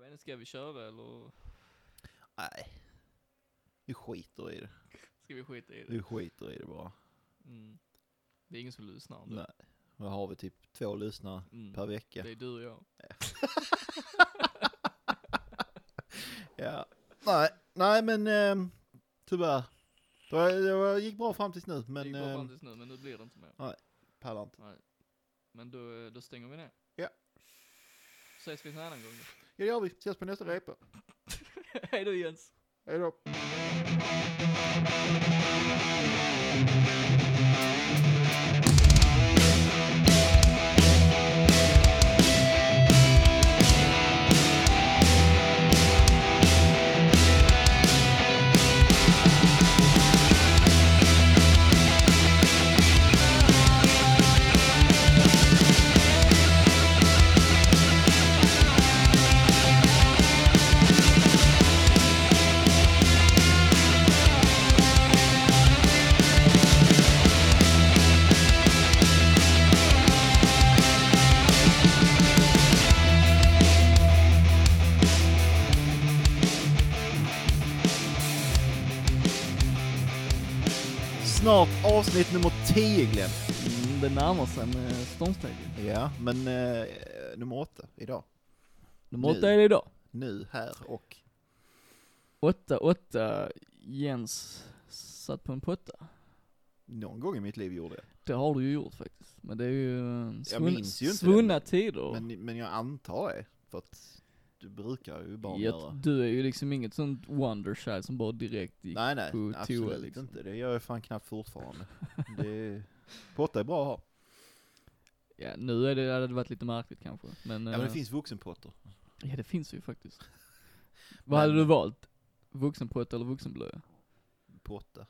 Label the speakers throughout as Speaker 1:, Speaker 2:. Speaker 1: Men Ska vi köra eller
Speaker 2: Nej. Vi skiter i det.
Speaker 1: ska vi skita i det?
Speaker 2: Vi skiter i det bara.
Speaker 1: Mm. Det är ingen som lyssnar ändå.
Speaker 2: Nej. Vad har vi typ två lyssnare
Speaker 1: Mm.
Speaker 2: per vecka?
Speaker 1: Det är du och jag.
Speaker 2: Ja. Nej, nej men ehm, tyvärr. Det, var, det var, gick bra fram tills nu
Speaker 1: Men,
Speaker 2: men
Speaker 1: det går
Speaker 2: ehm,
Speaker 1: fram tills nu, men nu blir det inte mer.
Speaker 2: pallar inte.
Speaker 1: Men då, då stänger vi ner.
Speaker 2: Ja.
Speaker 1: Ses vi en annan gång då.
Speaker 2: Ja det gör vi. Ses på nästa repa.
Speaker 1: Hej då Jens.
Speaker 2: Hej då. Snart avsnitt nummer 10 Glenn.
Speaker 1: Mm, det närmar sig med stormstegen.
Speaker 2: Ja, men eh, nummer 8 idag.
Speaker 1: Nummer
Speaker 2: Nu.
Speaker 1: åtta är det idag.
Speaker 2: Nu, här och.
Speaker 1: Åtta, åtta, Jens satt på en potta.
Speaker 2: Någon gång i mitt liv gjorde jag.
Speaker 1: Det har du ju gjort faktiskt. Men det är ju eh, svunna,
Speaker 2: minns ju inte
Speaker 1: svunna tider.
Speaker 2: Men, men jag antar det. För att du brukar ju bara
Speaker 1: Jag-
Speaker 2: göra.
Speaker 1: du är ju liksom inget sånt wonderchild som bara direkt gick.
Speaker 2: Nej nej,
Speaker 1: på toa,
Speaker 2: absolut
Speaker 1: liksom.
Speaker 2: inte. Det gör jag fan knappt fortfarande. det, potta är bra att ha.
Speaker 1: Ja, nu är det, hade det varit lite märkligt kanske. Men,
Speaker 2: Ja men det
Speaker 1: eh,
Speaker 2: finns vuxenpotter.
Speaker 1: Ja det finns ju faktiskt. Vad hade
Speaker 2: Men-
Speaker 1: du valt? Vuxenpott eller vuxenblöja?
Speaker 2: Potta.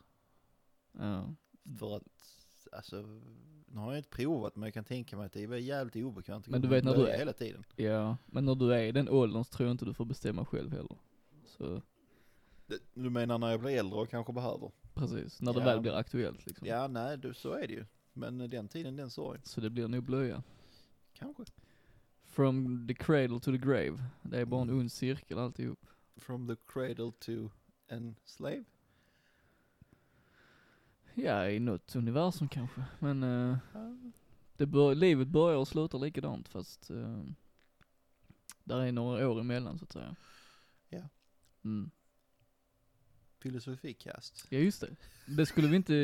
Speaker 1: Ja.
Speaker 2: För att, alltså, nu har jag inte provat men jag kan tänka mig att det är väl jävligt obekvämt. att
Speaker 1: Men du
Speaker 2: gå
Speaker 1: vet när du
Speaker 2: blöja
Speaker 1: är-
Speaker 2: Hela tiden.
Speaker 1: ja, men när du är i den åldern så tror jag inte du får bestämma själv heller. Så
Speaker 2: Det- Du menar när jag blir äldre och kanske behöver?
Speaker 1: precis, när det
Speaker 2: Ja.
Speaker 1: väl blir aktuellt liksom.
Speaker 2: Ja nej, du, så är det ju. Men den tiden, den sorgen.
Speaker 1: Så det blir nog blöja.
Speaker 2: Kanske.
Speaker 1: From the cradle to the grave. Det är bara
Speaker 2: Mm.
Speaker 1: en ond cirkel alltihop.
Speaker 2: From the cradle to en slave?
Speaker 1: Ja, i något universum kanske. Men eh,
Speaker 2: Ja.
Speaker 1: det bör, livet börjar och slutar likadant fast eh, där är några år emellan så att säga.
Speaker 2: Ja.
Speaker 1: Mm.
Speaker 2: Filosofikast.
Speaker 1: Ja just det. Det skulle vi inte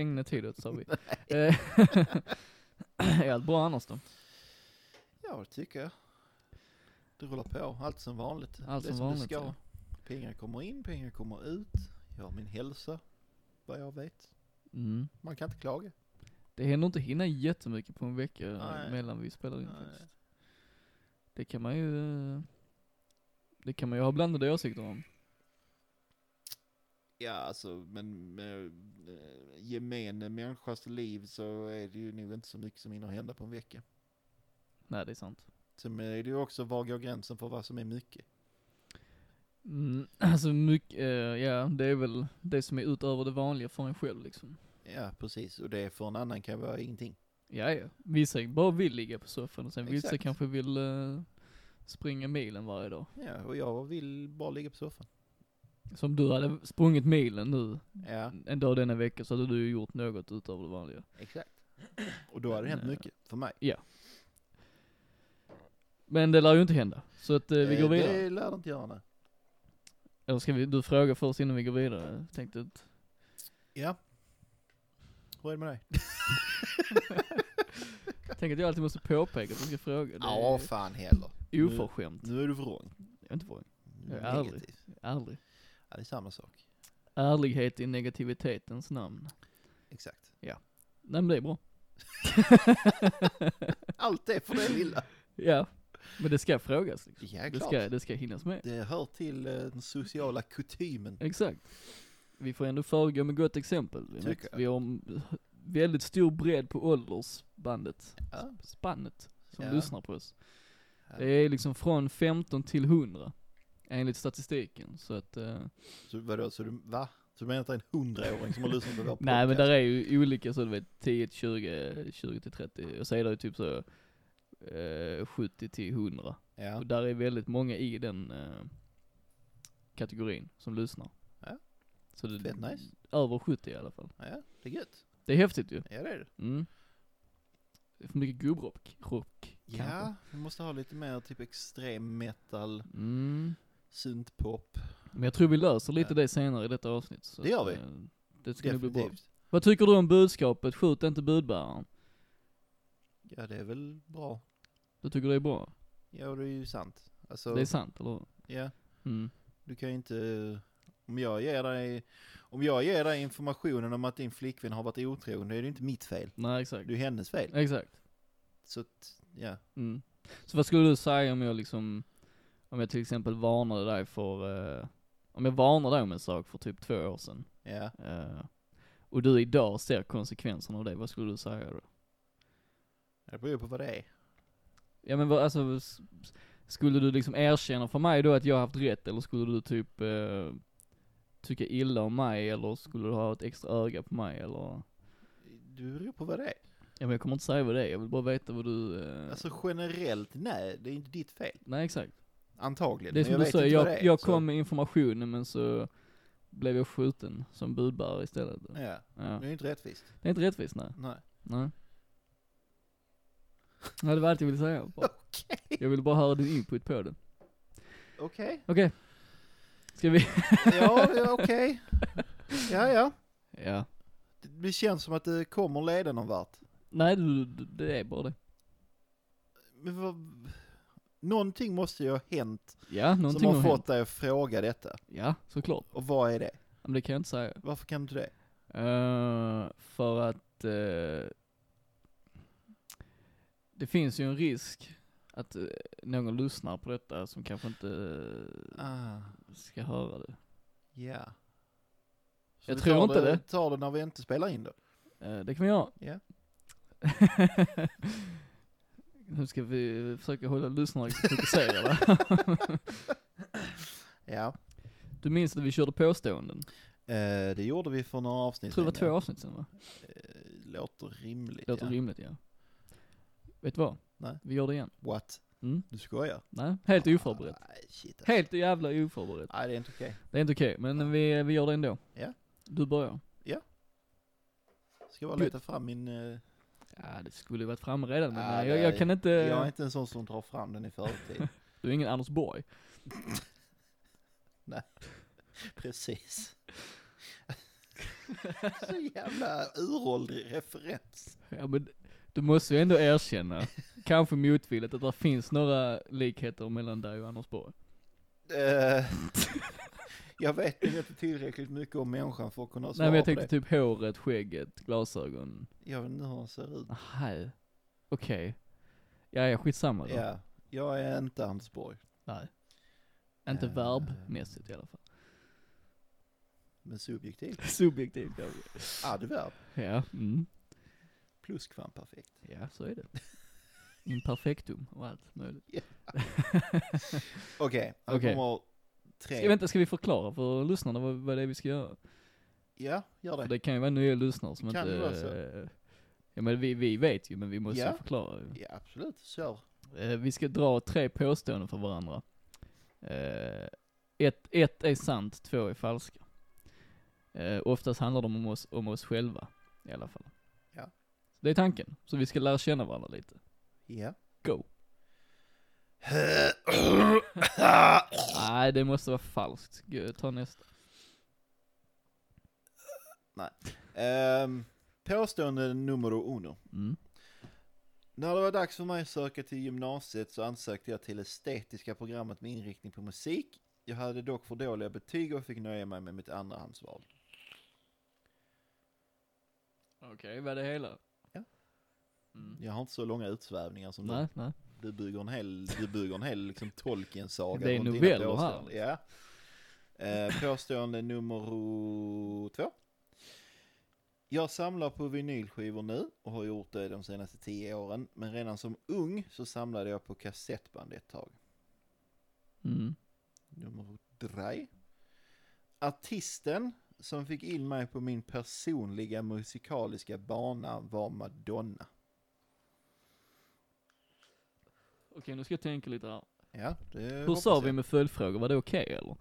Speaker 1: ägna tid åt sa vi. Eh, Är allt bra annars då?
Speaker 2: Ja, det tycker jag. Det rullar på, allt som vanligt.
Speaker 1: Allt
Speaker 2: det
Speaker 1: som
Speaker 2: det
Speaker 1: vanligt,
Speaker 2: ska.
Speaker 1: ja.
Speaker 2: Pengar kommer in, pengar kommer ut. Jag har min hälsa, vad jag vet.
Speaker 1: Mm.
Speaker 2: Man kan inte klaga.
Speaker 1: Det händer inte hinna jättemycket på en vecka
Speaker 2: Nej.
Speaker 1: mellan vi spelar in
Speaker 2: Nej.
Speaker 1: faktiskt. Det kan man ju, eh, det kan man ju ha blandade åsikter om.
Speaker 2: Ja, alltså, men med eh, gemene människas liv så är det ju nog inte så mycket som hinner hända på en vecka.
Speaker 1: Nej det är sant.
Speaker 2: Sen är det ju också, var går gränsen för vad som är mycket?
Speaker 1: Mm, alltså mycket, eh, ja det är väl det som är utöver det vanliga för en själv liksom.
Speaker 2: Ja, precis. Och det för en annan kan vara ingenting.
Speaker 1: Ja ja, vissa bara vill ligga på soffan och sen vissa
Speaker 2: Exakt.
Speaker 1: kanske vill eh, springa milen varje dag.
Speaker 2: Ja, och jag vill bara ligga på soffan.
Speaker 1: Som du hade sprungit milen nu
Speaker 2: Ja,
Speaker 1: en dag denna vecka så hade du ju gjort något utöver det vanliga.
Speaker 2: exakt. Och då har det hänt
Speaker 1: Nej.
Speaker 2: mycket för mig.
Speaker 1: Men det lär ju inte hända. Så att eh, vi
Speaker 2: Eh,
Speaker 1: går vidare.
Speaker 2: Det lär det inte göra nu.
Speaker 1: Eller ska vi, du fråga först innan vi går vidare? Jag Tänkte att,
Speaker 2: Ja. Hur är det med dig?
Speaker 1: tänk att jag alltid måste påpeka att du ska fråga. Det
Speaker 2: Ja, fan heller.
Speaker 1: är oförskämt.
Speaker 2: Nu är du vrång.
Speaker 1: Jag är inte våg.
Speaker 2: Nu
Speaker 1: Jag
Speaker 2: är
Speaker 1: är
Speaker 2: du
Speaker 1: ärlig.
Speaker 2: negativ.
Speaker 1: Ärlig.
Speaker 2: Ja, det är samma sak.
Speaker 1: Ärlighet i negativitetens namn.
Speaker 2: Exakt.
Speaker 1: Nej men det är bra.
Speaker 2: Allt är för det lilla.
Speaker 1: Ja. Men det ska frågas liksom.
Speaker 2: Ja,
Speaker 1: Det
Speaker 2: klart.
Speaker 1: ska, det ska hinnas med.
Speaker 2: Det hör till eh, den sociala kutymen.
Speaker 1: Exakt. Vi får ändå föregå med gott exempel. Vi
Speaker 2: Tycker
Speaker 1: har-
Speaker 2: jag.
Speaker 1: Vi har en väldigt stor bredd på åldersbandet.
Speaker 2: Ja.
Speaker 1: spannet som
Speaker 2: Ja.
Speaker 1: lyssnar på oss.
Speaker 2: Ja.
Speaker 1: Det är liksom från 15 till 100 enligt statistiken. Så att, eh,
Speaker 2: Så vadå, så du, va? Så du menar att det är en hundraåring som har lyssnat på vår podcast?
Speaker 1: nej men där är ju olika så du vet 10 till 20, 20 till 30 och så är det ju typ så eh, 70 till 100.
Speaker 2: Ja.
Speaker 1: Och där är väldigt många i den eh, kategorin som lyssnar.
Speaker 2: Ja.
Speaker 1: Så det,
Speaker 2: Fett nice.
Speaker 1: Över 70 i alla fall.
Speaker 2: ja, det är gött.
Speaker 1: Det är häftigt ju.
Speaker 2: Ja, det är det.
Speaker 1: Mm. Det är för mycket gubbrock. Rock, kanske.
Speaker 2: Ja, vi måste ha lite mer typ extrem metal,
Speaker 1: Mm.
Speaker 2: syntpop.
Speaker 1: Men jag tror vi löser lite
Speaker 2: Ja.
Speaker 1: det senare i detta avsnitt. Så
Speaker 2: Det gör
Speaker 1: att,
Speaker 2: vi.
Speaker 1: eh, Det ska nog bli bra.
Speaker 2: Definitivt.
Speaker 1: Vad tycker du om budskapet? Skjut inte budbäraren.
Speaker 2: Ja, det är väl bra.
Speaker 1: Du tycker det är bra?
Speaker 2: Ja, det är ju sant. Alltså,
Speaker 1: Det är sant, eller hur?
Speaker 2: ja,
Speaker 1: Mm.
Speaker 2: du kan ju inte... Om jag, ger dig, om jag ger dig informationen om att din flickvän har varit otrogen, då är det ju inte mitt fel.
Speaker 1: Nej, exakt.
Speaker 2: Det är hennes fel.
Speaker 1: Exakt.
Speaker 2: Så att, ja.
Speaker 1: Mm. Så vad skulle du säga om jag liksom, om jag till exempel varnade dig för, eh, om jag varnade dig om en sak för typ två år sedan,
Speaker 2: Ja.
Speaker 1: eh, och du idag ser konsekvenserna av det, vad skulle du säga då?
Speaker 2: Det beror ju på vad det är.
Speaker 1: Ja men vad, alltså, s- s- skulle du liksom erkänna för mig då att jag har haft rätt, eller skulle du typ eh, tycka illa om mig, eller skulle du ha ett extra öga på mig, eller?
Speaker 2: Det beror på vad det är.
Speaker 1: Ja men jag kommer inte säga vad det är, jag vill bara veta vad du, eh,
Speaker 2: Alltså generellt, nej, det är inte ditt fel.
Speaker 1: nej exakt.
Speaker 2: Antagligen.
Speaker 1: Det är som
Speaker 2: men jag
Speaker 1: du
Speaker 2: vet
Speaker 1: säger,
Speaker 2: inte
Speaker 1: jag,
Speaker 2: vad det är,
Speaker 1: jag
Speaker 2: så-
Speaker 1: kom med informationen men så blev jag skjuten som budbärare istället. Ja.
Speaker 2: Ja, det är ju inte rättvist.
Speaker 1: Det är inte rättvist nej.
Speaker 2: Nej.
Speaker 1: Nej. Nej det var allt jag ville säga. Bara. Jag ville bara höra din input på det.
Speaker 2: Okej.
Speaker 1: Okej. Ska vi?
Speaker 2: Ja, ja, okej. Ja, ja.
Speaker 1: Ja.
Speaker 2: Det- Det känns som att det kommer leda någon vart.
Speaker 1: Nej du, du- det är bara det.
Speaker 2: Men vad... Någonting måste ju ha hänt
Speaker 1: Ja, någonting
Speaker 2: som har,
Speaker 1: hänt.
Speaker 2: fått dig att fråga detta.
Speaker 1: Ja, såklart.
Speaker 2: Och vad är det?
Speaker 1: Men det kan jag inte säga.
Speaker 2: Varför kan du inte det?
Speaker 1: Eh, för att eh, det finns ju en risk att eh, någon lyssnar på detta som kanske inte eh,
Speaker 2: Ah,
Speaker 1: ska höra det.
Speaker 2: ja. Så
Speaker 1: Jag
Speaker 2: vi
Speaker 1: tror
Speaker 2: tar
Speaker 1: inte det.
Speaker 2: tar det när vi inte spelar in det.
Speaker 1: Eh, det kan vi göra.
Speaker 2: Ja.
Speaker 1: nu ska vi försöka hålla lyssnarna fokuserade.
Speaker 2: Ja.
Speaker 1: du minns att vi körde påståenden?
Speaker 2: Eh, det gjorde vi för några avsnitt
Speaker 1: Jag tror det var
Speaker 2: sedan,
Speaker 1: två avsnitt sen
Speaker 2: ja.
Speaker 1: va?
Speaker 2: Eh, låter rimligt.
Speaker 1: Låter
Speaker 2: ja.
Speaker 1: rimligt ja. Vet du vad?
Speaker 2: Nej.
Speaker 1: Vi gör det igen.
Speaker 2: What?
Speaker 1: Mm.
Speaker 2: Du skojar?
Speaker 1: Nej, helt oförberett.
Speaker 2: Nej, shit. alltså.
Speaker 1: Helt jävla oförberett.
Speaker 2: Nej, det är inte okej.
Speaker 1: Det är inte okej, men vi, vi gör det ändå.
Speaker 2: Ja.
Speaker 1: Du börjar.
Speaker 2: Ska bara leta fram min... eh,
Speaker 1: Ja, det skulle ju varit framme redan, men
Speaker 2: Ja,
Speaker 1: nej,
Speaker 2: det
Speaker 1: jag, jag
Speaker 2: är-
Speaker 1: kan inte...
Speaker 2: Jag är inte en sån som drar fram den i förtid.
Speaker 1: Du är ingen Anders Borg.
Speaker 2: Precis. Så jävla uråldrig referens.
Speaker 1: Ja, men du måste ju ändå erkänna, kanske motvilligt, att det finns några likheter mellan dig och Anders Borg.
Speaker 2: Eh, jag vet inte tillräckligt mycket om människan för att kunna
Speaker 1: Nej,
Speaker 2: svara
Speaker 1: men jag
Speaker 2: på
Speaker 1: tänkte
Speaker 2: det.
Speaker 1: typ håret, skägget, glasögon.
Speaker 2: Jag vet inte hur han ser ut.
Speaker 1: Nej. Okej. Ja, ja, skitsamma då.
Speaker 2: Ja, jag är inte Anders Borg.
Speaker 1: Nej. Inte
Speaker 2: Eh.
Speaker 1: verbmässigt i alla fall.
Speaker 2: Men subjektivt.
Speaker 1: Subjektivt kanske.
Speaker 2: Adverb.
Speaker 1: Ja. Mm.
Speaker 2: Pluskvamperfekt.
Speaker 1: Ja, så är det. Imperfektum och allt möjligt.
Speaker 2: Okej, här
Speaker 1: Okej.
Speaker 2: kommer
Speaker 1: Ska,
Speaker 2: tre.
Speaker 1: vänta, ska vi förklara för lyssnarna vad, vad det är vi ska göra?
Speaker 2: Ja, gör
Speaker 1: För
Speaker 2: det.
Speaker 1: det kan ju vara nya lyssnare som
Speaker 2: Kan
Speaker 1: inte...
Speaker 2: det vara så?
Speaker 1: eh, Ja men vi, vi vet ju, men vi måste
Speaker 2: Ja.
Speaker 1: förklara ju.
Speaker 2: Ja, absolut. Kör.
Speaker 1: Eh, Vi ska dra tre påståenden för varandra. Eh, Ett, ett är sant, två är falska. Eh, Oftast handlar de om oss, om oss själva, i alla fall.
Speaker 2: Ja.
Speaker 1: Det är tanken. Så vi ska lära känna varandra lite.
Speaker 2: Ja.
Speaker 1: Go. Nej, det måste vara falskt. Gud, ta nästa.
Speaker 2: Ehm, påstående nummer uno.
Speaker 1: Mm.
Speaker 2: När det var dags för mig att söka till gymnasiet så ansökte jag till estetiska programmet med inriktning på musik. Jag hade dock för dåliga betyg och fick nöja mig med mitt andrahandsval.
Speaker 1: Okej, vad är det hela?
Speaker 2: Ja.
Speaker 1: Mm.
Speaker 2: Jag har inte så långa utsvävningar som
Speaker 1: Nej,
Speaker 2: du.
Speaker 1: nej.
Speaker 2: Du bygger en hel, du bygger en hel liksom, Tolkien-saga.
Speaker 1: Det är
Speaker 2: runt dina
Speaker 1: noveller här,
Speaker 2: påståenden. Ja. Eh, påstående nummer två. Jag samlar på vinylskivor nu och har gjort det de senaste tio åren. Men redan som ung så samlade jag på kassettband ett tag.
Speaker 1: Mm.
Speaker 2: Nummer tre. Artisten som fick in mig på min personliga musikaliska bana var Madonna.
Speaker 1: Okej, nu ska jag tänka lite här.
Speaker 2: Ja, det
Speaker 1: Hur
Speaker 2: hoppas
Speaker 1: sa
Speaker 2: jag.
Speaker 1: vi med följdfrågor? Var det okej eller?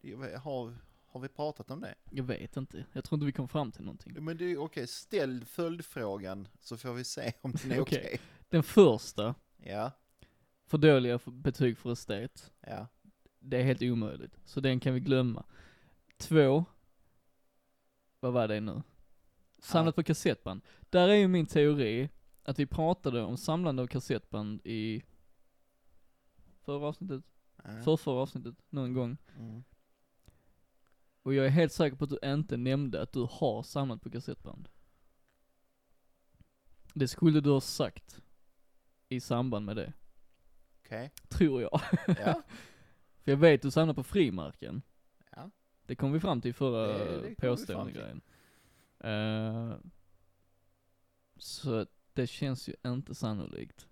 Speaker 2: Jag vet- Har, har vi pratat om det?
Speaker 1: Jag vet inte. Jag tror inte vi kom fram till någonting.
Speaker 2: Men det är okej, ställ följdfrågan så får vi se om den är okej.
Speaker 1: Okej. Den första,
Speaker 2: Ja,
Speaker 1: för dåliga f- betyg för estet.
Speaker 2: ja.
Speaker 1: Det är helt omöjligt. Så den kan vi glömma. Två. Vad var det nu? Samlat på kassettband. Där är ju min teori att vi pratade om samlande av kassettband i förra avsnittet,
Speaker 2: ja.
Speaker 1: förrförra avsnittet, någon gång.
Speaker 2: Mm.
Speaker 1: Och jag är helt säker på att du inte nämnde att du har samlat på kassettband. Det skulle du ha sagt i samband med det,
Speaker 2: Okej,
Speaker 1: tror jag.
Speaker 2: ja.
Speaker 1: För jag vet du samlar på frimärken.
Speaker 2: Ja.
Speaker 1: Det kom vi fram till i förra
Speaker 2: Det- det kom vi fram till.
Speaker 1: påståendegrejen. Eh, så det känns ju inte sannolikt.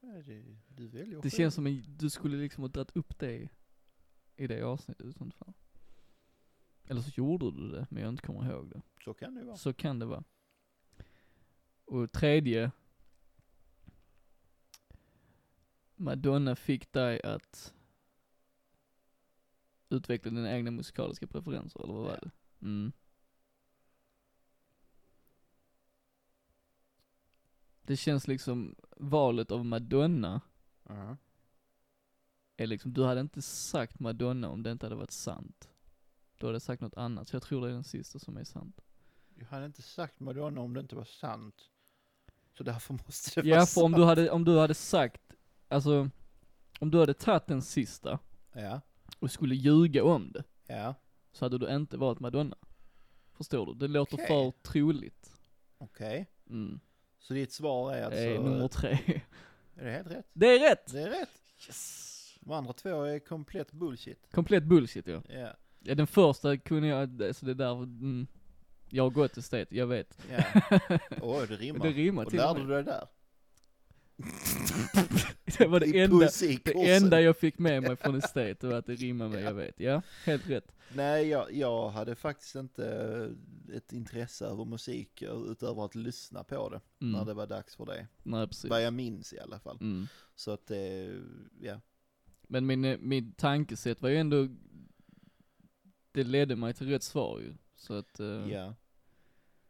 Speaker 2: Nej, det- Du väljer
Speaker 1: Det
Speaker 2: själv.
Speaker 1: känns som en, du skulle liksom ha dragit upp det i det avsnittet i sånt fall. Eller så gjorde du det, men jag inte kommer ihåg det.
Speaker 2: Så kan det vara.
Speaker 1: Så kan det vara. Och tredje. Madonna fick dig att utveckla dina egna musikaliska preferenser, eller vad var
Speaker 2: Ja.
Speaker 1: det? Mm. Det känns liksom, valet av Madonna
Speaker 2: Ja.
Speaker 1: är liksom, du hade inte sagt Madonna om det inte hade varit sant. Du hade sagt något annat, så jag tror det är den sista som är sant.
Speaker 2: Jag hade inte sagt Madonna om det inte var sant. Så därför måste det
Speaker 1: Ja,
Speaker 2: vara
Speaker 1: för om
Speaker 2: sant.
Speaker 1: du hade, om du hade sagt, alltså, om du hade tagit den sista
Speaker 2: Ja,
Speaker 1: och skulle ljuga om det,
Speaker 2: ja,
Speaker 1: så hade du inte varit Madonna. Förstår du? Det låter
Speaker 2: Okej.
Speaker 1: för troligt.
Speaker 2: okej.
Speaker 1: Mm.
Speaker 2: Så ditt svar är alltså...
Speaker 1: det är Eh, nummer tre.
Speaker 2: Är det helt rätt?
Speaker 1: Det är rätt!
Speaker 2: Det är rätt. De andra två är komplett bullshit.
Speaker 1: Komplett bullshit ja.
Speaker 2: Ja,
Speaker 1: ja. Den första kunde jag, alltså det där, mm, jag har gått estet, jag vet.
Speaker 2: ja. Åh, det rimmar.
Speaker 1: Men det rimmar
Speaker 2: och
Speaker 1: till och
Speaker 2: lärde
Speaker 1: med.
Speaker 2: du dig där?
Speaker 1: Det var
Speaker 2: I
Speaker 1: det enda, det
Speaker 2: poesikursen.
Speaker 1: enda jag fick med mig från estet, det var att det rimmar med jag vet. Ja, helt rätt.
Speaker 2: Nej, jag, jag hade faktiskt inte eh, ett intresse över musik utöver att lyssna på det när
Speaker 1: Mm.
Speaker 2: det var dags för det.
Speaker 1: Nej precis.
Speaker 2: Vad jag minns i alla fall.
Speaker 1: Mm.
Speaker 2: Så att det, ja.
Speaker 1: Men min, eh, min tankesätt var ju ändå, det ledde mig till rätt svar ju. Så att, eh,
Speaker 2: ja.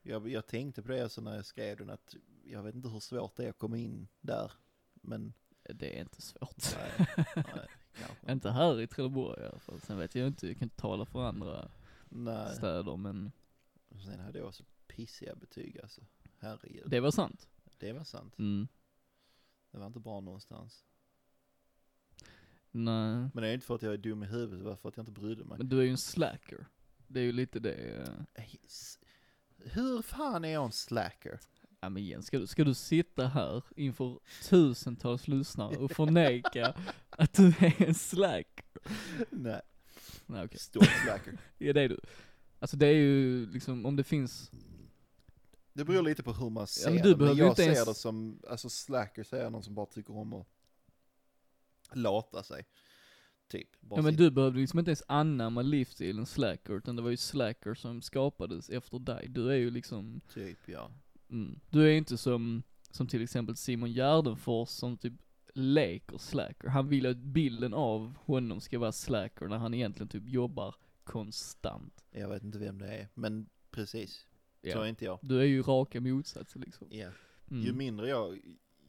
Speaker 2: Jag, jag tänkte på det alltså när jag skrev den att jag vet inte hur svårt det är att komma in där. Men
Speaker 1: det är inte svårt.
Speaker 2: nej, nej kanske.
Speaker 1: inte här i Trelleborg i alla fall. Sen vet jag inte, jag kan inte tala för andra
Speaker 2: Nej.
Speaker 1: städer men
Speaker 2: Sen hade jag också pissiga betyg alltså. Herregud. Det,
Speaker 1: det var sant.
Speaker 2: var sant.
Speaker 1: Mm.
Speaker 2: Det var inte bra någonstans.
Speaker 1: Nej.
Speaker 2: Men det är inte för att jag är dum i huvudet, det var för att jag inte brydde mig.
Speaker 1: Men du är ju en slacker. Det är ju lite det, eh,
Speaker 2: Ej, s- Hur fan är jag en slacker?
Speaker 1: ja men igen, ska du, ska du sitta här inför tusentals lyssnare och förneka att du är en slacker?
Speaker 2: Nej,
Speaker 1: Nej okej,
Speaker 2: stor slacker.
Speaker 1: ja, det är du. Alltså det är ju liksom, om det finns
Speaker 2: Det beror lite på hur man ser
Speaker 1: men du
Speaker 2: det, men
Speaker 1: behöver ju
Speaker 2: jag
Speaker 1: inte
Speaker 2: ser
Speaker 1: ens-
Speaker 2: det som, alltså slacker säger någon som bara tycker om att lata sig. Typ. Bara
Speaker 1: Ja men
Speaker 2: sitta-
Speaker 1: du behövde liksom inte ens anamma livsstilen slacker, utan det var ju slacker som skapades efter dig. Du är ju liksom,
Speaker 2: Typ ja.
Speaker 1: mm, du är inte som, som till exempel Simon Gärdenfors som typ leker slacker. Han vill att bilden av honom ska vara slacker när han egentligen typ jobbar konstant.
Speaker 2: Jag vet inte vem det är, men precis.
Speaker 1: Ja.
Speaker 2: Så är inte jag.
Speaker 1: Du är ju raka motsatsen liksom.
Speaker 2: Ja. Ju
Speaker 1: Mm.
Speaker 2: mindre jag,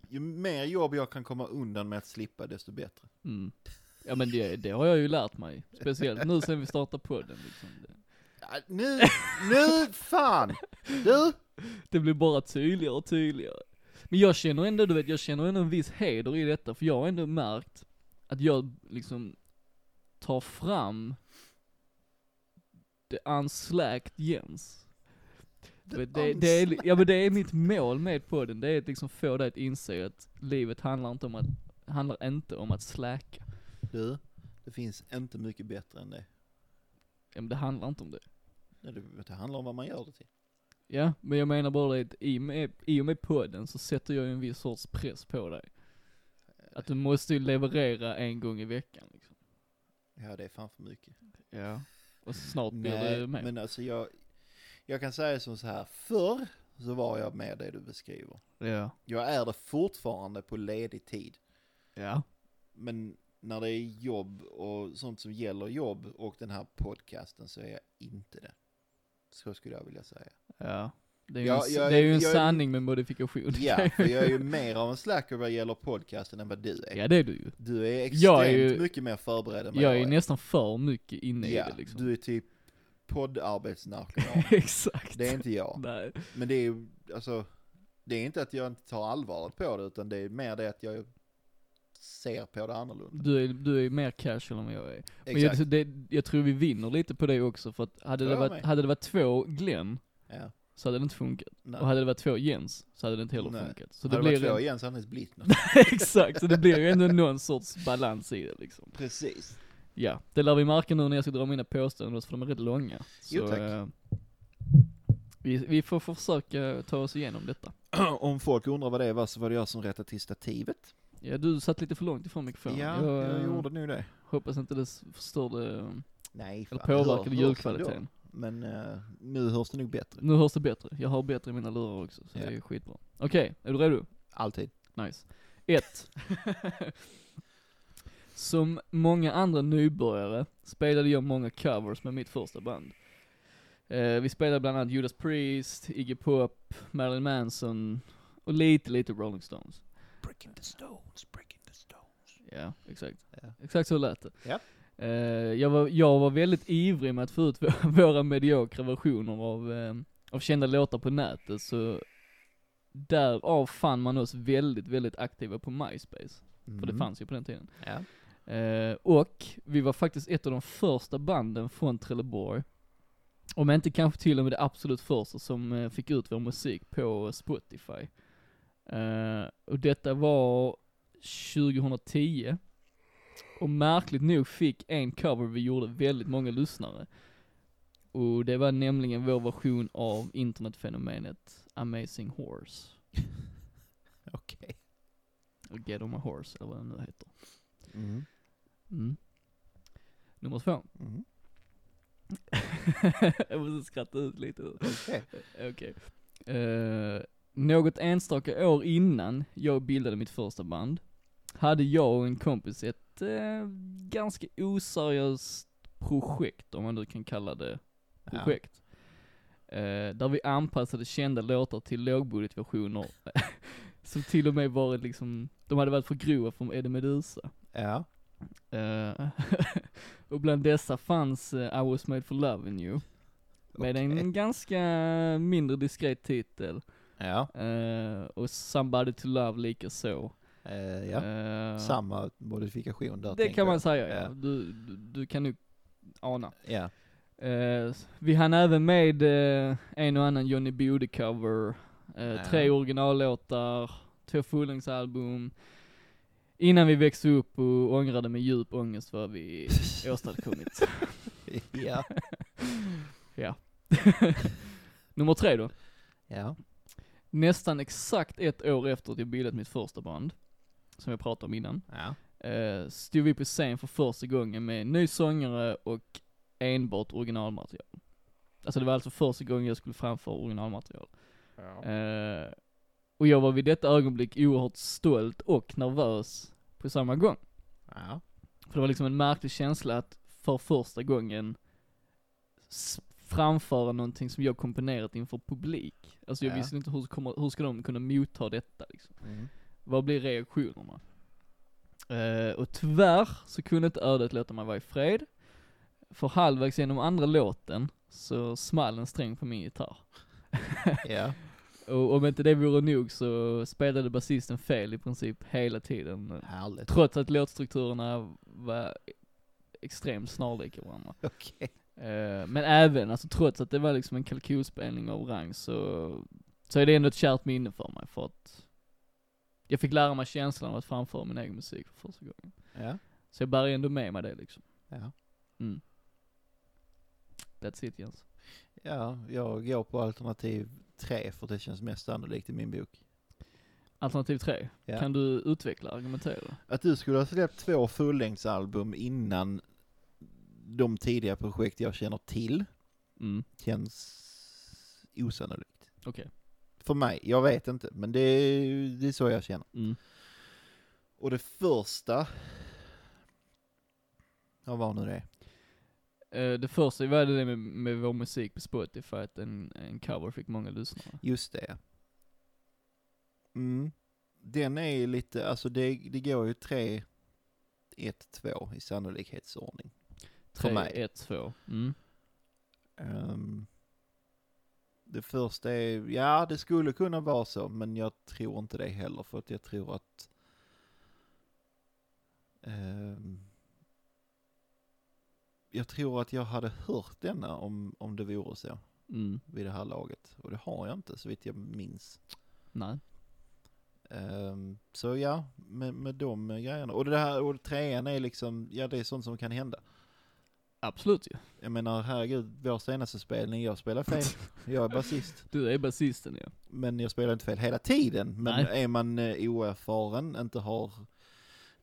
Speaker 2: ju mer jobb jag kan komma undan med att slippa, desto bättre.
Speaker 1: Mm. Ja men det, det har jag ju lärt mig, speciellt nu sen vi startade podden liksom. Det,
Speaker 2: Ja, nu, nu fan! Du!
Speaker 1: Det blir bara tydligare och tydligare. Men jag känner ändå, du vet, jag känner ändå en viss heder i detta, för jag har ändå märkt att jag liksom tar fram det unslacked Jens. Du vet, det, det, är, ja, men det är mitt mål med podden, det är att liksom få dig att inse att livet handlar inte om att, handlar inte om att släka.
Speaker 2: Du, det finns inte mycket bättre än det.
Speaker 1: Ja, men det handlar inte om det.
Speaker 2: Ja, Det, det handlar om vad man gör det till.
Speaker 1: Ja, men jag menar bara det att i och med, i och med podden så sätter jag ju en viss sorts press på dig. Att du måste ju leverera en gång i veckan liksom.
Speaker 2: Ja, det är fan för mycket. eh,
Speaker 1: Ja. Och snart blir
Speaker 2: Nej,
Speaker 1: det mer.
Speaker 2: men alltså jag, jag kan säga som så här, förr så var jag med det du beskriver.
Speaker 1: Ja.
Speaker 2: Jag är det fortfarande på ledig tid.
Speaker 1: Ja.
Speaker 2: Men när det är jobb och sånt som gäller jobb och den här podcasten så är jag inte det. Så skulle jag vilja säga.
Speaker 1: Ja. Det är ju
Speaker 2: Ja,
Speaker 1: en,
Speaker 2: jag-
Speaker 1: det är ju en
Speaker 2: jag-
Speaker 1: sanning med modifikation.
Speaker 2: Ja, för jag är ju mer av en slacker vad gäller podcasten än vad du är.
Speaker 1: ja det är du ju.
Speaker 2: Du är extremt
Speaker 1: Jag är ju-
Speaker 2: mycket mer förberedd än vad
Speaker 1: Jag är ju nästan för mycket inne
Speaker 2: ja,
Speaker 1: i det liksom.
Speaker 2: du är typ poddarbetsnarkoman.
Speaker 1: Exakt.
Speaker 2: det är inte jag.
Speaker 1: Nej.
Speaker 2: Men det är ju, alltså, det är inte att jag inte tar allvaret på det, utan det är mer det att jag ser på det annorlunda.
Speaker 1: Du är, du är mer casual än vad jag är. Men
Speaker 2: Exakt.
Speaker 1: jag, det, jag tror vi vinner lite på det också för att hade,
Speaker 2: Tror
Speaker 1: det
Speaker 2: jag
Speaker 1: varit,
Speaker 2: med. Mm.
Speaker 1: hade det varit två Glenn
Speaker 2: Ja.
Speaker 1: så hade det inte funkat.
Speaker 2: Nej.
Speaker 1: Och hade det varit två Jens så hade det inte heller
Speaker 2: Nej.
Speaker 1: funkat. Så det
Speaker 2: hade det varit
Speaker 1: blir
Speaker 2: två
Speaker 1: en,
Speaker 2: igen så hade det inte blivit något.
Speaker 1: Exakt, så det blir ju ändå någon sorts balans i det liksom.
Speaker 2: Precis.
Speaker 1: Ja, det lär vi märka nu när jag ska dra mina påståenden för de är rätt långa. Så,
Speaker 2: Jo, tack.
Speaker 1: eh, vi, vi får försöka ta oss igenom detta.
Speaker 2: Om folk undrar vad det var så var det jag som rättade till stativet.
Speaker 1: Ja, du satt lite för långt ifrån
Speaker 2: Ja,
Speaker 1: mikrofonen.
Speaker 2: jag,
Speaker 1: eh,
Speaker 2: gjorde nu det.
Speaker 1: hoppas inte det s- förstörde, eh,
Speaker 2: Nej,
Speaker 1: eller
Speaker 2: det hör-
Speaker 1: påverkade
Speaker 2: hörs ändå.
Speaker 1: ljudkvaliteten.
Speaker 2: Men eh, nu hörs det nog bättre.
Speaker 1: Nu hörs det bättre. Jag har bättre i mina lurar också, så
Speaker 2: Ja.
Speaker 1: det är skitbra. Okej, är du redo?
Speaker 2: Alltid.
Speaker 1: Nice. 1. Som många andra nybörjare spelade jag många covers med mitt första band. Eh, vi spelade bland annat Judas Priest, Iggy Pop, Marilyn Manson och lite, lite Rolling Stones.
Speaker 2: Breaking the stones, breaking the stones.
Speaker 1: Ja, exakt.
Speaker 2: Ja.
Speaker 1: Exakt så lät det.
Speaker 2: Ja.
Speaker 1: Eh, jag, var, jag var väldigt ivrig med att få ut vå- våra mediokra versioner av, eh, av kända låtar på nätet, så därav fann man oss väldigt, väldigt aktiva på MySpace. För det fanns ju på den tiden.
Speaker 2: Mm. Ja.
Speaker 1: Eh, och vi var faktiskt ett av de första banden från Trelleborg, om inte kanske till och med det absolut första som eh, fick ut vår musik på Spotify. Eh, och detta var 2010. Och märkligt nog fick en cover vi gjorde väldigt många lyssnare. Och det var nämligen vår version av internetfenomenet Amazing Horse.
Speaker 2: Okej.
Speaker 1: Och Get On My Horse, eller vad den nu heter.
Speaker 2: Mm.
Speaker 1: Mm. Nummer två.
Speaker 2: Mm.
Speaker 1: jag måste skratta ut lite.
Speaker 2: Okej.
Speaker 1: Okej. Eh, något enstaka år innan jag bildade mitt första band, hade jag och en kompis ett eh, ganska oseriöst projekt, om man nu kan kalla det
Speaker 2: Ja.
Speaker 1: projekt. Eh, där vi anpassade kända låtar till lågbudgetversioner, som till och med varit liksom, de hade varit för grova för Eddie Meduza.
Speaker 2: ja.
Speaker 1: Eh, och bland dessa fanns eh, I was made for loving you. Med
Speaker 2: Okej.
Speaker 1: en ganska mindre diskret titel.
Speaker 2: Ja.
Speaker 1: Eh, och Somebody to love lika så.
Speaker 2: Eh, ja.
Speaker 1: Eh,
Speaker 2: Samma modifikation där.
Speaker 1: det
Speaker 2: tänker
Speaker 1: kan man
Speaker 2: jag.
Speaker 1: säga ja.
Speaker 2: Ja.
Speaker 1: Du, du, du kan nu ana.
Speaker 2: Ja.
Speaker 1: Eh, vi hann även med eh, en och annan Johnny Bode-cover, eh,
Speaker 2: Ja.
Speaker 1: tre originallåtar, två fullängdsalbum. Innan vi växte upp och ångrade med djup ångest vad vi åstadkommit.
Speaker 2: ja.
Speaker 1: Nummer tre då.
Speaker 2: Ja.
Speaker 1: Nästan exakt ett år efter att jag bildat mitt första band, som jag pratade om innan,
Speaker 2: Ja.
Speaker 1: eh, stod vi på scen för första gången med ny sångare och enbart originalmaterial. Alltså det var alltså första gången jag skulle framföra originalmaterial. Eh, och jag var vid detta ögonblick oerhört stolt och nervös på samma gång.
Speaker 2: Ja.
Speaker 1: För det var liksom en märklig känsla att för första gången s- framföra någonting som jag komponerat inför publik. Alltså jag
Speaker 2: Ja.
Speaker 1: visste inte hur, kommer, hur ska de kunna motta detta liksom.
Speaker 2: Mm.
Speaker 1: Vad blir reaktionerna? Eh, och tyvärr så kunde inte ödet låta mig vara i fred. För halvvägs genom andra låten så small en sträng på min gitarr.
Speaker 2: Ja.
Speaker 1: Och om inte det vore nog så spelade basisten fel i princip hela tiden.
Speaker 2: Härligt.
Speaker 1: Trots att låtstrukturerna var extremt snarlika varandra.
Speaker 2: Okej.
Speaker 1: Eh, men även, alltså trots att det var liksom en kalkylspelning av rang så, så är det ändå ett kärt minne för mig för att jag fick lära mig känslan av att framföra min egen musik för första gången.
Speaker 2: Ja.
Speaker 1: Så jag bär ändå med mig det liksom.
Speaker 2: Ja.
Speaker 1: That's it Jens.
Speaker 2: Ja, jag går på alternativ tre för det känns mest sannolikt i min bok.
Speaker 1: Alternativ tre,
Speaker 2: Ja.
Speaker 1: kan du utveckla, argumentera?
Speaker 2: Att du skulle ha släppt två fullängdsalbum innan de tidiga projekt jag känner till
Speaker 1: Mm,
Speaker 2: känns osannolikt.
Speaker 1: okej.
Speaker 2: för mig, jag vet inte, men det är, det är så jag känner.
Speaker 1: Mm.
Speaker 2: Och det första, ja vad nu det är.
Speaker 1: Eh, det första var det med, med vår musik på Spotify, att en, en cover fick många lyssnare.
Speaker 2: Just det. Mm. Den är ju lite, alltså det, det går ju 3, 1, 2 i sannolikhetsordning. För
Speaker 1: Tre,
Speaker 2: mig.
Speaker 1: ett, två. Mm.
Speaker 2: Ehm, det första är, ja det skulle kunna vara så, men jag tror inte det heller för att jag tror att ehm, jag tror att jag hade hört denna om, om det vore så
Speaker 1: Mm.
Speaker 2: vid det här laget. Och det har jag inte så vitt jag minns.
Speaker 1: Nej.
Speaker 2: Ehm, så ja, med, med de grejerna. Och det här, och trean är liksom, ja det är sånt som kan hända.
Speaker 1: Absolut ju.
Speaker 2: Jag menar herregud, vår senaste spelning, jag spelar fel. Jag är basist.
Speaker 1: Du är basisten ja.
Speaker 2: Men jag spelar inte fel hela tiden. Men
Speaker 1: Nej.
Speaker 2: är man eh, oerfaren, inte har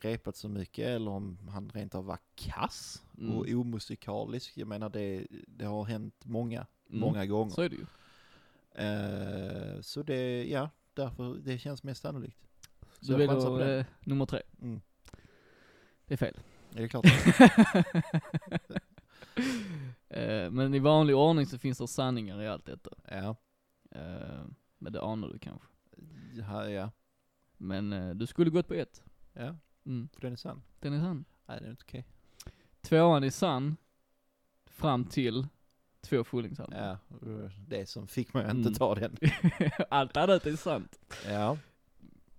Speaker 2: repat så mycket eller om han rent av var kass
Speaker 1: Mm.
Speaker 2: och omusikalisk. Jag menar det, det har hänt många,
Speaker 1: Mm.
Speaker 2: många gånger.
Speaker 1: Så är det ju.
Speaker 2: Eh, så det, ja, därför det känns mest sannolikt. Så
Speaker 1: Du
Speaker 2: jag chansar på
Speaker 1: väljer
Speaker 2: det.
Speaker 1: eh, nummer tre.
Speaker 2: Mm.
Speaker 1: Det är fel.
Speaker 2: Är det klart? att-
Speaker 1: Eh, men i vanlig ordning så finns det sanningar i allt detta.
Speaker 2: ja.
Speaker 1: Eh, men det anar du kanske.
Speaker 2: Ja, ja,
Speaker 1: Men eh, du skulle gått på ett.
Speaker 2: ja,
Speaker 1: Mm.
Speaker 2: för den är sann.
Speaker 1: Den är sann.
Speaker 2: Nej, det är inte okej.
Speaker 1: Tvåan är sann. Fram till två Fullingsalbum.
Speaker 2: Ja, det som fick mig att inte
Speaker 1: Mm.
Speaker 2: ta den.
Speaker 1: allt annat är sant.
Speaker 2: Ja.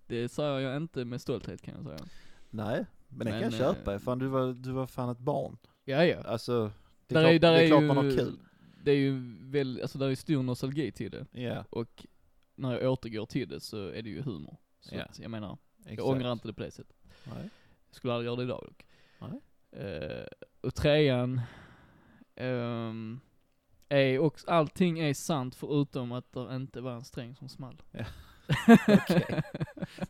Speaker 1: Det säger jag inte med stolthet kan jag säga.
Speaker 2: Nej, men den kan jag
Speaker 1: Men,
Speaker 2: köpa.
Speaker 1: eh,
Speaker 2: Fan, du var, du var fan ett barn.
Speaker 1: Ja, ja.
Speaker 2: Alltså, det
Speaker 1: Där
Speaker 2: är,
Speaker 1: är-
Speaker 2: klart,
Speaker 1: där
Speaker 2: det är
Speaker 1: är
Speaker 2: klart
Speaker 1: ju-
Speaker 2: man har kul.
Speaker 1: Det är ju väl, alltså där är stor nostalgi till det.
Speaker 2: Ja,
Speaker 1: Och när jag återgår till det så är det ju humor. Så
Speaker 2: Ja.
Speaker 1: att, jag menar,
Speaker 2: exakt.
Speaker 1: jag ångrar inte det på det sättet.
Speaker 2: Nej.
Speaker 1: Jag skulle aldrig göra det idag dock.
Speaker 2: Nej.
Speaker 1: Eh, och trean, ehm, är också, allting är sant förutom att det inte var en sträng som small.
Speaker 2: Ja. Okej.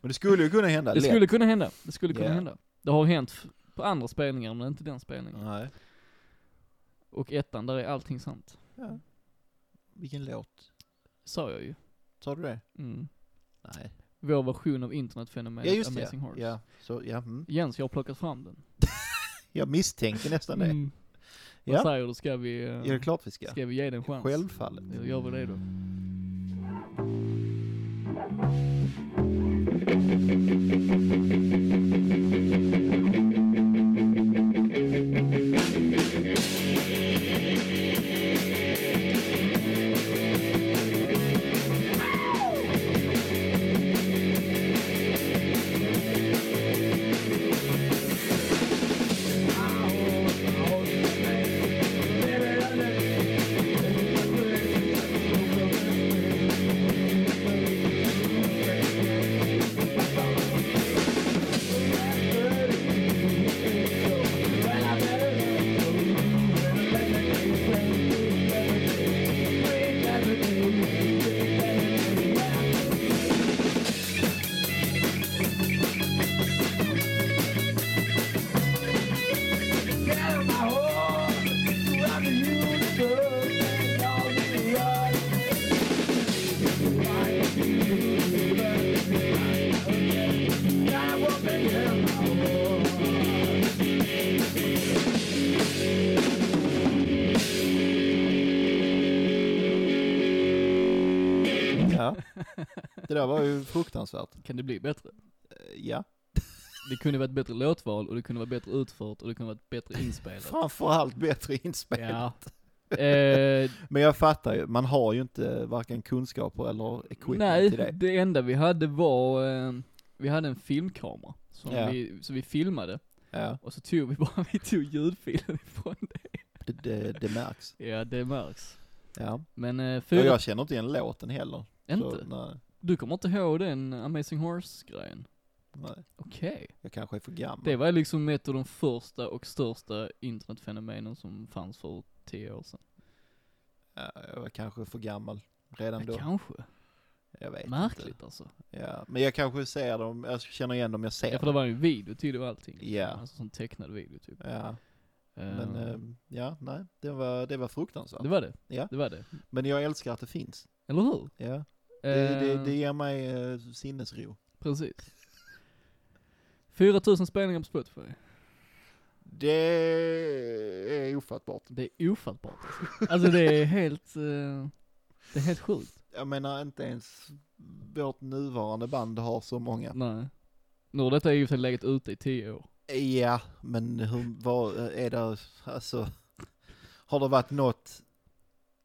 Speaker 2: Men det skulle ju kunna hända.
Speaker 1: det
Speaker 2: lätt.
Speaker 1: skulle kunna hända, det skulle kunna
Speaker 2: Ja.
Speaker 1: hända. Det har hänt f- på andra spelningar men inte den spelningen.
Speaker 2: Nej.
Speaker 1: Och ettan, där är allting sant.
Speaker 2: Ja. Vilken låt?
Speaker 1: Sa jag ju.
Speaker 2: Tar du det?
Speaker 1: Mm.
Speaker 2: Nej.
Speaker 1: Vår version av internetfenomenet
Speaker 2: ja, just det.
Speaker 1: Amazing Hearts.
Speaker 2: Ja, så, ja, mm.
Speaker 1: Jens, jag har plockat fram den.
Speaker 2: Jag misstänkte nästan det.
Speaker 1: Mm. Vad
Speaker 2: Ja,
Speaker 1: säger du, ska vi, eh,
Speaker 2: är det klart vi ska?
Speaker 1: ska vi ge den en chans?
Speaker 2: Självfallet.
Speaker 1: Jag gör väl det då.
Speaker 2: Ja. Det där var ju fruktansvärt.
Speaker 1: Kan det bli bättre?
Speaker 2: Eh, Ja.
Speaker 1: Det kunde varit bättre låtval och det kunde varit bättre utfört och det kunde varit bättre inspelat.
Speaker 2: Framförallt bättre inspel.
Speaker 1: ja. eh,
Speaker 2: Men jag fattar ju, man har ju inte varken kunskaper eller equipment
Speaker 1: nej,
Speaker 2: till det.
Speaker 1: det enda vi hade var, eh, vi hade en filmkamera som
Speaker 2: Ja.
Speaker 1: vi, så vi filmade
Speaker 2: Ja,
Speaker 1: och så tog vi bara, vi tog ljudfilen ifrån det.
Speaker 2: det, det, det märks.
Speaker 1: Ja, det märks.
Speaker 2: Ja.
Speaker 1: Men eh,
Speaker 2: Och
Speaker 1: fyra,
Speaker 2: jag känner inte igen låten heller.
Speaker 1: inte.
Speaker 2: Så, nej,
Speaker 1: Du kommer inte ihåg den Amazing Horse-grejen?
Speaker 2: nej.
Speaker 1: Okej.
Speaker 2: Jag kanske är för gammal.
Speaker 1: Det var liksom ett av de första och största internetfenomenen som fanns för tio år sedan.
Speaker 2: Ja, jag var kanske för gammal redan
Speaker 1: Ja,
Speaker 2: då.
Speaker 1: kanske.
Speaker 2: Jag vet inte.
Speaker 1: Märkligt alltså.
Speaker 2: Ja. Men jag kanske ser dem, jag känner igen dem jag ser.
Speaker 1: Ja för det var ju video till det och allting.
Speaker 2: Ja.
Speaker 1: Alltså som tecknad video typ.
Speaker 2: Ja,
Speaker 1: Eh,
Speaker 2: men eh, ja, nej, det var, det var fruktansvärt.
Speaker 1: det var det.
Speaker 2: Ja.
Speaker 1: Det var det.
Speaker 2: Men jag älskar att det finns.
Speaker 1: Eller hur?
Speaker 2: Ja, Det, det,
Speaker 1: Eh,
Speaker 2: det ger mig eh, sinnesro.
Speaker 1: Precis. 4000 spelningar på Spotify.
Speaker 2: Det är ofattbart.
Speaker 1: Det är ofattbart alltså. alltså det är helt, eh, det är helt sjukt.
Speaker 2: Jag menar inte ens vårt nuvarande band har så många.
Speaker 1: Nej. Nu har detta ju för sig legat ute i 10 år.
Speaker 2: Ja, men hur, vad är det, alltså, har det varit något,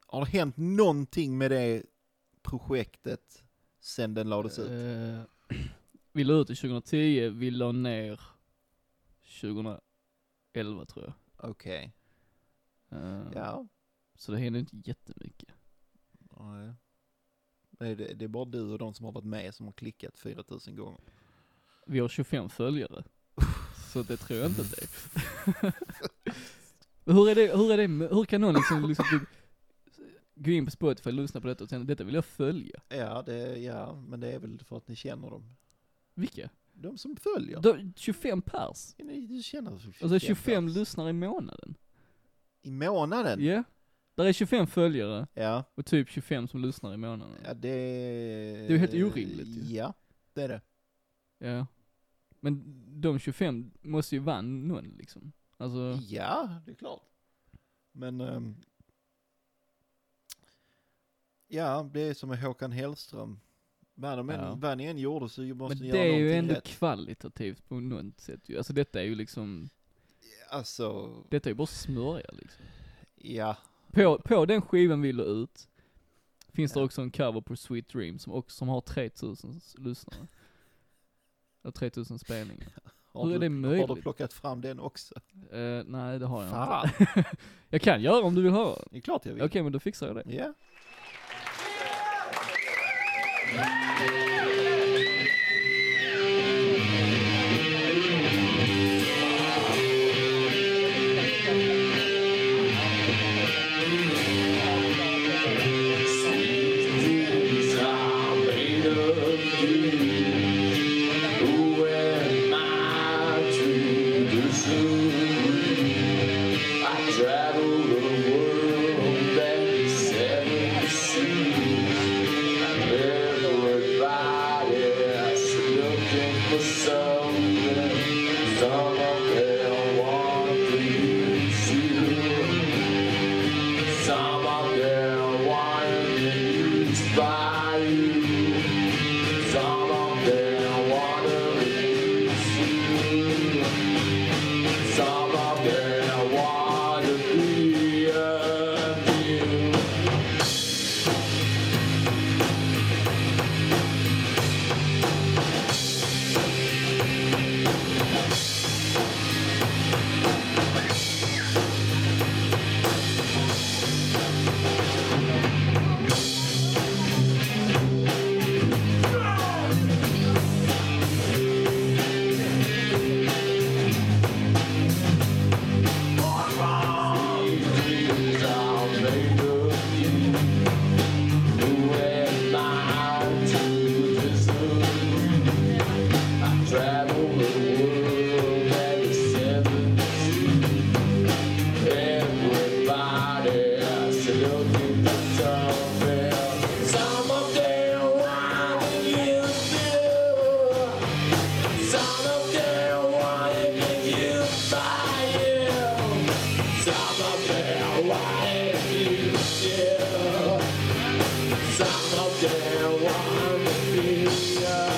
Speaker 2: har det hänt någonting med det projektet sen den lades ut?
Speaker 1: Eh, vi la ut det 2010, vi la ner 2011 tror jag.
Speaker 2: Okej.
Speaker 1: Eh,
Speaker 2: Ja.
Speaker 1: Så det händer inte jättemycket.
Speaker 2: Nej. Det, är- det är bara du och de som har varit med som har klickat 4000 gånger.
Speaker 1: Vi har 25 följare. så det tror jag inte att det är. Men hur är det, hur är det, med- hur kan någon liksom, liksom typ, gå in på Spotify och lyssna på detta och sen detta vill jag följa?
Speaker 2: Ja, det, ja, men det är väl för att ni känner dem.
Speaker 1: Vilka?
Speaker 2: De som följer.
Speaker 1: Då, 25 pers?
Speaker 2: Ni, du känner 25,
Speaker 1: Alltså 25
Speaker 2: pers.
Speaker 1: lyssnare i månaden?
Speaker 2: I
Speaker 1: Ja.
Speaker 2: månaden?
Speaker 1: Där är 25 följare
Speaker 2: Ja,
Speaker 1: och typ 25 som lyssnar i månaden.
Speaker 2: ja det...
Speaker 1: Det är ju helt orimligt ju.
Speaker 2: Ja, det är det.
Speaker 1: Ja. Men de 25 måste ju vara någon liksom. Alltså,
Speaker 2: Ja, det är klart. Men... ehm, ja, det är som med Håkan Hellström. Vad de än-
Speaker 1: Ja.
Speaker 2: vad ni än gjorde så måste
Speaker 1: men
Speaker 2: ni
Speaker 1: det
Speaker 2: göra
Speaker 1: är ju
Speaker 2: någonting
Speaker 1: ändå
Speaker 2: rätt.
Speaker 1: kvalitativt på något sätt ju. Alltså detta är ju liksom,
Speaker 2: Alltså,
Speaker 1: detta är ju bara smörja liksom.
Speaker 2: ja.
Speaker 1: På, på den skivan vi la ut, finns det
Speaker 2: Ja.
Speaker 1: också en cover på Sweet Dream som, också, som har 3000 s- lyssnare. Ja, 3000 spelningar.
Speaker 2: Har
Speaker 1: Hur är det
Speaker 2: Har du
Speaker 1: möjligt?
Speaker 2: plockat fram den också?
Speaker 1: Eh, nej, det har jag inte.
Speaker 2: Fan,
Speaker 1: Jag kan göra om du vill höra.
Speaker 2: det är klart jag vill.
Speaker 1: Okej, men då fixar jag det.
Speaker 2: Ja.
Speaker 3: Travel the world that seven seas. Everybody's looking for something. Some of them want to see. Some of them want to use by you. Some of them want to use you. Some of them want to be abused. Travel the world and the seven seas. Everybody's looking for something. Some of them want you to. Some of them want you by you. Some of them want you still. Some of them want to be alone.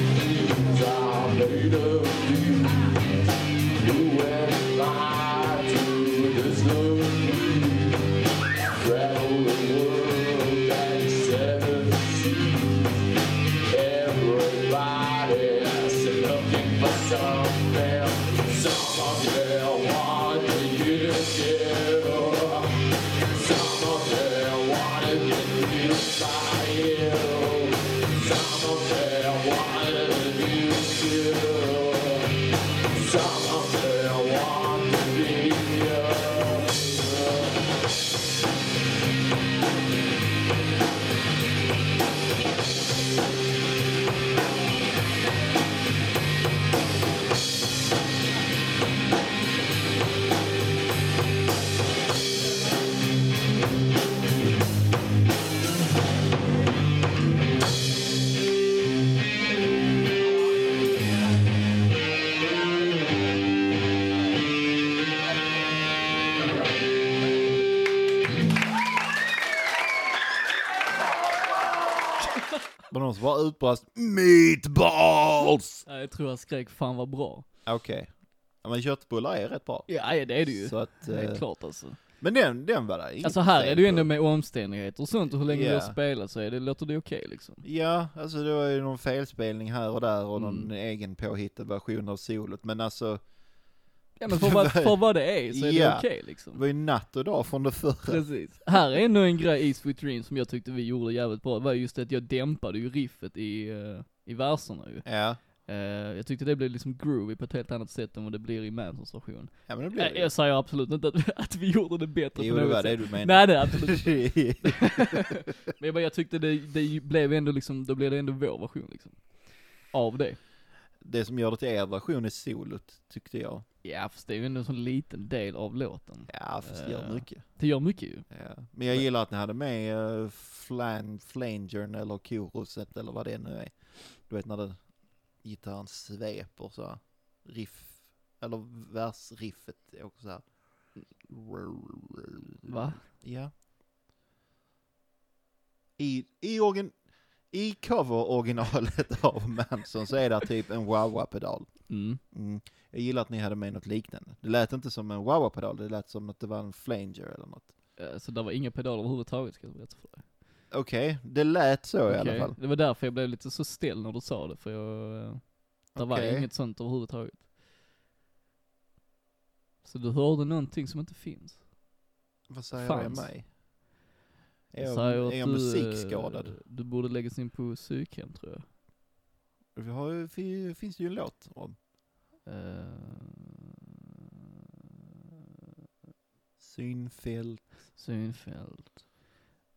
Speaker 3: Some made of you. You and I to this love. Travel the world and seven seas. Everybody's looking for something. Some of them want to use you. Some of them want to get you
Speaker 2: Var det någon som bara utbrast meatballs?
Speaker 1: Ja, jag tror han skrek 'Fan vad bra'
Speaker 2: Okej. Ja, men köttbullar är rätt bra.
Speaker 1: Ja, ja, det är det ju.
Speaker 2: Så att,
Speaker 1: Det är
Speaker 2: eh,
Speaker 1: klart alltså.
Speaker 2: men den, den var det inget
Speaker 1: Alltså här
Speaker 2: fel
Speaker 1: är det ju ändå
Speaker 2: på.
Speaker 1: med omständigheter och sånt och hur länge du
Speaker 2: Ja.
Speaker 1: har spelat så är det, låter det okej liksom.
Speaker 2: Ja, alltså det var ju någon felspelning här och där och någon
Speaker 1: Mm.
Speaker 2: egen påhittad version av solot. Men alltså,
Speaker 1: Ja men för vad, för vad det är så är det
Speaker 2: Ja.
Speaker 1: okej
Speaker 2: det
Speaker 1: liksom.
Speaker 2: var ju natt och dag från det förra.
Speaker 1: Precis. Här är ändå en grej i Sweet Dream som jag tyckte vi gjorde jävligt bra, Det var just det att jag dämpade ju riffet i, eh, i verserna ju.
Speaker 2: Ja,
Speaker 1: Eh, jag tyckte det blev liksom groovy på ett helt annat sätt än vad det blir i Mansons version.
Speaker 2: ja men det blev
Speaker 1: Jag,
Speaker 2: det.
Speaker 1: jag säger absolut inte att, att vi gjorde det bättre
Speaker 2: Jo,
Speaker 1: på
Speaker 2: det
Speaker 1: något
Speaker 2: var
Speaker 1: sätt.
Speaker 2: det du
Speaker 1: Nej
Speaker 2: menade.
Speaker 1: nej absolut
Speaker 2: Nej.
Speaker 1: Men jag, bara, jag tyckte det, det blev ändå liksom, då blev det ändå vår version liksom. Av det.
Speaker 2: det som gör det till er version är solot, tyckte jag.
Speaker 1: Ja fast det är ju ändå en sån liten del av låten.
Speaker 2: Ja, fast det gör
Speaker 1: Ja.
Speaker 2: mycket.
Speaker 1: Det gör mycket ju.
Speaker 2: Ja. Men jag gillar att ni hade med uh, flan, flangern eller koruset eller vad det nu är. Du vet när det, gitarren sveper så här. Riff, eller versriffet är också så här.
Speaker 1: Va?
Speaker 2: Ja. I, i, orgin, i cover-originalet av Manson så är det typ en wah-wah-pedal.
Speaker 1: Mm.
Speaker 2: Mm. Jag gillar att ni hade med något liknande. Det lät inte som en wah-wah-pedal, det lät som att det var en flanger eller något.
Speaker 1: Eh, Så det var inga pedaler överhuvudtaget ska jag berätta för dig.
Speaker 2: Okej, det lät så i alla
Speaker 1: Okej,
Speaker 2: fall.
Speaker 1: Det var därför jag blev lite så ställd när du sa det för jag, eh, det var
Speaker 2: Okej.
Speaker 1: inget sånt överhuvudtaget. Så du hörde någonting som inte finns.
Speaker 2: Vad säger
Speaker 1: Fanns.
Speaker 2: jag mig? Är
Speaker 1: Jag
Speaker 2: jag,
Speaker 1: säger att
Speaker 2: är jag
Speaker 1: du, eh,
Speaker 2: musikskadad?
Speaker 1: Du borde läggas in på psykhem tror jag.
Speaker 2: Vi har, ju- fi- finns det ju en låt om
Speaker 1: Eh,
Speaker 2: synfält.
Speaker 1: Synfält.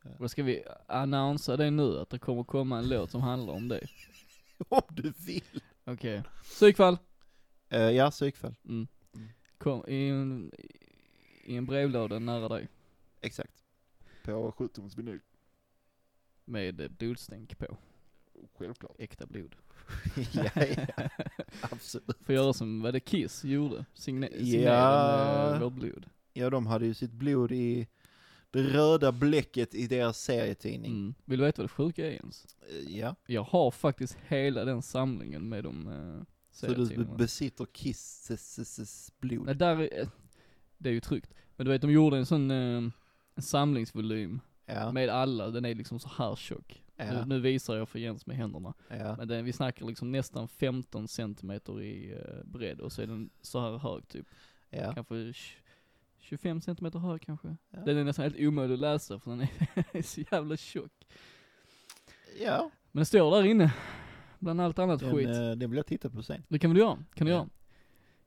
Speaker 2: Ja.
Speaker 1: Och då ska vi annonsera det nu att det kommer komma en låt som handlar om det.
Speaker 2: Om du vill.
Speaker 1: Okej. Psykfall.
Speaker 2: Eh, ja, psykfäll.
Speaker 1: Mm.
Speaker 2: Mm.
Speaker 1: Kom i en, i en brevlåda nära dig.
Speaker 2: Exakt. På 17-tums vinyl.
Speaker 1: Med eh, blodstänk på.
Speaker 2: Självklart.
Speaker 1: Äkta blod.
Speaker 2: ja, ja, absolut.
Speaker 1: Får göra som vad det Kiss gjorde. Signe
Speaker 2: Ja.
Speaker 1: signera med vår blod.
Speaker 2: Ja, de hade ju sitt blod i det röda bläcket i deras serietidning.
Speaker 1: Mm. Vill du veta vad det sjuka är ens?
Speaker 2: Eh, ja,
Speaker 1: Jag har faktiskt hela den samlingen med de eh,
Speaker 2: så du
Speaker 1: serietidningarna.
Speaker 2: besitter Kisses blod.
Speaker 1: Nej, där, är- eh, det är ju tryggt. Men du vet, de gjorde en sån eh, en samlingsvolym
Speaker 2: Ja,
Speaker 1: med alla, den är liksom så här tjock. Nu,
Speaker 2: ja,
Speaker 1: nu visar jag för Jens med händerna.
Speaker 2: ja.
Speaker 1: Men den, vi snackar liksom nästan 15 centimeter i eh, bredd och så är den så här hög typ.
Speaker 2: ja.
Speaker 1: Kanske tj- 25 centimeter hög kanske.
Speaker 2: Ja.
Speaker 1: Den är nästan helt omöjlig att läsa för den är så jävla tjock.
Speaker 2: ja.
Speaker 1: Men den står där inne, bland allt annat
Speaker 2: Den,
Speaker 1: skit.
Speaker 2: eh, den vill jag titta på sen.
Speaker 1: Det kan väl du göra? Kan du
Speaker 2: Ja.
Speaker 1: göra?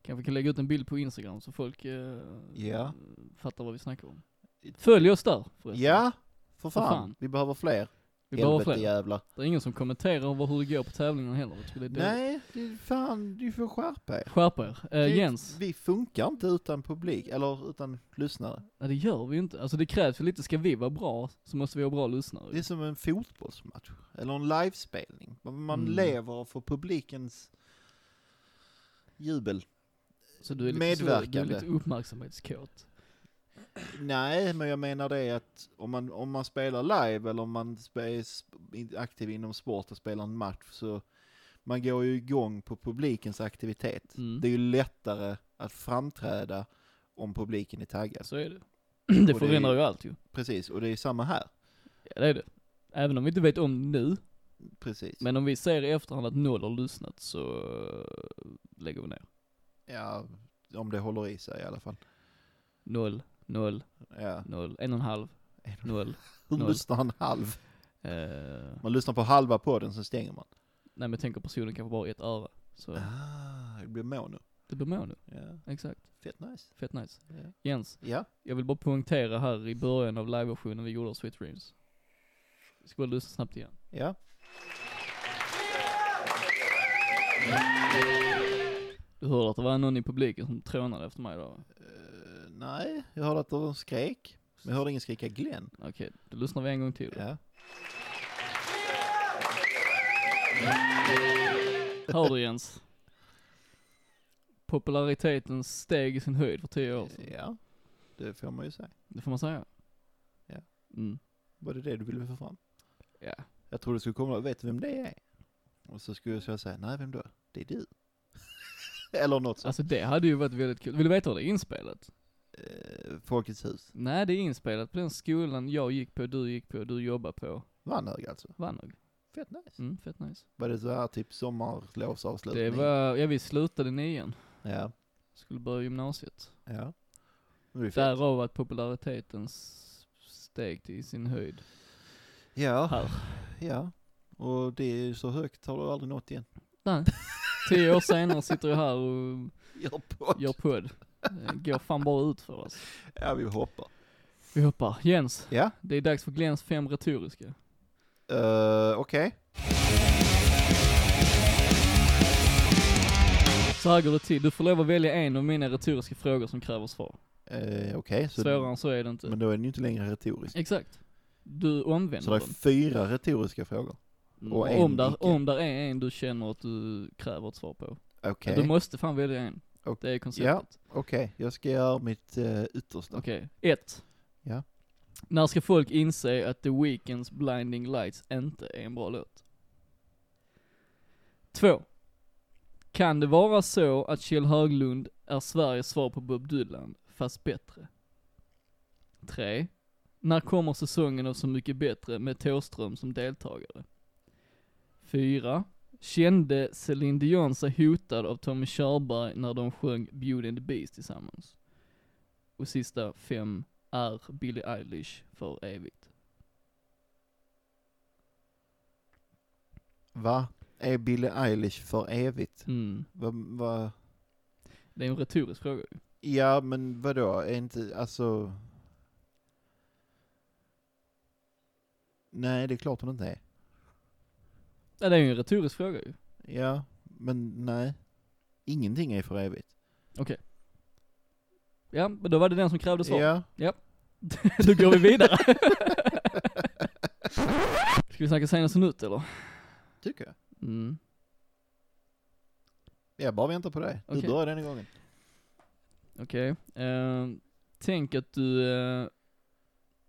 Speaker 1: Kanske kan lägga ut en bild på Instagram så folk eh,
Speaker 2: Ja.
Speaker 1: fattar vad vi snackar om. Följ oss där förresten.
Speaker 2: Ja, för
Speaker 1: För
Speaker 2: fan.
Speaker 1: fan.
Speaker 2: Vi behöver fler.
Speaker 1: Vi behöver
Speaker 2: Helvete
Speaker 1: fler.
Speaker 2: jävlar.
Speaker 1: Det är ingen som kommenterar över hur det går på tävlingen heller. Jag tycker det är dåligt.
Speaker 2: Nej, det- fan, du får skärpa er.
Speaker 1: Skärp er.
Speaker 2: Det-
Speaker 1: Eh, Jens,
Speaker 2: Vi funkar inte utan publik, eller utan lyssnare.
Speaker 1: nej det gör vi ju inte. Alltså det krävs ju lite, ska vi vara bra så måste vi ha bra lyssnare.
Speaker 2: Det är som en fotbollsmatch, eller en livespelning. Man
Speaker 1: Mm.
Speaker 2: lever för publikens jubel.
Speaker 1: så du är lite, Så, du
Speaker 2: medverkande.
Speaker 1: är lite uppmärksamhetskåt.
Speaker 2: Nej, men jag menar det att om man, om man spelar live eller om man spe- är sp- aktiv inom sport och spelar en match så man går ju igång på publikens aktivitet.
Speaker 1: Mm.
Speaker 2: Det är ju lättare att framträda om publiken är taggad.
Speaker 1: Så är det. det
Speaker 2: Och det är-
Speaker 1: förändrar ju allt ju.
Speaker 2: Precis, och det är ju samma här.
Speaker 1: Ja det är det. Även om vi inte vet om det nu,
Speaker 2: Precis.
Speaker 1: men om vi ser i efterhand att noll har lyssnat så eh, lägger vi ner.
Speaker 2: Ja, om det håller i sig i alla fall.
Speaker 1: Noll, noll,
Speaker 2: Ja.
Speaker 1: noll, en och en halv, noll.
Speaker 2: Hur
Speaker 1: Noll.
Speaker 2: lyssnar en halv?
Speaker 1: Eh,
Speaker 2: Man lyssnar på halva podden, sen stänger man.
Speaker 1: Nej men jag tänker personen kanske bara har ett öra. Så
Speaker 2: Ah, det blir mono.
Speaker 1: det blir mono.
Speaker 2: Ja,
Speaker 1: Exakt.
Speaker 2: fett nice.
Speaker 1: Fett nice.
Speaker 2: Ja.
Speaker 1: Jens,
Speaker 2: ja.
Speaker 1: jag vill bara poängtera här i början av liveversionen vi gjorde av Sweet Dreams. Vi ska bara lyssna snabbt igen.
Speaker 2: Ja.
Speaker 1: Du hörde att det var någon i publiken som trånade efter mig då?
Speaker 2: Eh, nej, jag hörde att de skrek. Men jag hörde ingen skrika Glenn.
Speaker 1: Okej, då lyssnar vi en gång till.
Speaker 2: Ja.
Speaker 1: Hör du Jens? Populariteten steg i sin höjd för tio år sedan.
Speaker 2: ja, det får man ju säga.
Speaker 1: Det får man säga.
Speaker 2: Ja.
Speaker 1: Mm.
Speaker 2: Var det det du ville få fram?
Speaker 1: Ja.
Speaker 2: Jag trodde du skulle komma och vet du vem det är? Och så skulle jag säga, nej vem då? Det är du. Eller något sånt.
Speaker 1: Alltså det hade ju varit väldigt kul. Vill du veta hur det är inspelat?
Speaker 2: Eh, Folkets hus.
Speaker 1: Nej, det är inspelat på den skolan jag gick på, du gick på, du jobbar på.
Speaker 2: Vanhög alltså.
Speaker 1: Vannhög.
Speaker 2: Fett nice.
Speaker 1: Mm, fett nice.
Speaker 2: Var det så här typ sommarlovsavslutning?
Speaker 1: Det var, ja vi slutade nian.
Speaker 2: Ja.
Speaker 1: Skulle börja gymnasiet.
Speaker 2: Ja. Det är fett.
Speaker 1: Därav att populariteten s- steg till sin höjd.
Speaker 2: Ja,
Speaker 1: Här.
Speaker 2: ja. Och det är så högt har du aldrig nått igen.
Speaker 1: Nej. Tio år senare sitter jag här och
Speaker 2: Gör på.
Speaker 1: gör podd. Det går fan bara ut för oss.
Speaker 2: Ja, vi hoppar.
Speaker 1: Vi hoppar. Jens,
Speaker 2: Ja,
Speaker 1: det är dags för Glens fem retoriska.
Speaker 2: uh, okej.
Speaker 1: Så här går det till. Du får lov att välja en av mina retoriska frågor som kräver svar.
Speaker 2: Eh, okej, så-
Speaker 1: Svårare än så är det inte.
Speaker 2: men då är den ju inte längre retorisk.
Speaker 1: Exakt. Du omvänder
Speaker 2: Så det är
Speaker 1: dem.
Speaker 2: fyra retoriska frågor.
Speaker 1: Mm,
Speaker 2: och en
Speaker 1: om, där,
Speaker 2: icke.
Speaker 1: om där är en du känner att du kräver ett svar på.
Speaker 2: Okej,
Speaker 1: Du måste fan välja en.
Speaker 2: Och-
Speaker 1: Det är konceptet.
Speaker 2: okej. Jag ska göra mitt eh, yttersta.
Speaker 1: Okej, ett.
Speaker 2: Ja.
Speaker 1: När ska folk inse att The Weeknds Blinding Lights inte är en bra låt? Två. Kan det vara så att Kjell Höglund är Sveriges svar på Bob Dylan, fast bättre? Tre. När kommer säsongen av Så Mycket Bättre med Thåström som deltagare? Fyra. Kände Celine Dion sig hotad av Tommy Körberg när de sjöng Beauty and the Beast tillsammans? Och sista fem är Billie Eilish för evigt.
Speaker 2: Va? Är Billie Eilish för evigt?
Speaker 1: Mm.
Speaker 2: Va, va?
Speaker 1: Det är en retorisk fråga ju.
Speaker 2: Ja, men vadå? Är inte, alltså... Nej, det är klart hon inte är.
Speaker 1: Ja, det är ju en retorisk fråga ju.
Speaker 2: Ja, men nej. Ingenting är för evigt.
Speaker 1: Ja, men då var det den som krävde svar.
Speaker 2: Ja.
Speaker 1: då går vi vidare. Ska vi snacka senaste nytt eller?
Speaker 2: Tycker jag.
Speaker 1: Mm.
Speaker 2: Jag bara väntar på dig. Du
Speaker 1: Okej.
Speaker 2: börjar den gången.
Speaker 1: Okej. Eh, tänk att du, eh,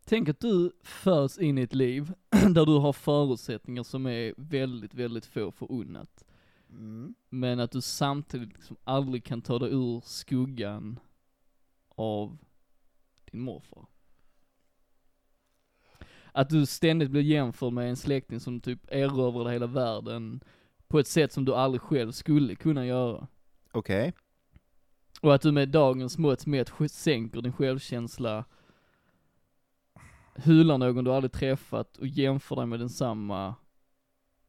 Speaker 1: tänk att du föds in i ett liv där du har förutsättningar som är väldigt, väldigt få förunnat.
Speaker 2: Mm.
Speaker 1: Men att du samtidigt liksom aldrig kan ta dig ur skuggan av din morfar. Att du ständigt blir jämförd med en släkting som typ erövrade hela världen på ett sätt som du aldrig själv skulle kunna göra.
Speaker 2: Okej.
Speaker 1: Och att du med dagens mått mätt sj- sänker din självkänsla, hylar någon du aldrig träffat och jämför dig med densamma.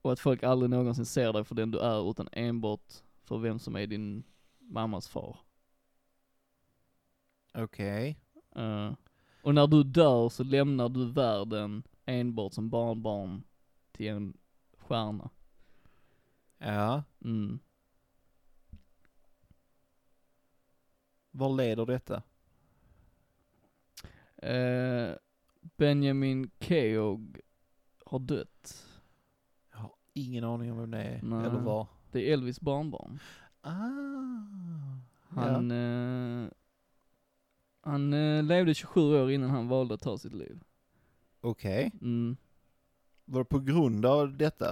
Speaker 1: Och att folk aldrig någonsin ser dig för den du är utan enbart för vem som är din mammas far.
Speaker 2: Okej.
Speaker 1: Eh, och när du dör så lämnar du världen enbart som barnbarn till en stjärna.
Speaker 2: Ja.
Speaker 1: Mm.
Speaker 2: Var leder detta?
Speaker 1: Eh, Benjamin Keogh har dött.
Speaker 2: Jag har ingen aning om vem det är.
Speaker 1: Nej.
Speaker 2: Eller var.
Speaker 1: Det är Elvis barnbarn.
Speaker 2: Ah.
Speaker 1: Han, eh, han eh, levde 27 år innan han valde att ta sitt liv.
Speaker 2: Okej.
Speaker 1: Mm.
Speaker 2: Var det på grund av detta?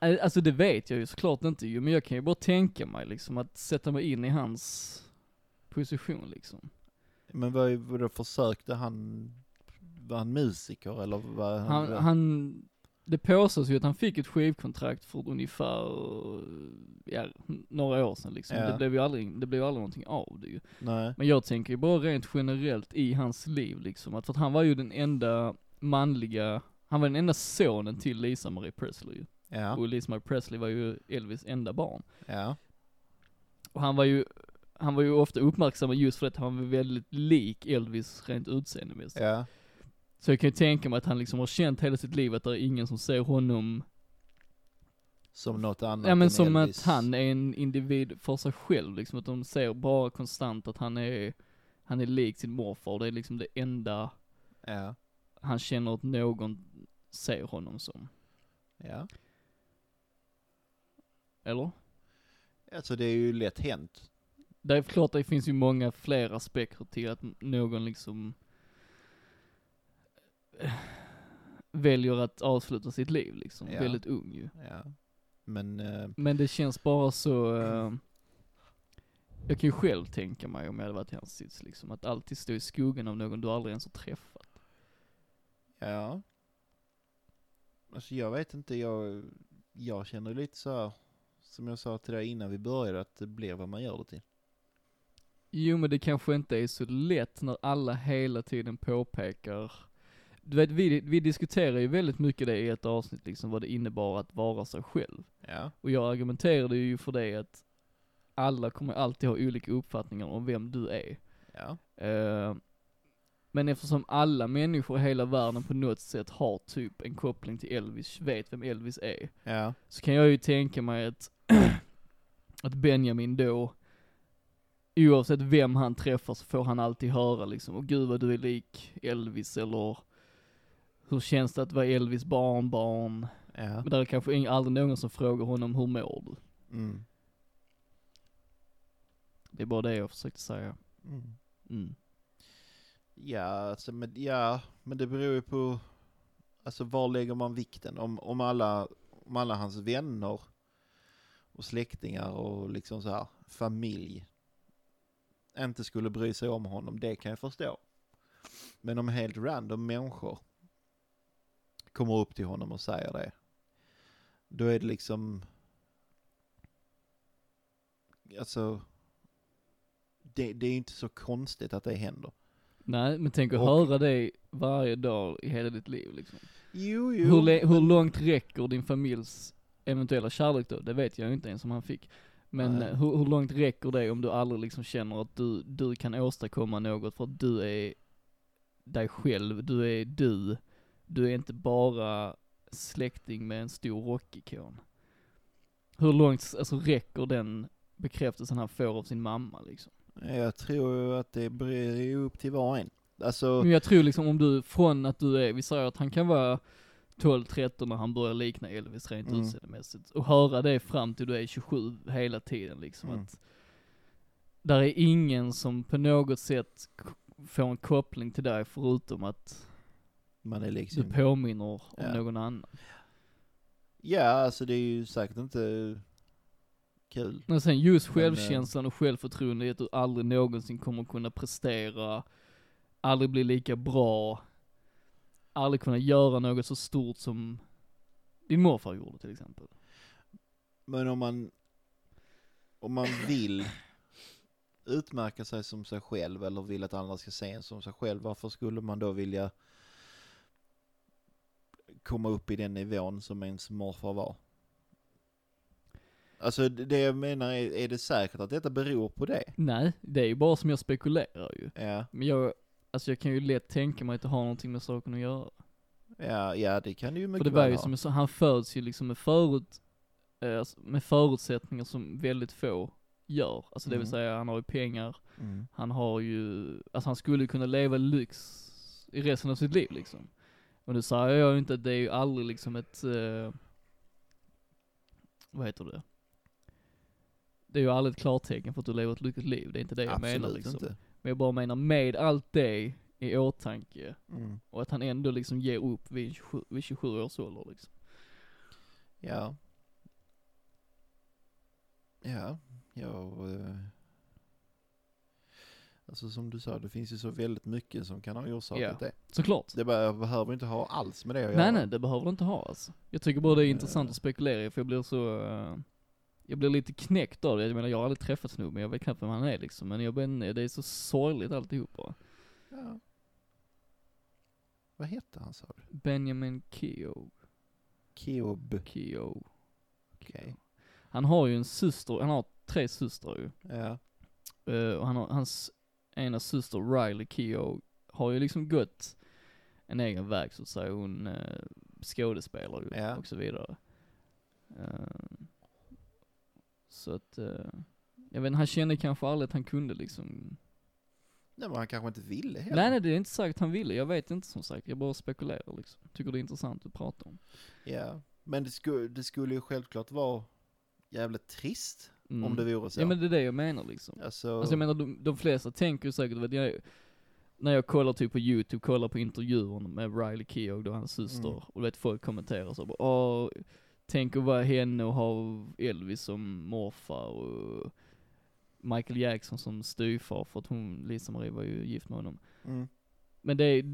Speaker 1: Eh, Alltså det vet jag ju såklart inte ju, men jag kan ju bara tänka mig liksom att sätta mig in i hans position liksom.
Speaker 2: Men vad, vad då försökte han? Var han musiker eller vad?
Speaker 1: Han, han, det påstås ju att han fick ett skivkontrakt för ungefär, ja, några år sedan liksom.
Speaker 2: Ja.
Speaker 1: Det blev ju aldrig, det blev aldrig någonting av det ju.
Speaker 2: Nej.
Speaker 1: Men jag tänker ju bara rent generellt i hans liv liksom, att för att han var ju den enda manliga, han var den enda sonen till Lisa Marie Presley ju.
Speaker 2: Ja,
Speaker 1: Och Elise Mike Presley var ju Elvis enda barn.
Speaker 2: ja,
Speaker 1: Och han var ju, han var ju ofta uppmärksam just för att han var väldigt lik Elvis rent utseendemässigt.
Speaker 2: ja,
Speaker 1: Så jag kan ju tänka mig att han liksom har känt hela sitt liv att det är ingen som ser honom,
Speaker 2: som något annat
Speaker 1: ja men
Speaker 2: än
Speaker 1: som
Speaker 2: Elvis.
Speaker 1: att han är en individ för sig själv liksom, att de ser bara konstant att han är, han är lik sin morfar, det är liksom det enda
Speaker 2: Ja,
Speaker 1: han känner att någon ser honom som.
Speaker 2: ja.
Speaker 1: Eller?
Speaker 2: Alltså det är ju lätt hänt.
Speaker 1: Det är klart det finns ju många fler aspekter till att någon liksom eh, väljer att avsluta sitt liv liksom,
Speaker 2: Ja.
Speaker 1: väldigt ung ju.
Speaker 2: Ja. Men, eh,
Speaker 1: Men det känns bara så, eh, jag kan ju själv tänka mig om jag hade varit i hans sits liksom, att alltid stå i skuggan av någon du aldrig ens har träffat.
Speaker 2: ja. Alltså jag vet inte, jag, jag känner lite så här, som jag sa till dig innan vi började, att det blir vad man gör det till.
Speaker 1: Jo men det kanske inte är så lätt när alla hela tiden påpekar, du vet vi, vi diskuterar ju väldigt mycket det i ett avsnitt liksom, vad det innebar att vara sig själv.
Speaker 2: Ja,
Speaker 1: Och jag argumenterade ju för det att alla kommer alltid ha olika uppfattningar om vem du är.
Speaker 2: ja,
Speaker 1: Eh, men eftersom alla människor i hela världen på något sätt har typ en koppling till Elvis, vet vem Elvis är,
Speaker 2: ja,
Speaker 1: så kan jag ju tänka mig att, att Benjamin då, oavsett vem han träffar så får han alltid höra liksom, och gud vad du är lik Elvis eller hur känns det att vara Elvis barnbarn?
Speaker 2: ja.
Speaker 1: Men där är kanske ing- aldrig någon som frågar honom, hur mår du?
Speaker 2: Mm.
Speaker 1: Det är bara det jag försökte säga.
Speaker 2: Mm.
Speaker 1: Mm.
Speaker 2: Ja, alltså, men, ja, men det beror ju på, alltså var lägger man vikten? Om, om, alla, om alla hans vänner och släktingar och liksom så här familj inte skulle bry sig om honom, det kan jag förstå. Men om helt random människor kommer upp till honom och säger det, då är det liksom, alltså, det, det är inte så konstigt att det händer.
Speaker 1: Nej, men tänk att
Speaker 2: Och-
Speaker 1: höra det varje dag i hela ditt liv liksom.
Speaker 2: Jo, jo.
Speaker 1: Hur, le- hur långt räcker din familjs eventuella kärlek då? Det vet jag ju inte ens om han fick. Men
Speaker 2: Nej.
Speaker 1: eh, hur, hur långt räcker det om du aldrig liksom känner att du, du kan åstadkomma något för att du är dig själv, du är du. Du är inte bara släkting med en stor rockikon. Hur långt, alltså räcker den bekräftelsen han får av sin mamma liksom?
Speaker 2: Jag tror ju att det blir ju upp till var och en. Alltså,
Speaker 1: Men jag tror liksom om du, från att du är, vi säger att han kan vara 12-13 när han börjar likna Elvis rent
Speaker 2: Mm.
Speaker 1: utseendemässigt. Och höra det fram till du är 27 hela tiden liksom.
Speaker 2: Mm.
Speaker 1: Att där är ingen som på något sätt k- får en koppling till dig förutom att
Speaker 2: man är
Speaker 1: du
Speaker 2: liksom...
Speaker 1: påminner om
Speaker 2: Ja.
Speaker 1: någon annan.
Speaker 2: Ja, alltså det är ju säkert inte kul.
Speaker 1: Men sen just
Speaker 2: Men, eh,
Speaker 1: självkänslan och självförtroendet att du aldrig någonsin kommer kunna prestera, aldrig bli lika bra, aldrig kunna göra något så stort som din morfar gjorde till exempel.
Speaker 2: Men om man, om man vill utmärka sig som sig själv eller vill att andra ska se en som sig själv, varför skulle man då vilja komma upp i den nivån som ens morfar var? Alltså det det jag menar är, är det säkert att detta beror på det?
Speaker 1: Nej, det är ju bara som jag spekulerar ju.
Speaker 2: Ja,
Speaker 1: Men jag, alltså jag kan ju lätt tänka mig att det har någonting med saken att göra.
Speaker 2: ja, ja det kan det ju mycket
Speaker 1: För det var
Speaker 2: väl
Speaker 1: ju
Speaker 2: ha.
Speaker 1: som jag sa, han föds ju liksom med förut, eh, alltså med förutsättningar som väldigt få gör. Alltså det vill
Speaker 2: Mm.
Speaker 1: säga, han har ju pengar,
Speaker 2: Mm.
Speaker 1: Han har ju, alltså han skulle ju kunna leva i lyx i resten av sitt liv liksom. Och nu säger jag ju inte att det är ju aldrig liksom ett, eh, vad heter det? Det är ju aldrig ett klartecken för att du lever ett lyckligt liv, det är inte det jag menar liksom.
Speaker 2: inte.
Speaker 1: Men jag bara menar med allt det i åtanke,
Speaker 2: Mm.
Speaker 1: och att han ändå liksom ger upp vid 27, vid 27 års ålder liksom.
Speaker 2: Ja. Ja, jag... eh, Alltså som du sa, det finns ju så väldigt mycket som kan ha orsakat
Speaker 1: Ja.
Speaker 2: det.
Speaker 1: Såklart.
Speaker 2: Det bara, jag behöver inte ha alls med det att
Speaker 1: Nej
Speaker 2: göra.
Speaker 1: nej, det behöver du inte ha alltså. Jag tycker bara det är
Speaker 2: Eh.
Speaker 1: intressant att spekulera i, för jag blir så, eh, jag blir lite knäckt av det. Jag menar jag har aldrig träffat snubben, jag vet knappt vem han är liksom. Men jag vet inte, det är så sorgligt alltihopa.
Speaker 2: Ja. Vad hette han sa du?
Speaker 1: Benjamin Keogh.
Speaker 2: Kiob.
Speaker 1: Kyo.
Speaker 2: Okej.
Speaker 1: Han har ju en syster, han har tre systrar ju.
Speaker 2: Ja.
Speaker 1: Eh, och han har, hans ena syster Riley Keough har ju liksom gått en egen väg så att säga. Hon eh, skådespelar ju
Speaker 2: Ja.
Speaker 1: och så vidare. Eh, så att, eh, jag vet inte, han kände kanske aldrig att han kunde liksom.
Speaker 2: Nej men han kanske inte ville heller.
Speaker 1: Nej nej det är inte säkert han ville, jag vet inte som sagt. Jag bara spekulerar liksom. Tycker det är intressant att prata om.
Speaker 2: Ja. Men det skulle, det skulle ju självklart vara jävligt trist
Speaker 1: Mm.
Speaker 2: om det vore så.
Speaker 1: Ja men det är det jag menar liksom.
Speaker 2: Alltså,
Speaker 1: Alltså jag menar, de, de flesta tänker ju säkert, vet jag, när jag kollar typ på youtube, kollar på intervjuer med Riley Keough då hans syster,
Speaker 2: Mm.
Speaker 1: och du vet folk kommenterar så bara, åh, tänk att vara henne och ha Elvis som morfar och Michael Jackson som styvfar för att hon, Lisa Marie var ju gift med honom.
Speaker 2: mm.
Speaker 1: Men det är,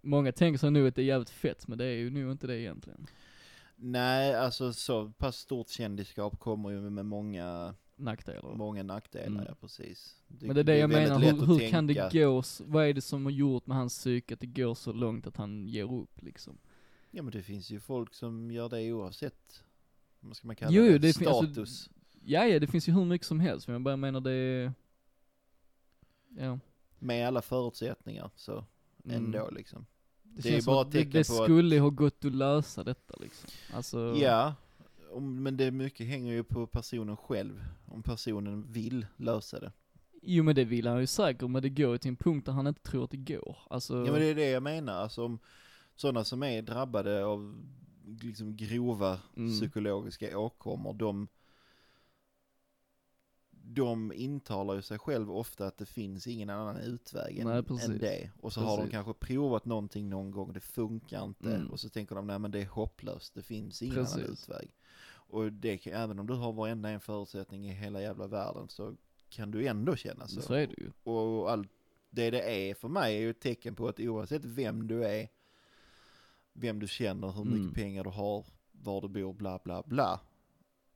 Speaker 1: många tänker sig nu att det är jävligt fett, men det är ju nu inte det egentligen.
Speaker 2: Nej, alltså så pass stort kändisskap kommer ju med många,
Speaker 1: Nackdelar.
Speaker 2: många nackdelar,
Speaker 1: Mm.
Speaker 2: ja precis.
Speaker 1: Men det är det jag
Speaker 2: väldigt
Speaker 1: menar,
Speaker 2: lätt
Speaker 1: hur,
Speaker 2: att
Speaker 1: hur kan
Speaker 2: tänka-
Speaker 1: det gå, s- vad är det som har gjort med hans psyke att det går så långt att han ger upp liksom?
Speaker 2: Ja men det finns ju folk som gör det oavsett, vad ska man kalla
Speaker 1: Jo,
Speaker 2: det,
Speaker 1: det fin- alltså-
Speaker 2: status.
Speaker 1: Ja, ja det finns ju hur mycket som helst, men jag bara menar det är... Ja.
Speaker 2: Med alla förutsättningar så,
Speaker 1: mm.
Speaker 2: ändå liksom.
Speaker 1: Det,
Speaker 2: är
Speaker 1: känns som
Speaker 2: bara
Speaker 1: att det,
Speaker 2: tecken
Speaker 1: det
Speaker 2: på att-
Speaker 1: skulle ha gått att lösa detta liksom. Alltså,
Speaker 2: Ja, om, men det är mycket hänger ju på personen själv, om personen vill lösa det.
Speaker 1: jo men det vill han ju säkert, men det går ju till en punkt där han inte tror att det går. Alltså,
Speaker 2: Ja men det är det jag menar, alltså om sådana som är drabbade av liksom grova
Speaker 1: Mm.
Speaker 2: psykologiska åkommor, de de intalar ju sig själv ofta att det finns ingen annan utväg än,
Speaker 1: Nej, precis.
Speaker 2: än det. Och så har de
Speaker 1: Precis.
Speaker 2: kanske provat någonting någon gång, det funkar inte.
Speaker 1: Mm.
Speaker 2: Och så tänker de, nej men det är hopplöst, det finns ingen annan
Speaker 1: Precis.
Speaker 2: utväg. Och det kan, även om du har varenda en förutsättning i hela jävla världen så kan du ändå känna så.
Speaker 1: så är det ju.
Speaker 2: Och allt det det är för mig är ju ett tecken på att oavsett vem du är, vem du känner, hur mycket
Speaker 1: Mm.
Speaker 2: pengar du har, var du bor, bla bla bla.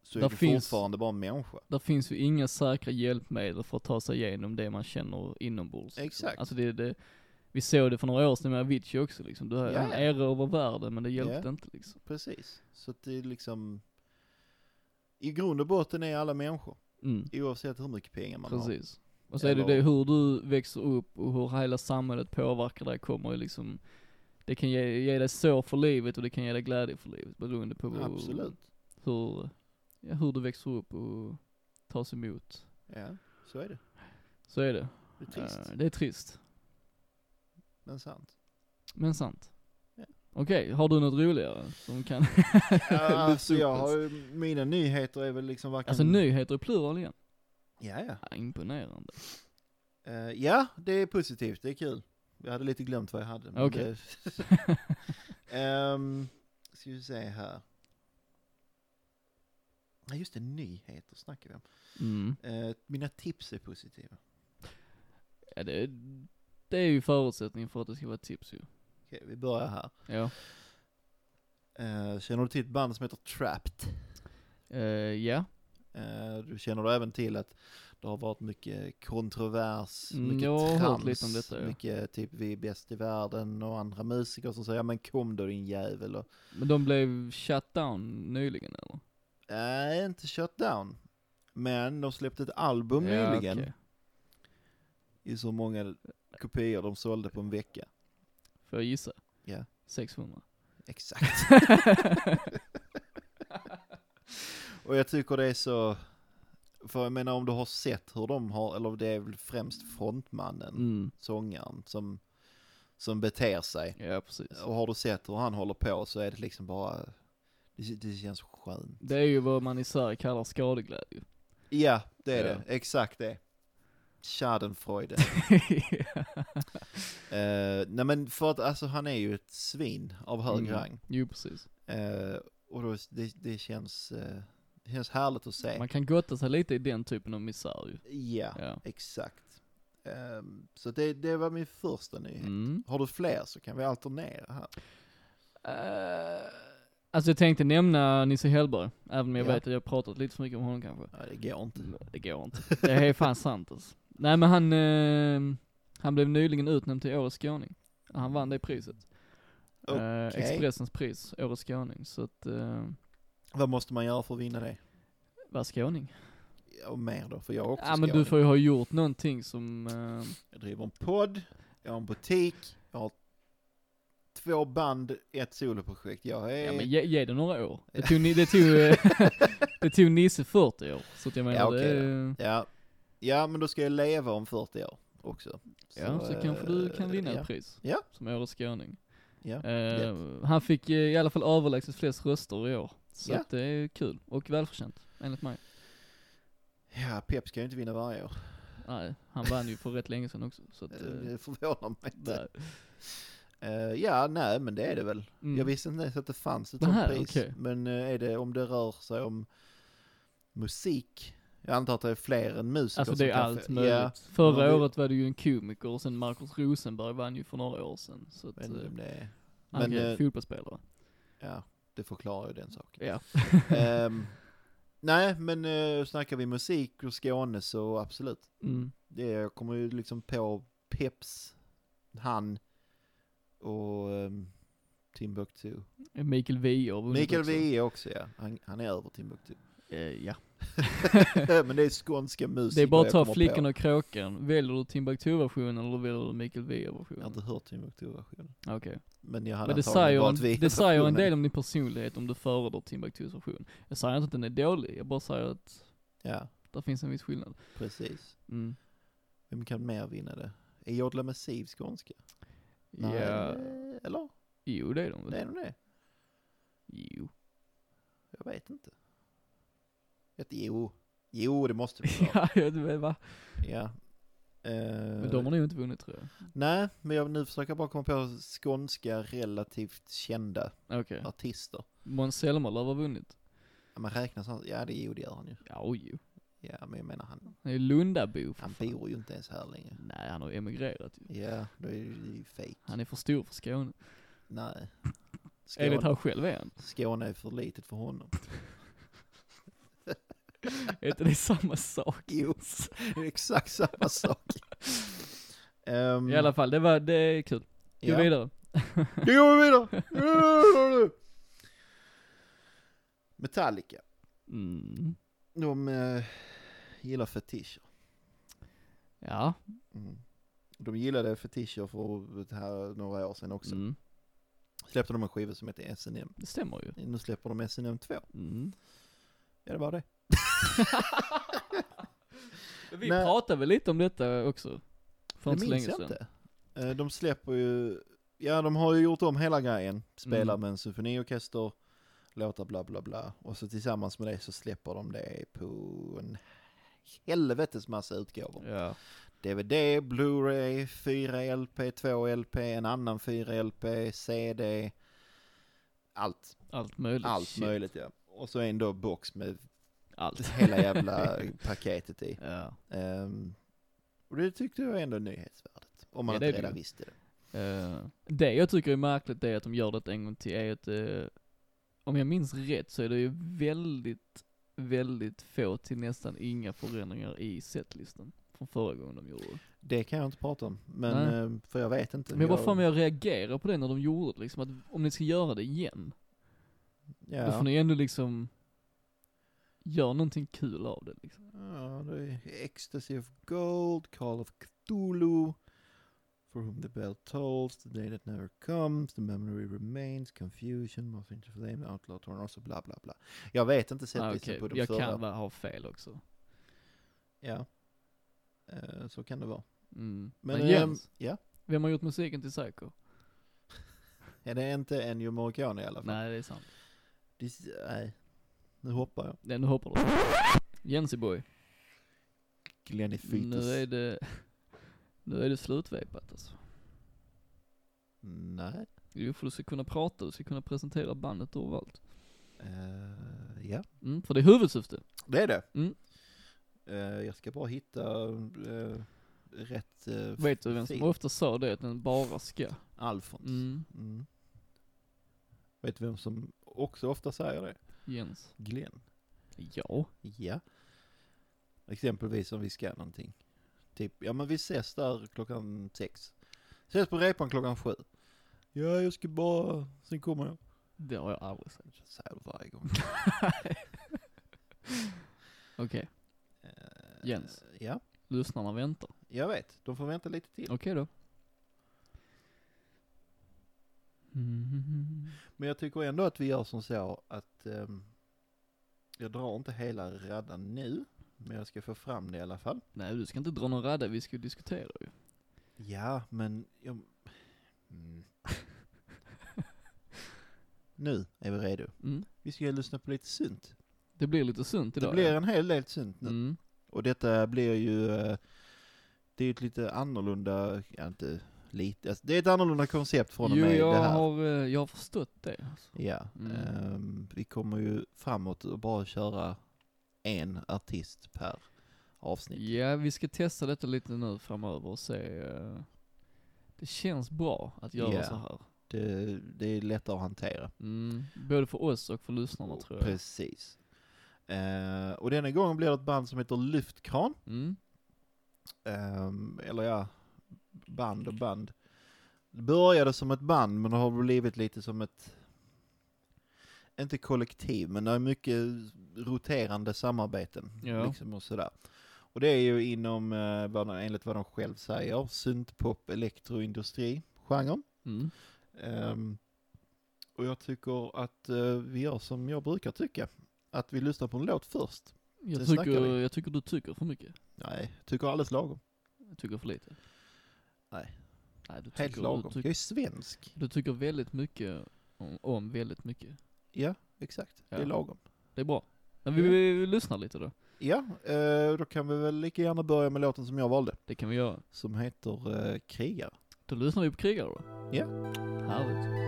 Speaker 2: Så
Speaker 1: Där
Speaker 2: är du
Speaker 1: finns-
Speaker 2: fortfarande bara en människa.
Speaker 1: Där finns ju inga säkra hjälpmedel för att ta sig igenom det man känner inombords. liksom.
Speaker 2: Exakt.
Speaker 1: Alltså det, det, vi såg det för några år sedan med Avicii också liksom. Du har
Speaker 2: Ja,
Speaker 1: han
Speaker 2: ja.
Speaker 1: erövrar världen men det hjälpte
Speaker 2: Ja.
Speaker 1: inte liksom.
Speaker 2: Precis. Så att det är liksom, i grund och botten är alla människor,
Speaker 1: Mm,
Speaker 2: oavsett hur mycket pengar man har.
Speaker 1: precis. Och så är det
Speaker 2: Eller-
Speaker 1: det hur du växer upp och hur hela samhället påverkar dig kommer ju liksom, det kan ge, ge dig sår för livet och det kan ge dig glädje för livet beroende på hur-
Speaker 2: Absolut.
Speaker 1: hur, ja, hur du växer upp och tas emot.
Speaker 2: Ja, så är det.
Speaker 1: Så är det.
Speaker 2: Det är trist,
Speaker 1: Eh, Det är trist.
Speaker 2: men sant.
Speaker 1: Men sant.
Speaker 2: Ja.
Speaker 1: Okej, har du något roligare som kan...
Speaker 2: alltså jag
Speaker 1: Luftopus.
Speaker 2: har ju, mina nyheter är väl liksom varken...
Speaker 1: Alltså nyheter i plural igen.
Speaker 2: Ja, ja.
Speaker 1: Ja, imponerande.
Speaker 2: Eh, ja, det är positivt, det är kul. Jag hade lite glömt vad jag hade. men
Speaker 1: Okej.
Speaker 2: det- Ehm, ska vi se här. Ja, just det, nyheter snackar vi om.
Speaker 1: Mm.
Speaker 2: Eh, mina tips är positiva.
Speaker 1: Ja, det, det är ju förutsättningen för att det ska vara ett tips ju.
Speaker 2: Okej, vi börjar här.
Speaker 1: Ja.
Speaker 2: Eh, känner du till ett band som heter Trapped?
Speaker 1: Eh, ja.
Speaker 2: Eh, du känner du även till att det har varit mycket kontrovers,
Speaker 1: Mm,
Speaker 2: mycket
Speaker 1: jag har hört
Speaker 2: trams,
Speaker 1: lite om detta, ja.
Speaker 2: mycket typ vi är bäst i världen och andra musiker som säger ja men kom då din jävel och
Speaker 1: Men de blev shut down nyligen eller?
Speaker 2: Nej, inte shut down. Men de släppte ett album Oh, nyligen
Speaker 1: okej.
Speaker 2: i så många kopior de sålde på en vecka.
Speaker 1: Får jag gissa?
Speaker 2: Ja.
Speaker 1: 600.
Speaker 2: Exakt. och jag tycker det är så, för jag menar om du har sett hur de har, eller det är väl främst frontmannen,
Speaker 1: Mm.
Speaker 2: sångaren, som, som beter sig.
Speaker 1: Ja, precis.
Speaker 2: Och har du sett hur han håller på så är det liksom bara, det, det känns skönt.
Speaker 1: Det är ju vad man i Sverige kallar skadeglädje.
Speaker 2: Ja, det är
Speaker 1: Ja.
Speaker 2: det. Exakt det. Schadenfreude. Eh, nej men för att alltså han är ju ett svin av hög
Speaker 1: Mm.
Speaker 2: rang.
Speaker 1: Jo, precis.
Speaker 2: Eh, och då, det, det känns, eh, det känns härligt att se.
Speaker 1: Man kan gotta sig lite i den typen av misär ju.
Speaker 2: Ja,
Speaker 1: Ja.
Speaker 2: exakt. Eh, så det, det var min första nyhet.
Speaker 1: Mm.
Speaker 2: Har du fler så kan vi alternera här.
Speaker 1: Eh, alltså jag tänkte nämna Nisse Hellberg, även om jag
Speaker 2: Ja.
Speaker 1: vet att jag har pratat lite för mycket om honom kanske. Mm,
Speaker 2: Nej, det går inte.
Speaker 1: Det går inte. Det är fan sant alltså. Nej men ehm, han, eh, han blev nyligen utnämnd till Årets skåning. Han vann det priset. Eh,
Speaker 2: Okej.
Speaker 1: Expressens pris, Årets skåning. Så att, eh,
Speaker 2: Vad måste man göra för att vinna det?
Speaker 1: var skåning.
Speaker 2: Ja, Och mer då, för jag är också
Speaker 1: Ja men du
Speaker 2: skåning.
Speaker 1: får ju ha gjort någonting som, eh,
Speaker 2: Jag driver en podd, jag har en butik, jag har två band, ett soloprojekt. Jag är...
Speaker 1: ja men ge, ge det några år. Det tog, ni- det tog, eh, det tog Nisse 40 år. Så att jag menar
Speaker 2: Ja, okej
Speaker 1: det,
Speaker 2: då.
Speaker 1: är-
Speaker 2: Ja. ja, men då ska jag leva om 40 år också.
Speaker 1: ja så kanske du
Speaker 2: eh,
Speaker 1: kan vinna
Speaker 2: ja.
Speaker 1: ett pris.
Speaker 2: Ja.
Speaker 1: Som Årets skåning.
Speaker 2: Ja.
Speaker 1: Eh,
Speaker 2: Lätt.
Speaker 1: han fick eh, i alla fall överlägset flest röster i år. Så
Speaker 2: Ja.
Speaker 1: att det är kul och välförtjänt, enligt mig.
Speaker 2: ja, Pep ska ju inte vinna varje år.
Speaker 1: Nej, han vann ju för rätt länge sedan också. Så att, eh,
Speaker 2: Det förvånar mig inte.
Speaker 1: där.
Speaker 2: Eh, ja, nej, men det är det väl.
Speaker 1: Mm.
Speaker 2: Jag visste inte ens att det fanns ett
Speaker 1: Det här,
Speaker 2: sånt pris.
Speaker 1: okej.
Speaker 2: Men eh, är det om det rör sig om musik? Jag antar att det är fler än musiker
Speaker 1: Alltså
Speaker 2: som
Speaker 1: det är
Speaker 2: kan
Speaker 1: allt
Speaker 2: få-
Speaker 1: möjligt.
Speaker 2: Ja,
Speaker 1: Förra
Speaker 2: Men om det-
Speaker 1: året var det ju en komiker och sen Markus Rosenberg vann ju för några år sedan. Så att,
Speaker 2: jag vet inte om det är...
Speaker 1: men,
Speaker 2: eh,
Speaker 1: han
Speaker 2: men,
Speaker 1: är
Speaker 2: eh,
Speaker 1: fotbollsspelare.
Speaker 2: Ja, det förklarar ju den saken.
Speaker 1: Ja.
Speaker 2: Ehm, nej, men uh, snackar vi musik och Skåne så absolut.
Speaker 1: Mm.
Speaker 2: Det jag kommer ju liksom på Peps, han och um, Timbuktu.
Speaker 1: Mikael Wiehe har vunnit
Speaker 2: Mikael
Speaker 1: också.
Speaker 2: Wiehe också ja, han, han är över Timbuktu.
Speaker 1: Eh, ja.
Speaker 2: men det är skånska musiker
Speaker 1: Det är bara att
Speaker 2: jag
Speaker 1: ta
Speaker 2: kommer
Speaker 1: Flickan
Speaker 2: på.
Speaker 1: och Kråkan. Väljer du Timbuktu-versionen eller väljer du Mikael
Speaker 2: Jag har
Speaker 1: Wiehe-versionen?
Speaker 2: inte hört Timbuktu-versionen.
Speaker 1: Okej.
Speaker 2: Men jag hade
Speaker 1: Men det
Speaker 2: antagligen
Speaker 1: säger,
Speaker 2: valt Wiehe
Speaker 1: en, det säger en del om din personlighet om du föredrar Timbuktus version. Jag säger inte att den är dålig, jag bara säger att
Speaker 2: Ja,
Speaker 1: det finns en viss skillnad.
Speaker 2: precis.
Speaker 1: Mm.
Speaker 2: Vem kan mer vinna det? Är Jodla Massiv skånska?
Speaker 1: Ja,
Speaker 2: Nej, eller?
Speaker 1: jo det är de väl?
Speaker 2: Det är de det?
Speaker 1: Jo.
Speaker 2: Jag vet inte. Ett jo. Jo, det måste vi ha.
Speaker 1: ja, jag vet va?
Speaker 2: ja. Eh,
Speaker 1: Men de har nog inte vunnit tror jag.
Speaker 2: Nej, men jag nu försöker jag bara komma på skånska relativt kända
Speaker 1: Okej.
Speaker 2: artister.
Speaker 1: Måns Zelmerlöw har vunnit.
Speaker 2: Ja, man räknar sånt. Ja, det är jo, det gör han ju.
Speaker 1: Ja, oj, jo.
Speaker 2: Ja, men jag menar han,
Speaker 1: Han är ju Lundabo för
Speaker 2: han
Speaker 1: fan.
Speaker 2: bor ju inte ens här längre.
Speaker 1: Nej, han har emigrerat ju.
Speaker 2: Ja, då är det ju fejk.
Speaker 1: Han är för stor för Skåne.
Speaker 2: Nej.
Speaker 1: Enligt
Speaker 2: Skåne,
Speaker 1: han själv är han.
Speaker 2: Skåne är för litet för honom.
Speaker 1: Är inte det samma sak?
Speaker 2: Jo, det är exakt samma sak. Ehm,
Speaker 1: I alla fall, det var, det är kul. Gå
Speaker 2: ja.
Speaker 1: vidare.
Speaker 2: Det går vi vidare! Nu gör vi det! Metallica,
Speaker 1: Mm.
Speaker 2: de eh, gillar fetischer.
Speaker 1: Ja.
Speaker 2: Mm. De gillade fetischer för det här några år sedan också.
Speaker 1: Mm.
Speaker 2: Släppte de en skiva som heter SNM.
Speaker 1: Det stämmer ju.
Speaker 2: Nu släpper de SNM 2.
Speaker 1: Mm.
Speaker 2: Ja, det var det.
Speaker 1: Vi
Speaker 2: Nej.
Speaker 1: pratade väl lite om detta också? För
Speaker 2: Det
Speaker 1: inte så
Speaker 2: minns
Speaker 1: länge
Speaker 2: jag
Speaker 1: sedan.
Speaker 2: inte. Eh, De släpper ju, ja de har ju gjort om hela grejen. Spelar
Speaker 1: Mm.
Speaker 2: med en symfoniorkester, låtar bla bla bla. Och så tillsammans med det så släpper de det på en helvetes massa utgåvor.
Speaker 1: Ja.
Speaker 2: DVD, Blu-ray, 4 LP, 2 LP, en annan 4 LP, CD. Allt,
Speaker 1: Allt möjligt.
Speaker 2: allt
Speaker 1: Shit.
Speaker 2: möjligt ja. Och så en då box med
Speaker 1: Allt.
Speaker 2: hela jävla paketet i.
Speaker 1: ja.
Speaker 2: Ehm, och det tyckte jag ändå är nyhetsvärdet. Om man
Speaker 1: Ja, det är
Speaker 2: inte
Speaker 1: det
Speaker 2: redan
Speaker 1: ju.
Speaker 2: visste det.
Speaker 1: Eh, det jag tycker är märkligt är att de gör det en gång till är att, eh, om jag minns rätt så är det ju väldigt, väldigt få till nästan inga förändringar i setlistan. Från förra gången de gjorde det.
Speaker 2: Det kan jag inte prata om, men
Speaker 1: Nej.
Speaker 2: ehm, för jag vet inte.
Speaker 1: Men jag bara för mig jag reagerar på det när de gjorde det liksom, att om ni ska göra det igen, då får
Speaker 2: ja.
Speaker 1: ni ändå liksom, gör någonting kul av det liksom.
Speaker 2: ja, det är Ecstasy of Gold, Call of Cthulhu, For whom the bell tolls, The day that never comes, The memory remains, Confusion, Moth into flame, Outlaw Torn, och så bla bla bla. Jag vet inte
Speaker 1: Ah,
Speaker 2: sättet
Speaker 1: okej,
Speaker 2: på de
Speaker 1: jag
Speaker 2: förra.
Speaker 1: kan bara ha fel också. Mm.
Speaker 2: Ja. Eh, så kan det vara.
Speaker 1: Mm.
Speaker 2: Men,
Speaker 1: Men,
Speaker 2: ehm,
Speaker 1: Jens,
Speaker 2: ja.
Speaker 1: vem har gjort musiken till Psycho?
Speaker 2: Är det inte Ennio Morricone i alla fall?
Speaker 1: Nej, det är sant.
Speaker 2: This, nej. Nu hoppar jag.
Speaker 1: Nej, nu hoppar du. Jensi boy,
Speaker 2: Glenny
Speaker 1: nu
Speaker 2: Fittes.
Speaker 1: är det, nu är det slutvepat alltså.
Speaker 2: Nej.
Speaker 1: Jo, för du ska kunna prata, du ska kunna presentera bandet och allt.
Speaker 2: Eh, ja.
Speaker 1: Mm, för det är huvudsyfte.
Speaker 2: Det är det.
Speaker 1: Mm.
Speaker 2: Eh, jag ska bara hitta eh, rätt uh,
Speaker 1: Vet du vem som ofta sa det, att den bara ska.
Speaker 2: Alfons.
Speaker 1: Mm,
Speaker 2: Mm. Vet du vem som också ofta säger det?
Speaker 1: Jens.
Speaker 2: Glenn.
Speaker 1: Ja.
Speaker 2: Ja. Exempelvis om vi ska någonting. Typ, ja men vi ses där klockan sex. Ses på repan klockan sju. Ja, jag ska bara, sen kommer jag.
Speaker 1: Det har jag aldrig sagt.
Speaker 2: Jag säger det varje gång.
Speaker 1: Okej,
Speaker 2: Eh,
Speaker 1: Jens.
Speaker 2: Ja,
Speaker 1: lyssnarna väntar.
Speaker 2: jag vet. De får vänta lite till.
Speaker 1: Okej då. Mm.
Speaker 2: Men jag tycker ändå att vi gör som så att ehm, jag drar inte hela raddan nu, men jag ska få fram det i alla fall.
Speaker 1: Nej, du ska inte dra någon radda, vi ska ju diskutera ju.
Speaker 2: Ja, men jag... Mm. nu är vi redo.
Speaker 1: Mm.
Speaker 2: Vi ska lyssna på lite synt.
Speaker 1: Det blir lite sunt
Speaker 2: Det
Speaker 1: idag.
Speaker 2: blir
Speaker 1: ja.
Speaker 2: en hel del synt nu.
Speaker 1: mm.
Speaker 2: Och detta blir ju, eh, det är ju ett lite annorlunda, ja inte lite, alltså, det är ett annorlunda koncept från och
Speaker 1: Jo,
Speaker 2: med
Speaker 1: jag
Speaker 2: det här.
Speaker 1: har, eh, jag har förstått det. Alltså.
Speaker 2: Ja,
Speaker 1: Mm.
Speaker 2: ehm, vi kommer ju framåt och bara köra en artist per avsnitt.
Speaker 1: Ja, vi ska testa detta lite nu framöver och se. eh, Det känns bra att göra
Speaker 2: Ja.
Speaker 1: så här.
Speaker 2: Det, det är lättare att hantera.
Speaker 1: Mm. Både för oss och för lyssnarna tror jag.
Speaker 2: Oh, Precis. Eh, och denna gången blir det ett band som heter Lyftkran.
Speaker 1: Mm.
Speaker 2: Ehm, eller ja, band och band. Det började som ett band men det har blivit lite som ett, inte kollektiv, men det är mycket roterande samarbeten.
Speaker 1: Ja.
Speaker 2: Liksom och sådär. Och det är ju inom, eh, vad de, enligt vad de själv säger, syntpop, elektroindustri, genren.
Speaker 1: Mm.
Speaker 2: Ehm, och jag tycker att eh, vi gör som jag brukar tycka, att vi lyssnar på en låt först.
Speaker 1: Jag,
Speaker 2: Sen snackar
Speaker 1: tycker,
Speaker 2: vi.
Speaker 1: jag tycker du tycker för mycket.
Speaker 2: Nej, tycker alldeles lagom.
Speaker 1: Jag tycker för lite.
Speaker 2: Nej.
Speaker 1: Nej, du tycker,
Speaker 2: Helt lagom.
Speaker 1: Du,
Speaker 2: Jag
Speaker 1: tycker,
Speaker 2: är svensk.
Speaker 1: du tycker väldigt mycket om, om väldigt mycket.
Speaker 2: Ja, exakt. Det
Speaker 1: Ja.
Speaker 2: är lagom.
Speaker 1: Det är bra. Men vi,
Speaker 2: Ja.
Speaker 1: vi, vi lyssnar lite då.
Speaker 2: Ja, eh, då kan vi väl lika gärna börja med låten som jag valde,
Speaker 1: Det kan vi göra.
Speaker 2: som heter eh, Krigare.
Speaker 1: Då lyssnar vi på krigare då.
Speaker 2: Ja.
Speaker 1: Härligt.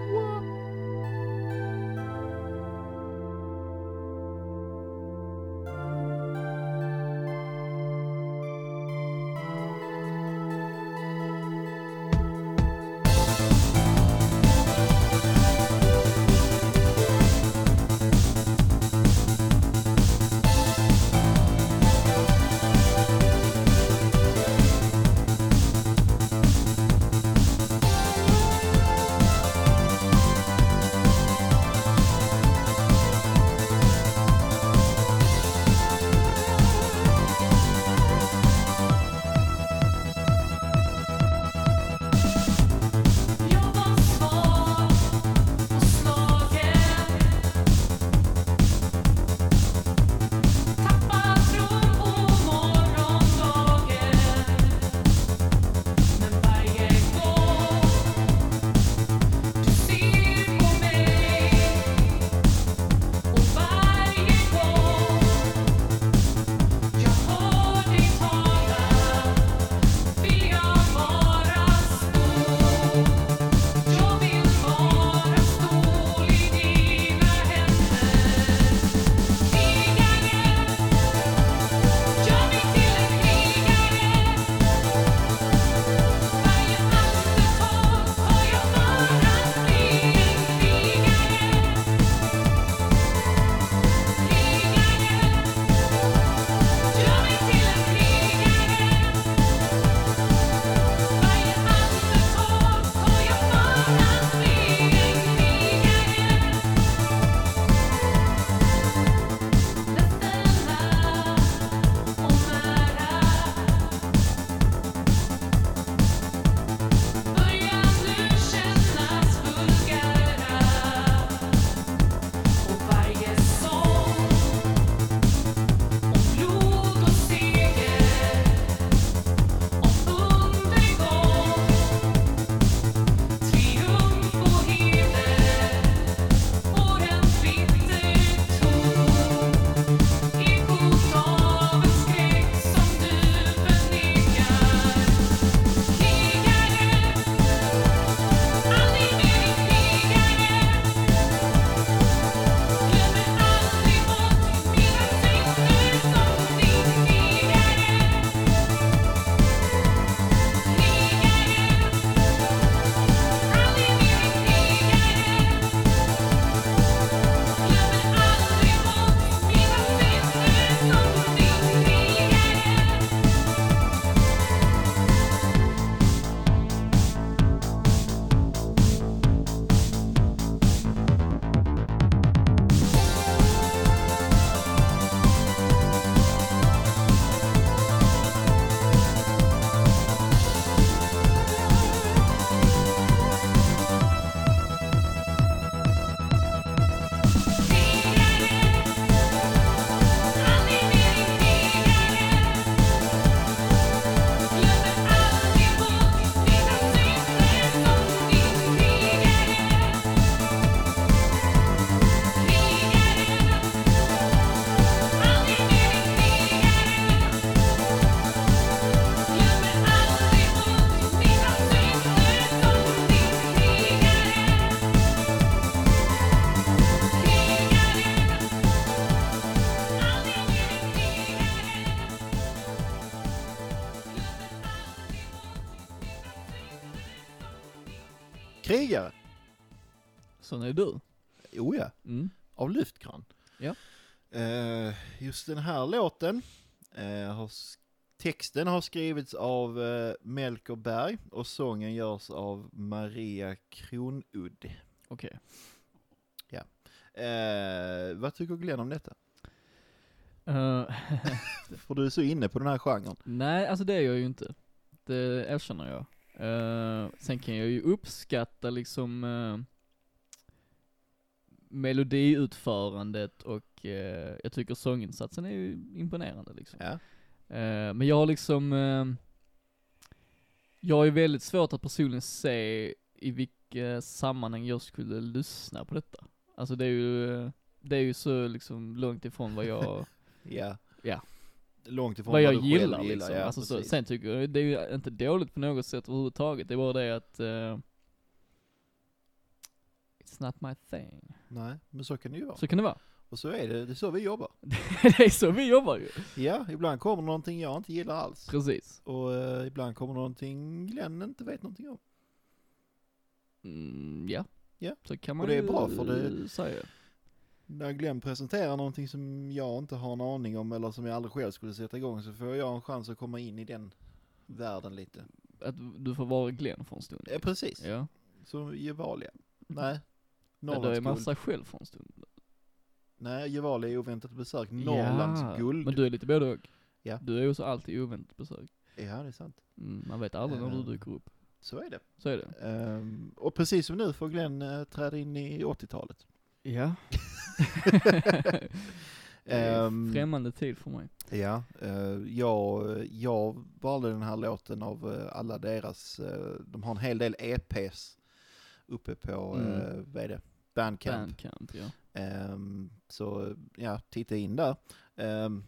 Speaker 2: krigare.
Speaker 1: Sån är du.
Speaker 2: Oh ja,
Speaker 1: Mm.
Speaker 2: av Lyftkran.
Speaker 1: Ja.
Speaker 2: Eh, just den här låten, eh, har, s- texten har skrivits av eh, Melker Berg och sången görs av Maria Kronudd.
Speaker 1: Okej.
Speaker 2: Eh, vad tycker Glenn om detta?
Speaker 1: Eh,
Speaker 2: För du är så inne på den här genren.
Speaker 1: nej, alltså det är jag ju inte. Det erkänner jag. Eh, sen kan jag ju uppskatta liksom eh, melodiutförandet och eh, jag tycker sånginsatsen är ju imponerande liksom.
Speaker 2: Ja.
Speaker 1: Eh, men jag har liksom, eh, jag har ju väldigt svårt att personligen se i vilka sammanhang jag skulle lyssna på detta. Alltså det är ju, eh, det är ju så liksom långt ifrån vad jag,
Speaker 2: ja.
Speaker 1: Ja.
Speaker 2: Långt ifrån
Speaker 1: vad jag
Speaker 2: du själv
Speaker 1: gillar liksom.
Speaker 2: ja,
Speaker 1: alltså, så,
Speaker 2: precis.
Speaker 1: sen tycker jag, det är ju inte dåligt på något sätt överhuvudtaget, det är bara det att eh, It's not my thing.
Speaker 2: Nej, men så kan det ju vara.
Speaker 1: Så kan det vara.
Speaker 2: Och så är det, det är så vi jobbar.
Speaker 1: det är så vi jobbar ju.
Speaker 2: Ja, ibland kommer någonting jag inte gillar alls.
Speaker 1: Precis.
Speaker 2: Och eh, ibland kommer någonting Glenn inte vet någonting om.
Speaker 1: Mm, ja.
Speaker 2: Ja.
Speaker 1: Så kan man
Speaker 2: Och det är
Speaker 1: ju
Speaker 2: bra, för det-
Speaker 1: säga.
Speaker 2: När Glenn presenterar någonting som jag inte har en aning om eller som jag aldrig själv skulle sätta igång så får jag en chans att komma in i den världen lite.
Speaker 1: Att du får vara Glenn för en stund.
Speaker 2: Ja, precis.
Speaker 1: Ja.
Speaker 2: Som Gevalia. Nej.
Speaker 1: Men du är
Speaker 2: Norrlands guld.
Speaker 1: massa själv för en stund.
Speaker 2: Nej, Gevalia är oväntat besök. Norrlands guld.
Speaker 1: Men du är lite både och.
Speaker 2: Ja.
Speaker 1: Du är ju så alltid oväntat besök.
Speaker 2: Ja, det är sant.
Speaker 1: Mm, man vet aldrig när du
Speaker 2: Eh.
Speaker 1: dyker upp.
Speaker 2: Så är det.
Speaker 1: Så är det.
Speaker 2: Ehm, och precis som nu får Glenn uh, träda in i 80-talet.
Speaker 1: Ja.
Speaker 2: Ehm,
Speaker 1: Främmande tid för mig.
Speaker 2: Ja, eh, jag, jag valde den här låten av eh, alla deras, eh, de har en hel del EPs uppe på,
Speaker 1: Mm.
Speaker 2: eh, vad är det, Bandcamp.
Speaker 1: Bandcamp, ja.
Speaker 2: Ehm, så eh, ja, titta in där. Ehm,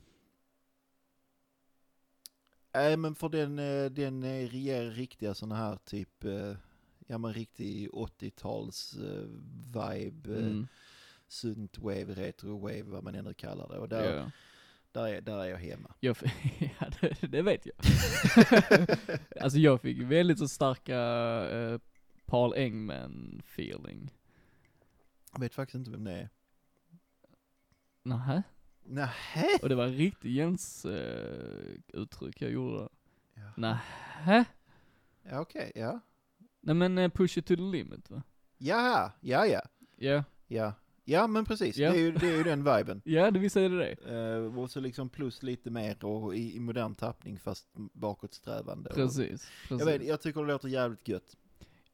Speaker 2: Nej men för den, eh, den eh, ger riktiga sådana här typ, eh, ja men riktig 80-tals eh, vibe, mm.
Speaker 1: Mm.
Speaker 2: synthwave, retrowave, vad man än nu kallar det. Och där,
Speaker 1: ja.
Speaker 2: där, är, där är jag hemma.
Speaker 1: Jag, fick- ja det, det vet jag. alltså jag fick väldigt så starka eh, Paul Engman feeling.
Speaker 2: Jag vet faktiskt inte vem det är.
Speaker 1: Nähä?
Speaker 2: Nähä?
Speaker 1: Och det var riktigt Jens eh, uttryck jag gjorde där.
Speaker 2: Ja.
Speaker 1: Nähä?
Speaker 2: Ja, okej, ja.
Speaker 1: Nej men eh, push it to the limit va?
Speaker 2: Ja, ja, ja,
Speaker 1: Ja,
Speaker 2: ja. Ja, men precis.
Speaker 1: Ja.
Speaker 2: Det, är ju, det är ju den viben.
Speaker 1: ja det visst är det det.
Speaker 2: Uh, och så liksom plus lite mer och i, i modern tappning fast bakåtsträvande. Och-
Speaker 1: Precis,
Speaker 2: Jag,
Speaker 1: precis.
Speaker 2: vet, jag tycker det låter jävligt gött.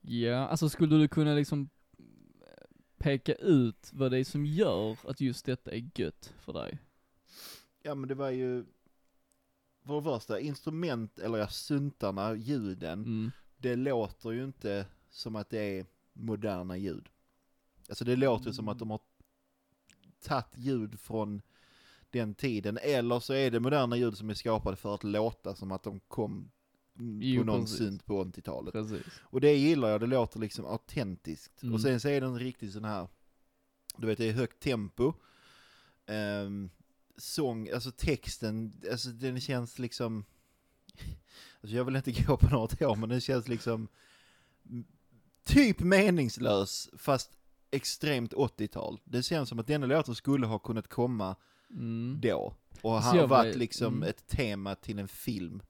Speaker 1: Ja, alltså skulle du kunna liksom eh, peka ut vad det är som gör att just detta är gött för dig?
Speaker 2: Ja, men det var ju... För det första, instrument, eller ja, syntarna, ljuden,
Speaker 1: Mm.
Speaker 2: det låter ju inte som att det är moderna ljud. Alltså det låter ju som att de har tagit ljud från den tiden, eller så är det moderna ljud som är skapade för att låta som att de kom mm,
Speaker 1: Jo,
Speaker 2: på någon
Speaker 1: precis.
Speaker 2: synt på 80-talet.
Speaker 1: Precis.
Speaker 2: Och det gillar jag, det låter liksom autentiskt.
Speaker 1: Mm.
Speaker 2: Och sen så är den riktigt sån här, du vet det är högt tempo. Ehm, sång, alltså texten, alltså den känns liksom, alltså jag vill inte gå på något år men den känns liksom m- typ meningslös fast extremt 80-tal. Det känns som att denna låten skulle ha kunnat komma
Speaker 1: Mm.
Speaker 2: då. Och
Speaker 1: Så
Speaker 2: har
Speaker 1: jag
Speaker 2: varit
Speaker 1: var-
Speaker 2: liksom
Speaker 1: mm.
Speaker 2: ett tema till en film.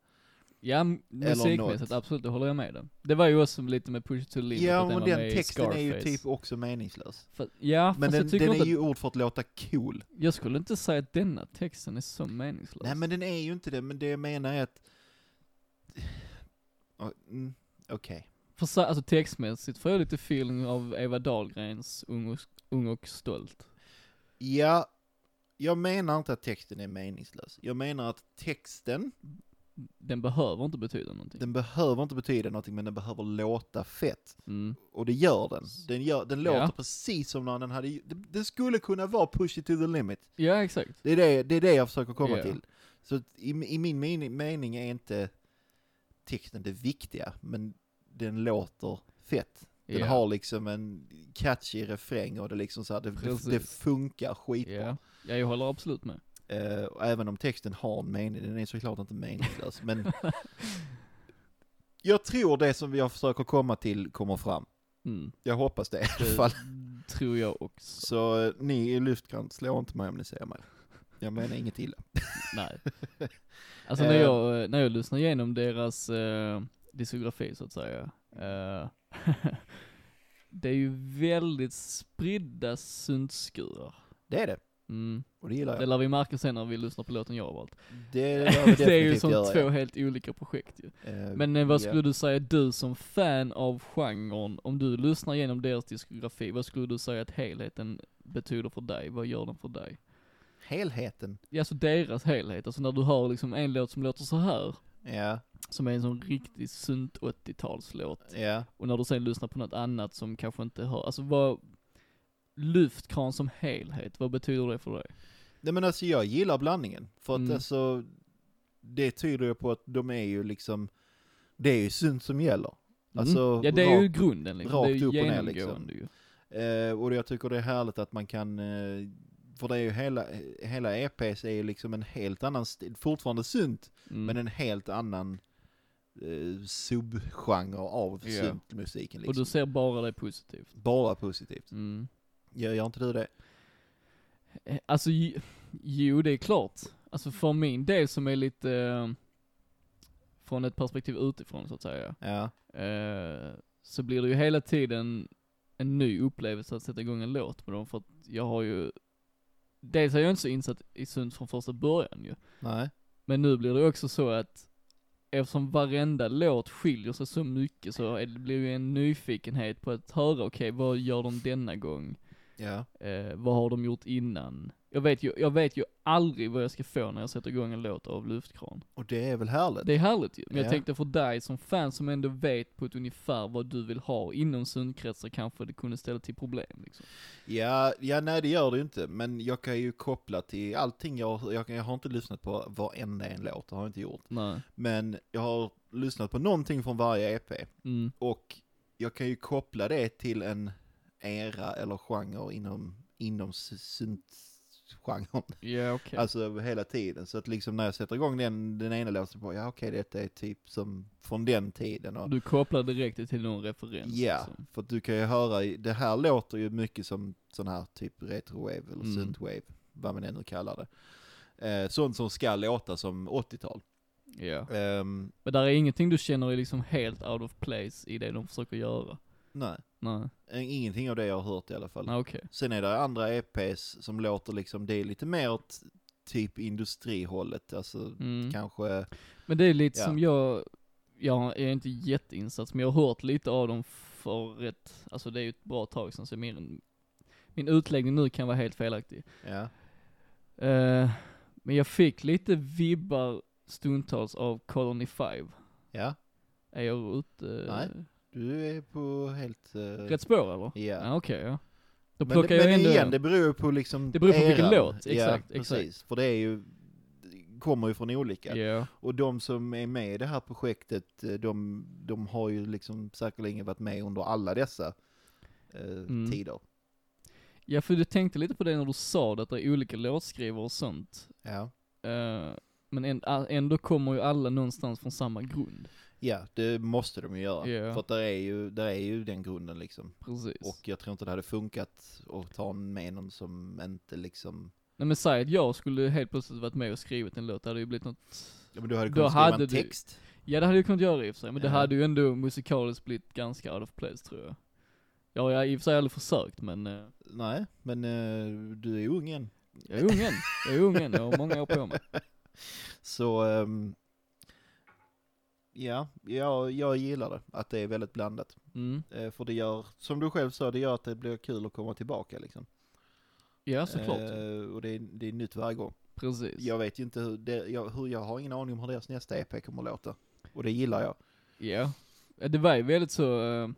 Speaker 1: Ja, m-
Speaker 2: Eller
Speaker 1: musikmässigt
Speaker 2: något.
Speaker 1: absolut, det håller jag med om. Det var ju också lite med push it to the limit,
Speaker 2: Ja,
Speaker 1: att
Speaker 2: men
Speaker 1: var med
Speaker 2: den
Speaker 1: i
Speaker 2: texten är ju
Speaker 1: Scarface.
Speaker 2: typ också meningslös.
Speaker 1: Fa- ja,
Speaker 2: Men
Speaker 1: fast
Speaker 2: den,
Speaker 1: jag tycker
Speaker 2: den
Speaker 1: inte
Speaker 2: är
Speaker 1: att
Speaker 2: ju ord för att låta cool.
Speaker 1: Jag skulle inte säga att denna texten är så meningslös.
Speaker 2: Nej men den är ju inte det, men det jag menar är att... Ja, mm, Okej.
Speaker 1: För så, alltså textmässigt får jag lite feeling av Eva Dahlgrens Ung och, ung och stolt.
Speaker 2: Ja, jag menar inte att texten är meningslös. Jag menar att texten,
Speaker 1: Den behöver inte betyda någonting.
Speaker 2: den behöver inte betyda någonting, men den behöver låta fett.
Speaker 1: Mm.
Speaker 2: Och det gör den. Den, gör, den
Speaker 1: Ja.
Speaker 2: låter precis som när den hade... Den, den skulle kunna vara push it to the limit.
Speaker 1: Ja, exakt.
Speaker 2: Det är det, det, är det jag försöker komma
Speaker 1: Ja.
Speaker 2: till. Så att i, i min mening, mening är inte texten det viktiga, men den låter fett. Den
Speaker 1: Ja.
Speaker 2: har liksom en catchy refräng och det liksom så här, det, det, det
Speaker 1: Precis.
Speaker 2: funkar skitbra.
Speaker 1: Ja. ja, jag håller absolut med.
Speaker 2: Eh, och även om texten har en mening, den är såklart inte meningslös, men jag tror det som jag försöker komma till kommer fram.
Speaker 1: Mm,
Speaker 2: Jag hoppas det i alla
Speaker 1: det
Speaker 2: fall.
Speaker 1: tror jag också.
Speaker 2: Så eh, ni i Lyftkrant, slå inte mig om ni ser mig. Jag menar inget illa.
Speaker 1: Nej. Alltså när
Speaker 2: Eh.
Speaker 1: jag, eh, när jag lyssnar igenom deras eh, diskografi så att säga. Eh, det är ju väldigt spridda syntskurar.
Speaker 2: Det är det,
Speaker 1: Mm.
Speaker 2: och det gillar
Speaker 1: Det
Speaker 2: jag.
Speaker 1: lär vi märka sen när vi lyssnar på låten jag har valt.
Speaker 2: Det lär vi
Speaker 1: Det är ju
Speaker 2: definitivt
Speaker 1: som
Speaker 2: göra,
Speaker 1: två
Speaker 2: ja.
Speaker 1: helt olika projekt ju.
Speaker 2: Eh,
Speaker 1: Men eh, vad
Speaker 2: ja.
Speaker 1: skulle du säga, du som fan av genren, om du lyssnar igenom deras diskografi, vad skulle du säga att helheten betyder för dig? Vad gör den för dig?
Speaker 2: Helheten.
Speaker 1: Ja, alltså deras helhet, alltså när du har liksom en låt som låter så här
Speaker 2: Ja,
Speaker 1: som är en sån riktig sunt 80-talslåt.
Speaker 2: ja.
Speaker 1: Och när du sen lyssnar på något annat som kanske inte hör, alltså vad, Lyftkran som helhet, vad betyder det för dig?
Speaker 2: Nej men alltså jag gillar blandningen. För att
Speaker 1: Mm.
Speaker 2: alltså, det tyder ju på att de är ju liksom, det är ju synt som gäller. Alltså,
Speaker 1: Mm. ja det är ju
Speaker 2: rakt-
Speaker 1: grunden liksom, det är
Speaker 2: rakt upp
Speaker 1: ju
Speaker 2: och ner,
Speaker 1: genomgående ju.
Speaker 2: Eh, och jag tycker det är härligt att man kan, eh, för det är ju hela, hela EPs är ju liksom en helt annan stil, fortfarande synt,
Speaker 1: Mm.
Speaker 2: men en helt annan eh, subgenre av
Speaker 1: Ja.
Speaker 2: syntmusiken
Speaker 1: Och
Speaker 2: liksom.
Speaker 1: du ser bara det positivt.
Speaker 2: Bara positivt.
Speaker 1: Mm.
Speaker 2: Gör, gör inte du det?
Speaker 1: Eh, Alltså, ju- jo det är klart. Alltså för min del som är lite, eh, från ett perspektiv utifrån så att säga,
Speaker 2: Ja.
Speaker 1: eh, så blir det ju hela tiden en ny upplevelse att sätta igång en låt med dem för att jag har ju, dels är jag inte så insatt i synt från första början ju,
Speaker 2: Nej.
Speaker 1: men nu blir det också så att Eftersom varenda låt skiljer sig så mycket så är det blir ju en nyfikenhet på att höra, okej vad gör de denna gång?
Speaker 2: Ja.
Speaker 1: Eh, vad har de gjort innan? Jag vet, ju, jag vet ju aldrig vad jag ska få när jag sätter igång en låt av Luftkran.
Speaker 2: Och det är väl härligt?
Speaker 1: Det är härligt ju. Men
Speaker 2: Ja.
Speaker 1: jag tänkte för dig som fan som ändå vet på ett ungefär vad du vill ha inom sundkretsar kanske det kunde ställa till problem liksom.
Speaker 2: Ja, ja, nej det gör det ju inte, men jag kan ju koppla till allting jag, jag, kan- jag har inte lyssnat på varenda en låt, det har jag inte gjort.
Speaker 1: Nej.
Speaker 2: Men jag har lyssnat på någonting från varje EP
Speaker 1: Mm.
Speaker 2: och jag kan ju koppla det till en era eller genre inom, inom s- syntgenren.
Speaker 1: Ja okej.
Speaker 2: Alltså hela tiden, så att liksom när jag sätter igång den, den ena låten, så bara, ja okej detta är typ som från den tiden. Och,
Speaker 1: Du kopplar direkt det till någon referens.
Speaker 2: Ja,
Speaker 1: liksom.
Speaker 2: för att du kan ju höra, i- det här låter ju mycket som sån här typ retrowave eller
Speaker 1: Mm.
Speaker 2: synthwave, vad man ännu kallar det. Eh, sånt som ska låta som 80-tal.
Speaker 1: Ja.
Speaker 2: Ehm,
Speaker 1: Men där är ingenting du känner är liksom helt out of place i det de försöker göra.
Speaker 2: nej,
Speaker 1: Nej.
Speaker 2: eh, ingenting av det jag har hört i alla fall.
Speaker 1: Nej okej.
Speaker 2: Sen är det andra EPs som låter liksom, det är lite mer åt typ industrihållet, alltså
Speaker 1: Mm.
Speaker 2: kanske,
Speaker 1: Men det är lite
Speaker 2: Ja.
Speaker 1: som jag, jag är inte jätteinsatt, men jag har hört lite av dem för ett, alltså det är ju ett bra tag sedan, så min, min utläggning nu kan vara helt felaktig.
Speaker 2: ja,
Speaker 1: Eh, men jag fick lite vibbar stundtals av Colony 5.
Speaker 2: ja,
Speaker 1: Är jag ute
Speaker 2: Nej. du är på helt... eh,
Speaker 1: rätt spår eller?
Speaker 2: Ja.
Speaker 1: Ja, okej ja. Då
Speaker 2: Men,
Speaker 1: plockar jag
Speaker 2: men
Speaker 1: ändå
Speaker 2: igen, det beror ju på liksom
Speaker 1: Det beror på vilken
Speaker 2: eran.
Speaker 1: låt, exakt,
Speaker 2: ja, Precis, för det är ju, kommer ju från olika.
Speaker 1: Ja,
Speaker 2: Och de som är med i det här projektet, eh, de, de har ju liksom säkerligen varit med under alla dessa eh,
Speaker 1: Mm.
Speaker 2: tider.
Speaker 1: ja för du tänkte lite på det när du sa det, att det är olika låtskrivare och sånt.
Speaker 2: Ja.
Speaker 1: Eh, men änd- a- ändå kommer ju alla någonstans från samma grund.
Speaker 2: ja, det måste de ju göra.
Speaker 1: Ja.
Speaker 2: För att där är, ju, där är ju den grunden liksom.
Speaker 1: Precis.
Speaker 2: Och jag tror inte det hade funkat att ta med någon som inte liksom...
Speaker 1: Nej men säg att jag skulle helt plötsligt varit med och skrivit en låt, det hade ju blivit något,
Speaker 2: Ja, men du hade
Speaker 1: Då
Speaker 2: kunnat skriva
Speaker 1: hade
Speaker 2: en
Speaker 1: du-
Speaker 2: text.
Speaker 1: ja det hade jag kunnat göra i och för sig, men
Speaker 2: Ja.
Speaker 1: det hade ju ändå musikaliskt blivit ganska out of place tror jag. Ja, jag har i och för sig aldrig försökt men, eh,
Speaker 2: Nej, men eh, du är ung än.
Speaker 1: jag är ung än, jag är ung än, jag har många år på mig.
Speaker 2: Så ehm, ja, jag, jag gillar det. Att det är väldigt blandat.
Speaker 1: Mm.
Speaker 2: Eh, för det gör, som du själv sa, det gör att det blir kul att komma tillbaka liksom.
Speaker 1: Ja såklart,
Speaker 2: Eh, och det är, det är nytt varje gång.
Speaker 1: precis.
Speaker 2: Jag vet ju inte hur, det, jag, hur, jag har ingen aning om hur deras nästa EP kommer att låta. Och det gillar jag.
Speaker 1: Ja. Ja, Det var ju väldigt så, eh,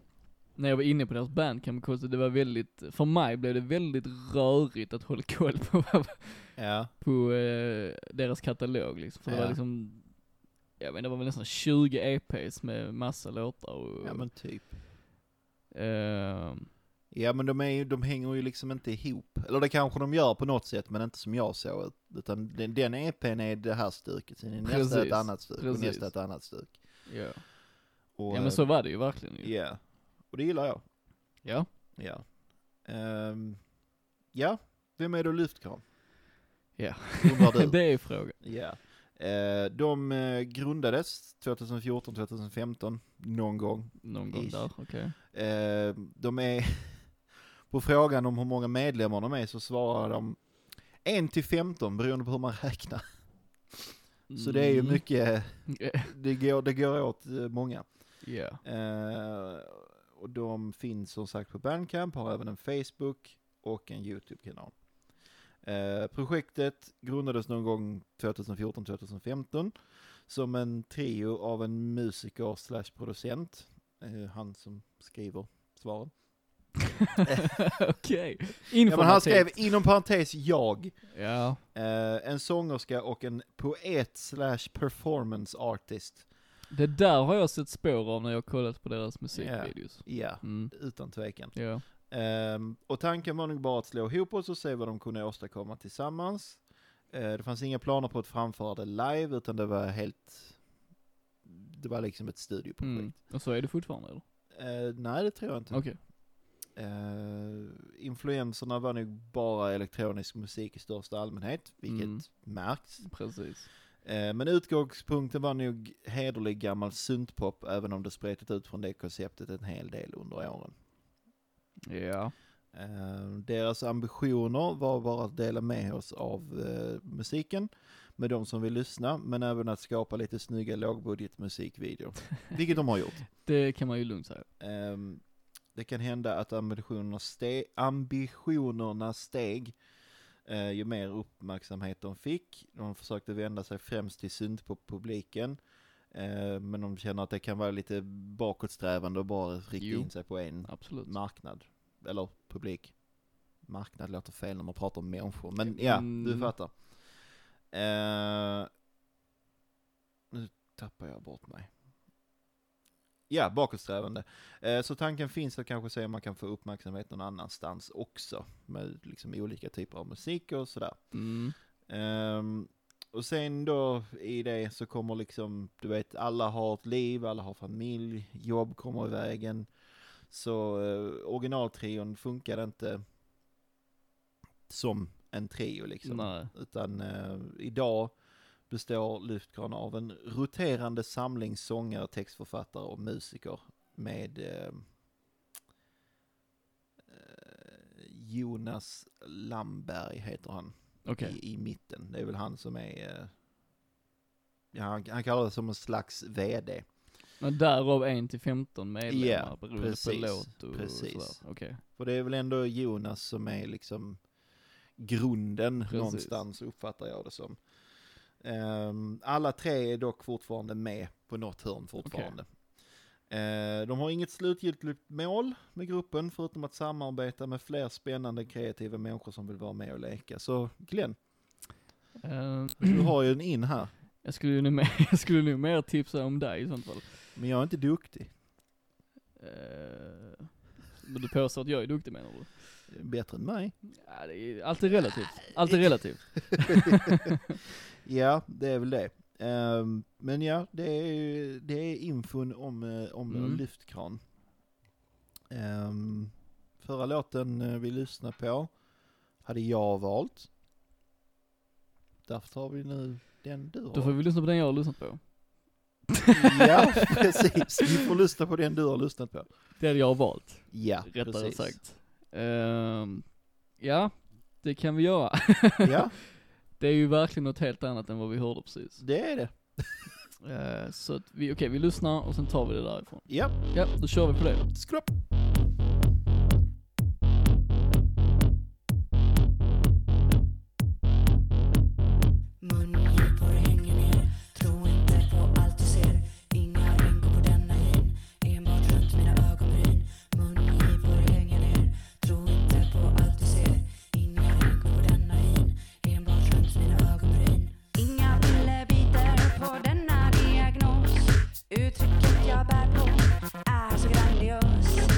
Speaker 1: när jag var inne på deras bandcamp, Kosta, det var väldigt, för mig blev det väldigt rörigt att hålla koll på, vad-
Speaker 2: Ja.
Speaker 1: på eh, deras katalog liksom. För det
Speaker 2: Ja.
Speaker 1: var liksom, jag vet inte, det var väl nästan 20 EPs med massa låtar och,
Speaker 2: Ja men typ.
Speaker 1: eh,
Speaker 2: Ja men de, är ju, de hänger ju liksom inte ihop. Eller det kanske de gör på något sätt men inte som jag såg det. Utan den, den EPn är det här stuket, sen är nästa
Speaker 1: Precis.
Speaker 2: ett annat stuk och
Speaker 1: Precis.
Speaker 2: nästa ett annat stuk.
Speaker 1: ja.
Speaker 2: Och,
Speaker 1: ja
Speaker 2: eh,
Speaker 1: men så var det ju verkligen
Speaker 2: Ja,
Speaker 1: ju.
Speaker 2: och det gillar jag.
Speaker 1: Ja.
Speaker 2: Ja. Ehm, ja, vem är då Lyftkran?
Speaker 1: Ja.
Speaker 2: Undrar du.
Speaker 1: Det är frågan.
Speaker 2: Ja. Eh, de eh, grundades 2014, 2015, någon gång.
Speaker 1: Någon gång
Speaker 2: Ish.
Speaker 1: där, okej.
Speaker 2: Eh, de är, på frågan om hur många medlemmar de är så svarar de 1 till 15 beroende på hur man räknar. Så det är ju
Speaker 1: Mm.
Speaker 2: mycket,
Speaker 1: Ja.
Speaker 2: det går, det går åt eh, många.
Speaker 1: Ja.
Speaker 2: Eh, och de finns som sagt på Bandcamp, har även en Facebook och en YouTube-kanal. Eh, projektet grundades någon gång 2014-2015 som en trio av en musiker slash producent. Eh, han som skriver svaren.
Speaker 1: Okej.
Speaker 2: Ja, men han
Speaker 1: Informativt.
Speaker 2: skrev inom parentes jag.
Speaker 1: Ja.
Speaker 2: Eh, en sångerska och en poet slash performance artist.
Speaker 1: Det där har jag sett spår av när jag kollat på deras musikvideos.
Speaker 2: Ja,
Speaker 1: Mm.
Speaker 2: utan tvekan.
Speaker 1: Ja.
Speaker 2: Ehm, och tanken var nog bara att slå ihop oss och se vad de kunde åstadkomma tillsammans. Eh, det fanns inga planer på att framföra det live, utan det var helt... Det var liksom ett studioprojekt.
Speaker 1: Mm. Och så är det fortfarande eller?
Speaker 2: Eh, nej, det tror jag inte.
Speaker 1: Okej.
Speaker 2: Eh, influenserna var nog bara elektronisk musik i största allmänhet, vilket
Speaker 1: Mm.
Speaker 2: märks.
Speaker 1: Precis.
Speaker 2: Eh, men utgångspunkten var nog hederlig gammal syntpop, även om det spretat ut från det konceptet en hel del under åren.
Speaker 1: Ja.
Speaker 2: Eh, Deras ambitioner var bara att dela med oss av eh, musiken med de som vill lyssna, men även att skapa lite snygga lågbudgetmusikvideor. Vilket de har gjort.
Speaker 1: Det kan man ju lugnt säga.
Speaker 2: Eh, Det kan hända att ambitionerna, ste- ambitionerna steg eh, ju mer uppmärksamhet de fick. De försökte vända sig främst till syntpop-publiken, eh, men de känner att det kan vara lite bakåtsträvande och bara rikta
Speaker 1: Jo.
Speaker 2: in sig på en
Speaker 1: Absolut.
Speaker 2: marknad, eller publik. Marknad låter fel när man pratar om människor, men ja, du
Speaker 1: Mm.
Speaker 2: fattar. Eh, nu tappar jag bort mig. Ja, bakåtsträvande. Eh, så tanken finns att kanske se om man kan få uppmärksamhet någon annanstans också, med liksom olika typer av musik och sådär.
Speaker 1: Mm.
Speaker 2: Ehm, och sen då i det så kommer liksom, du vet, alla har ett liv, alla har familj, jobb kommer i vägen. Så eh, originaltrion funkar inte som en trio liksom.
Speaker 1: Nej.
Speaker 2: Utan eh, idag består Lyftkran av en roterande samling sångare, textförfattare och musiker med eh, eh, Jonas Lamberg heter han
Speaker 1: Okej.
Speaker 2: i, i mitten. Det är väl han som är... eh, Ja, han, han kallar det som en slags VD.
Speaker 1: Men därav 1 till 15 medlemmar
Speaker 2: Ja,
Speaker 1: beroende
Speaker 2: precis,
Speaker 1: på låt och
Speaker 2: precis.
Speaker 1: sådär. Okej.
Speaker 2: För det är väl ändå Jonas som är liksom grunden
Speaker 1: Precis.
Speaker 2: någonstans, uppfattar jag det som. Ehm, alla tre är dock fortfarande med på något hörn fortfarande. Eh, de har inget slutgiltigt mål med gruppen, förutom att samarbeta med fler spännande kreativa människor som vill vara med och leka. Så Glenn,
Speaker 1: Eh,
Speaker 2: du har ju en in här,
Speaker 1: jag skulle nog mer, jag skulle nog mer tipsa om dig i sånt fall.
Speaker 2: men jag är inte duktig.
Speaker 1: Eh, men du påstår att jag är duktig menar du?
Speaker 2: Bättre än mig.
Speaker 1: Ja, det är, allt är relativt. Allt är relativt.
Speaker 2: Ja, det är väl det. Ehm, men ja, det är, det är infon om, eh, om
Speaker 1: Mm.
Speaker 2: lyftkran. Ehm, förra låten eh, vi lyssnade på hade jag valt. Därför tar vi nu den du
Speaker 1: Då får
Speaker 2: har.
Speaker 1: vi lyssna på den jag har lyssnat på.
Speaker 2: Ja, precis. Vi får lyssna på den du har lyssnat på.
Speaker 1: Den jag har valt,
Speaker 2: Ja,
Speaker 1: rättare
Speaker 2: precis.
Speaker 1: sagt. Ehm, ja, det kan vi göra.
Speaker 2: Ja,
Speaker 1: Det är ju verkligen något helt annat än vad vi hörde precis.
Speaker 2: det är det.
Speaker 1: Eh, så att vi, okej vi lyssnar och sen tar vi det därifrån.
Speaker 2: Ja,
Speaker 1: Ja, då kör vi på det.
Speaker 2: skrupp.
Speaker 4: Mungipor hänger ner, tro inte på allt du ser. Inga rynkor på denna hyn, enbart runt mina ögonbryn. Mungipor hänger ner, tro inte på allt du ser. Inga rynkor på denna hyn, enbart runt mina ögonbryn.
Speaker 5: Inga kullerbitar på denna diagnos. Uttrycket jag bär på är så grandios.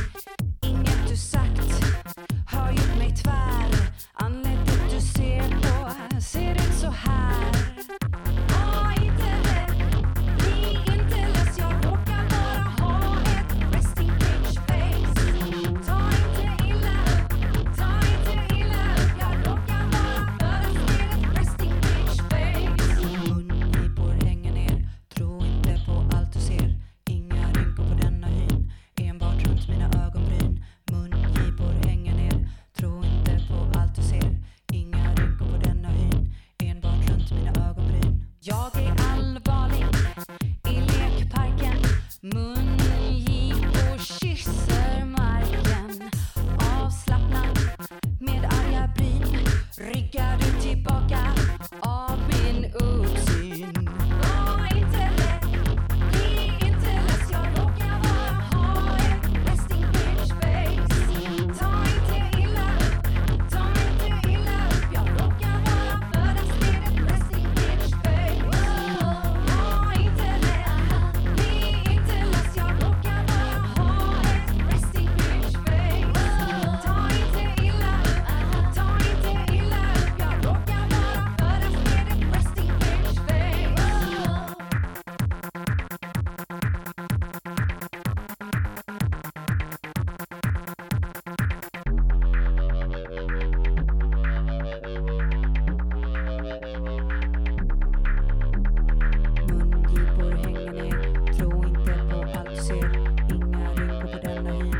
Speaker 6: Jag är allvarlig i lekparken. Mungipor kysser marken. Avslappnad med arga bryn ryggar du tillbaka av min uppsyn. Var inte rädd, bli inte less. Jag råkar bara ha ett resting bitch face. Ta inte illa upp, ta inte illa upp. Jag råkar bara födas med ett resting bitch face. Var inte rädd, bli inte less. Jag råkar bara ha ett resting bitch face. Ta inte illa upp, ta inte illa upp. Jag råkar bara födas med ett resting bitch face.
Speaker 5: Mungipor hänger ner, tro inte på allt du ser. Inga rynkor på denna hy,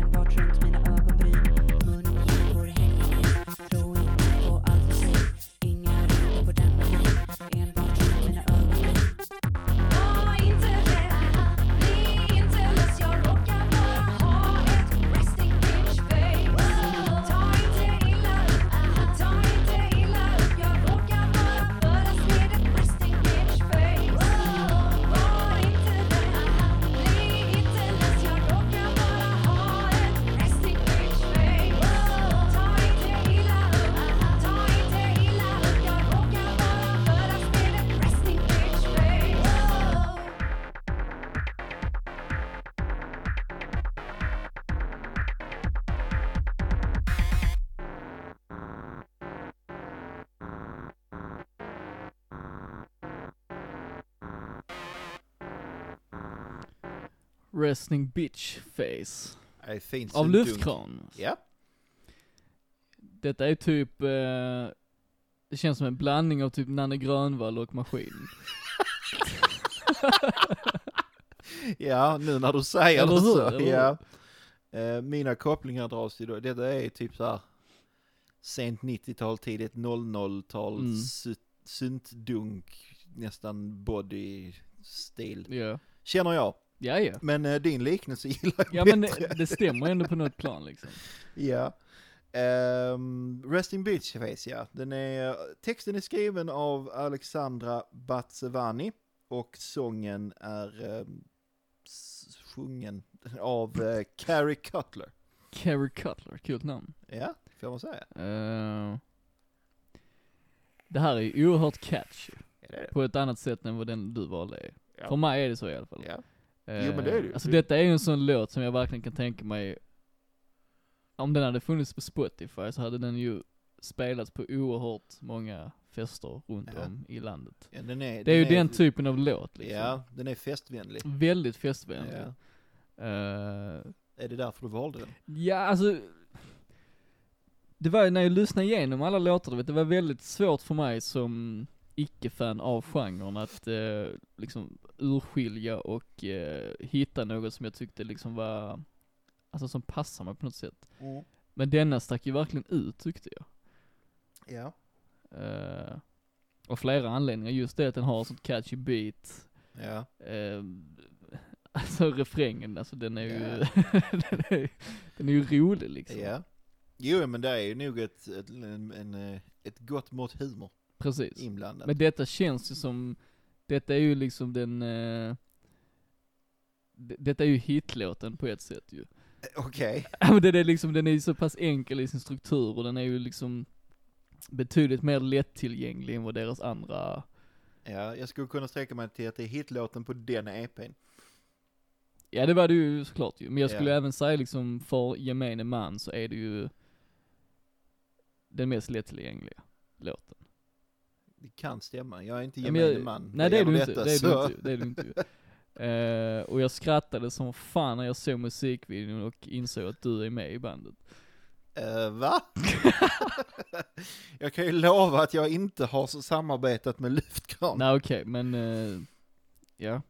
Speaker 5: enbart runt mina ögonbryn. Mungipor hänger ner, tro inte på allt du ser. Inga rynkor på denna hy, enbart runt mina ögonbryn.
Speaker 6: Var inte rädd, bli inte less. Jag råkar bara ha ett resting bitch face. Ta inte illa upp, ta inte illa upp. Jag råkar bara födas med ett resting bitch face. Var inte rädd, bli inte less. Jag råkar bara ha ett resting bitch face. Ta inte illa upp, ta inte illa upp. Jag råkar bara födas med ett resting bitch face.
Speaker 1: Resting bitch face.
Speaker 2: Är fint
Speaker 1: Av
Speaker 2: som dunk.
Speaker 1: luftkran.
Speaker 2: Ja.
Speaker 1: Detta är typ, eh, det känns som en blandning av typ Nanne Grönvall och Maskin.
Speaker 2: ja, nu när du säger
Speaker 1: Eller
Speaker 2: det
Speaker 1: hur?
Speaker 2: så.
Speaker 1: Eller
Speaker 2: Ja. Eh, Mina kopplingar dras ju då, detta är typ så här sent 90-tal, tidigt 00-tal,
Speaker 1: Mm.
Speaker 2: sy- syntdunk, nästan body-stil.
Speaker 1: Ja,
Speaker 2: Känner jag.
Speaker 1: ja. ja.
Speaker 2: Men eh, din liknelse gillar jag
Speaker 1: Ja
Speaker 2: bättre.
Speaker 1: men det, det stämmer ändå på något plan liksom.
Speaker 2: Ja. Ehm, Resting Bitch Face, ja. Den är, texten är skriven av Alexandra Batsevani och sången är ehm, s- sjungen av eh, Carrie Cutler.
Speaker 1: Carrie Cutler, kul namn.
Speaker 2: Ja, det får man säga.
Speaker 1: Eh, det här är ju oerhört catchy.
Speaker 2: Ja, det är det.
Speaker 1: På ett annat sätt än vad den du valde är.
Speaker 2: Ja.
Speaker 1: För mig är det så i alla fall.
Speaker 2: Ja.
Speaker 1: Eh,
Speaker 2: Jo, men det är det ju.
Speaker 1: Alltså
Speaker 2: Det-
Speaker 1: detta är ju en sån låt som jag verkligen kan tänka mig, om den hade funnits på Spotify så hade den ju spelats på oerhört många fester runt
Speaker 2: Ja.
Speaker 1: om i landet.
Speaker 2: Ja, den är,
Speaker 1: Det är ju den typen av låt liksom.
Speaker 2: Ja, den är festvänlig.
Speaker 1: Väldigt festvänlig.
Speaker 2: Ja.
Speaker 1: Eh,
Speaker 2: Är det därför du valde den?
Speaker 1: Ja, alltså. Det var ju när jag lyssnade igenom alla låtar, du vet, det var väldigt svårt för mig som icke-fan av genren att eh, liksom urskilja och eh, hitta något som jag tyckte liksom var, alltså som passar mig på något sätt. Men denna stack ju verkligen ut tyckte jag.
Speaker 2: Ja.
Speaker 1: Eh, av flera anledningar, just det att den har ett sånt catchy beat,
Speaker 2: Ja.
Speaker 1: eh, alltså refrängen, alltså den är ju,
Speaker 2: Ja.
Speaker 1: den, är, den är ju rolig liksom.
Speaker 2: ja. Jo, men det är ju nog ett, ett, en, en, eh, ett gott mått humor
Speaker 1: Precis.
Speaker 2: inblandat.
Speaker 1: Men detta känns ju som, detta är ju liksom den, eh, d- detta är ju hitlåten på ett sätt ju.
Speaker 2: Okej.
Speaker 1: Ja, men den är liksom, den är ju så pass enkel i sin struktur och den är ju liksom betydligt mer lättillgänglig än vad deras andra,
Speaker 2: Ja, jag skulle kunna sträcka mig till att det är hitlåten på den E EPn.
Speaker 1: ja det var det ju såklart ju, men jag skulle
Speaker 2: Ja.
Speaker 1: även säga liksom för gemene man så är det ju den mest lättillgängliga låten.
Speaker 2: Det kan stämma, jag är inte
Speaker 1: Ja, men
Speaker 2: gemene
Speaker 1: jag-
Speaker 2: man.
Speaker 1: Nej det är,
Speaker 2: vad
Speaker 1: du
Speaker 2: gäller
Speaker 1: inte, det är
Speaker 2: så-
Speaker 1: du inte, det är du inte ju. Eh, och jag skrattade som fan när jag såg musikvideon och insåg att du är med i bandet.
Speaker 2: Eh, va? jag kan ju lova att jag inte har så samarbetat med Luftkran.
Speaker 1: Nej okej, men eh, ja.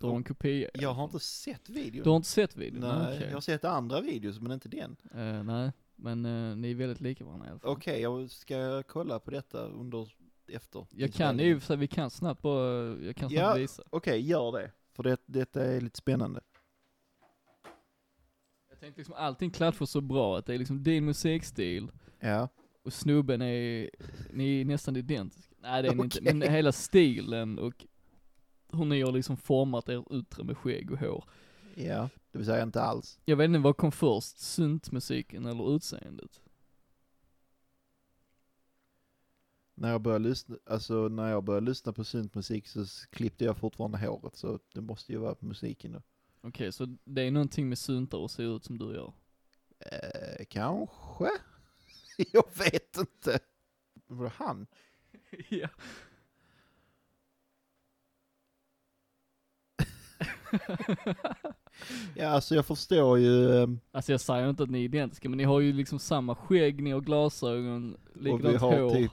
Speaker 1: Du har en kopia.
Speaker 2: Jag har inte sett videon.
Speaker 1: Du har inte sett videon?
Speaker 2: Nej,
Speaker 1: Nej. okej.
Speaker 2: jag har sett andra videos men inte den.
Speaker 1: Eh, nej, men eh, ni är väldigt lika varandra i alla fall.
Speaker 2: Okej, jag ska kolla på detta under efter.
Speaker 1: Jag kan ju, så vi kan snabbt bara, jag kan snabbt
Speaker 2: Ja.
Speaker 1: visa.
Speaker 2: Okej, gör det. För det, detta är lite spännande.
Speaker 1: Jag tänkte liksom allting klatschar så bra att det är liksom din musikstil
Speaker 2: Ja.
Speaker 1: och snubben är, ni är nästan identiska. Nej det är ni inte,
Speaker 2: Okej.
Speaker 1: men hela stilen och hur ni har liksom format er yttre med skägg och hår.
Speaker 2: Ja, det vill säga inte alls.
Speaker 1: Jag vet inte vad kom först, syntmusiken eller utseendet?
Speaker 2: När jag började lyssna, alltså när jag började lyssna på syntmusik så s- klippte jag fortfarande håret så det måste ju vara musiken då.
Speaker 1: Okej, så det är någonting med syntar och ser ut som du gör.
Speaker 2: Eh, kanske? jag vet inte. Var det han?
Speaker 1: ja.
Speaker 2: Ja, alltså jag förstår ju ehm,
Speaker 1: Alltså jag säger inte att ni är identiska, men ni har ju liksom samma skägg, ni har glasögon, likadant hår.
Speaker 2: typ-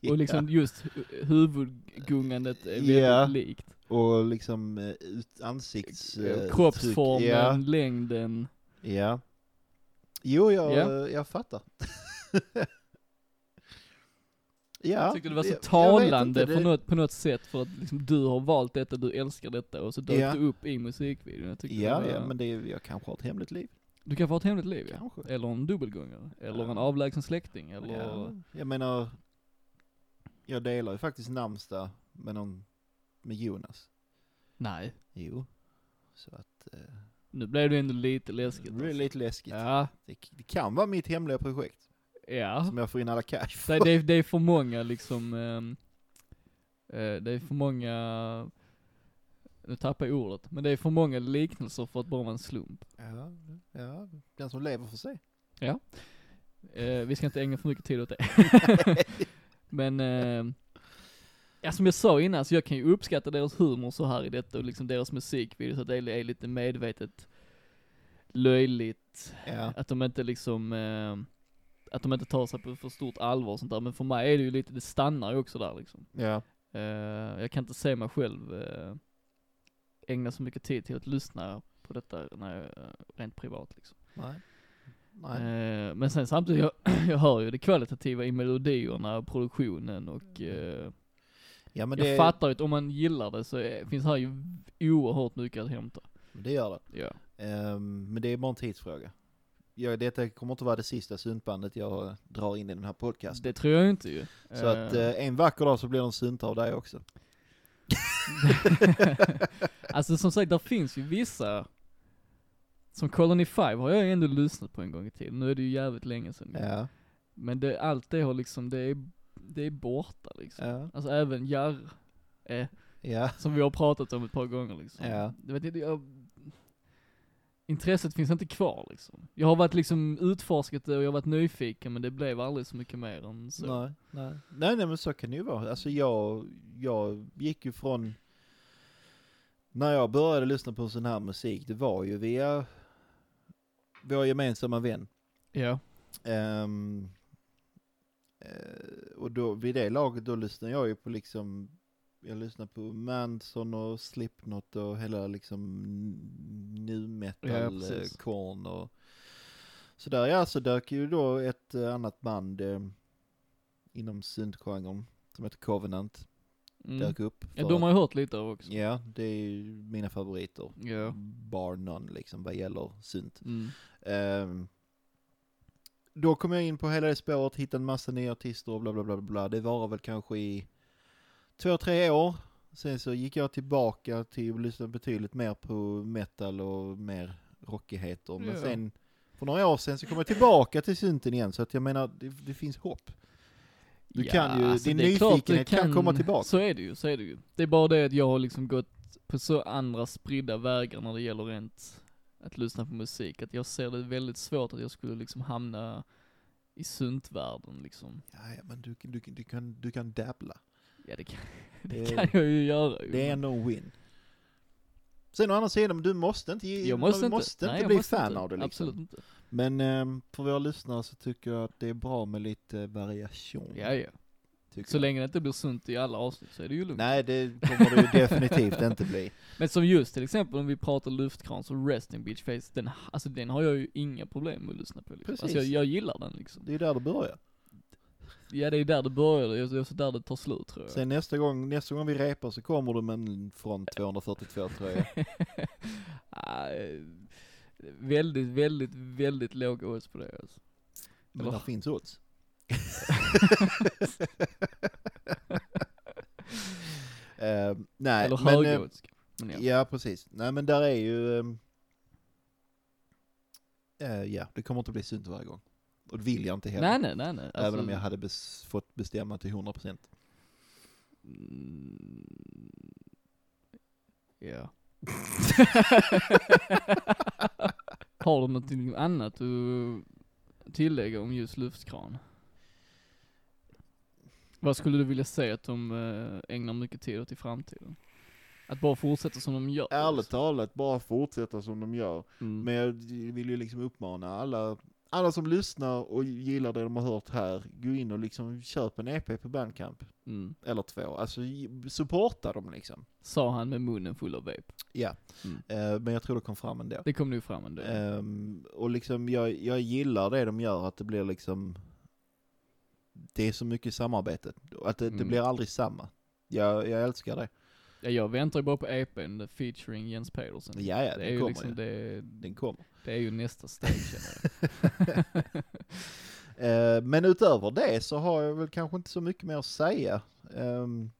Speaker 2: ja,
Speaker 1: Och liksom just hu- huvudgungandet är väldigt
Speaker 2: Ja.
Speaker 1: likt.
Speaker 2: och liksom eh, ut, ansikts... eh,
Speaker 1: Kroppsformen,
Speaker 2: uttryck. Ja,
Speaker 1: längden.
Speaker 2: ja. Jo, jag,
Speaker 1: Ja.
Speaker 2: jag fattar. ja.
Speaker 1: Jag tyckte det var så
Speaker 2: jag- jag vet inte,
Speaker 1: talande
Speaker 2: det-
Speaker 1: på, något, på något sätt för att liksom, du har valt detta, du älskar detta och så dök
Speaker 2: Ja.
Speaker 1: du upp i musikvideon. Jag tyckte
Speaker 2: Ja,
Speaker 1: det var,
Speaker 2: ja, men det är, jag kanske har ett hemligt liv.
Speaker 1: Du kan få ett hemligt liv ja.
Speaker 2: Kanske.
Speaker 1: Eller en dubbelgångare. Eller
Speaker 2: Ja.
Speaker 1: en avlägsen släkting. Eller...
Speaker 2: Ja, jag menar, jag delar ju faktiskt namnsdag med någon, med Jonas.
Speaker 1: Nej.
Speaker 2: Jo. Så att, eh,
Speaker 1: Nu blev det ändå lite
Speaker 2: det
Speaker 1: läskigt. alltså.
Speaker 2: blir lite läskigt.
Speaker 1: Ja.
Speaker 2: Det, det kan vara mitt hemliga projekt,
Speaker 1: Ja.
Speaker 2: som jag får in alla cash för.
Speaker 1: Det, det, det är för många liksom, ehm, eh, det är för många, nu tappar jag ordet, men det är för många liknelser för att bara vara en slump.
Speaker 2: Ja, ja, den som lever får se.
Speaker 1: Eh, vi ska inte ägna för mycket tid åt det. men, ehm, ja som jag sa innan, så jag kan ju uppskatta deras humor så här i detta och liksom deras musikvideo, så att det är är lite medvetet löjligt,
Speaker 2: Ja,
Speaker 1: att de inte liksom, ehm, att de inte tar sig på för stort allvar och sånt där, men för mig är det ju lite, det stannar ju också där liksom.
Speaker 2: ja.
Speaker 1: Eh, jag kan inte se mig själv eh, ägna så mycket tid till att lyssna på detta när jag, eh, rent privat liksom.
Speaker 2: Nej. Nej.
Speaker 1: Eh, men sen samtidigt, jag, jag hör ju det kvalitativa i melodierna, produktionen och eh,
Speaker 2: Ja Mm. men
Speaker 1: jag
Speaker 2: det,
Speaker 1: fattar ju att om man gillar det så är, finns här ju oerhört mycket att hämta.
Speaker 2: det gör det.
Speaker 1: Ja.
Speaker 2: Ehm, men det är bara en tidsfråga. Ja, detta kommer inte vara det sista syntbandet jag drar in i den här podcasten.
Speaker 1: Det tror jag inte ju.
Speaker 2: Så att eh, en vacker dag så blir det en synt av dig också. eh,
Speaker 1: alltså som sagt, där finns ju vissa som Colony 5 har jag ju ändå lyssnat på en gång i tiden, nu är det ju jävligt länge sedan.
Speaker 2: Ja,
Speaker 1: Men det, allt det har liksom, det är, det är borta liksom.
Speaker 2: ja,
Speaker 1: Alltså även Jarr, eh,
Speaker 2: ja,
Speaker 1: som vi har pratat om ett par gånger liksom.
Speaker 2: Ja.
Speaker 1: Du vet, inte, jag, intresset finns inte kvar liksom. Jag har varit liksom utforskat det och jag har varit nyfiken men det blev aldrig så mycket mer än så.
Speaker 2: nej, nej. Nej, nej, men så kan det ju vara. Alltså jag, jag gick ju från, när jag började lyssna på sån här musik, det var ju via vår gemensamma vän.
Speaker 1: Ja.
Speaker 2: Ehm, eh, och då, vid det laget då lyssnade jag ju på liksom, jag lyssnade på Manson och Slipknot och hela liksom n- nu
Speaker 1: Ja,
Speaker 2: metal, eh,
Speaker 1: precis.
Speaker 2: Korn och så där ja, så dök ju då ett eh, annat band eh, inom syntgenren som heter Covenant,
Speaker 1: Mm.
Speaker 2: dök upp.
Speaker 1: ja.
Speaker 2: för
Speaker 1: De har
Speaker 2: att-
Speaker 1: jag hört lite av också.
Speaker 2: ja, det är ju mina favoriter,
Speaker 1: Ja.
Speaker 2: bar none liksom vad gäller synt.
Speaker 1: Mm.
Speaker 2: Ehm, då kom jag in på hela det spåret, hittade en massa nya artister och bla bla bla bla, bla. Det var väl kanske i två, tre år. Sen så gick jag tillbaka till att lyssna betydligt mer på metal och mer rockigheter. Men
Speaker 1: Ja.
Speaker 2: sen, för några år sen så kom jag tillbaka till synten igen. Så att jag menar, det, det finns hopp. Du kan ju- din
Speaker 1: alltså, det är klart
Speaker 2: nyfikenhet
Speaker 1: det
Speaker 2: kan komma tillbaka.
Speaker 1: Så är det ju, så är det ju. Det är bara det att jag har liksom gått på så andra spridda vägar när det gäller rent att lyssna på musik, att jag ser det väldigt svårt att jag skulle liksom hamna i syntvärlden liksom.
Speaker 2: Ja, ja, men du, du, du, kan, du kan dabbla.
Speaker 1: Ja det kan,
Speaker 2: Det-
Speaker 1: det kan jag ju göra ju.
Speaker 2: Det är ändå en win. Sen å andra sidan, du måste inte, ge-
Speaker 1: jag måste
Speaker 2: du
Speaker 1: inte,
Speaker 2: måste
Speaker 1: nej,
Speaker 2: inte
Speaker 1: jag
Speaker 2: bli
Speaker 1: måste
Speaker 2: fan
Speaker 1: inte.
Speaker 2: av det liksom.
Speaker 1: Absolut inte.
Speaker 2: Men ehm, för våra lyssnare så tycker jag att det är bra med lite variation.
Speaker 1: Ja, ja.
Speaker 2: Mm. tycker
Speaker 1: Så
Speaker 2: jag.
Speaker 1: länge det inte blir sunt i alla avsnitt så är det ju lugnt.
Speaker 2: Nej, det kommer det ju definitivt inte bli.
Speaker 1: Men som just till exempel om vi pratar luftkran så Resting Beach Face, den, alltså den har jag ju inga problem med att lyssna på liksom.
Speaker 2: Precis.
Speaker 1: Alltså jag, jag gillar den liksom.
Speaker 2: Det är ju där det börjar.
Speaker 1: Ja det är där det började, det är också där det tar slut tror jag.
Speaker 2: Sen nästa gång, nästa gång vi repar så kommer du med en från 242 tröja.
Speaker 1: Ah, eh, väldigt, väldigt, väldigt låg odds på det alltså.
Speaker 2: Men
Speaker 1: Va?
Speaker 2: där finns odds. Eh, nej,
Speaker 1: Eller
Speaker 2: men, eh,
Speaker 1: hög odds. Men ja.
Speaker 2: Ja, precis. Nej, men där är ju... ehm, eh, ja, det kommer inte bli synt varje gång. Och det vill jag inte heller.
Speaker 1: Nej nej nej nej.
Speaker 2: Även
Speaker 1: Alltså,
Speaker 2: om jag hade bes- fått bestämma till 100%.
Speaker 1: Mm, Ja. Har du någonting annat att tillägga om just luftkran? Vad skulle du vilja säga att de eh, ägnar mycket tid åt i framtiden? Att bara fortsätta som de gör?
Speaker 2: Ärligt talat, bara fortsätta som de gör.
Speaker 1: Mm.
Speaker 2: Men jag vill ju liksom uppmana alla, alla som lyssnar och gillar det de har hört här, gå in och liksom köp en EP på Bandcamp.
Speaker 1: Mm.
Speaker 2: Eller två. Alltså supporta dem liksom.
Speaker 1: Sa han med munnen full av vape.
Speaker 2: Ja.
Speaker 1: Mm.
Speaker 2: Eh, men jag tror det kom fram ändå.
Speaker 1: Det kom nog fram ändå.
Speaker 2: Ehm, och liksom jag, jag gillar det de gör, att det blir liksom Det är så mycket samarbete, att det, det
Speaker 1: Mm.
Speaker 2: blir aldrig samma. Jag, jag älskar det.
Speaker 1: Ja, jag väntar ju bara på EPn featuring Jens Pedersen.
Speaker 2: Ja, ja,
Speaker 1: det är
Speaker 2: den
Speaker 1: ju
Speaker 2: kommer
Speaker 1: liksom
Speaker 2: ju.
Speaker 1: det,
Speaker 2: Den kommer.
Speaker 1: det är ju nästa steg känner jag.
Speaker 2: Eh, men utöver det så har jag väl kanske inte så mycket mer att säga. Ehm,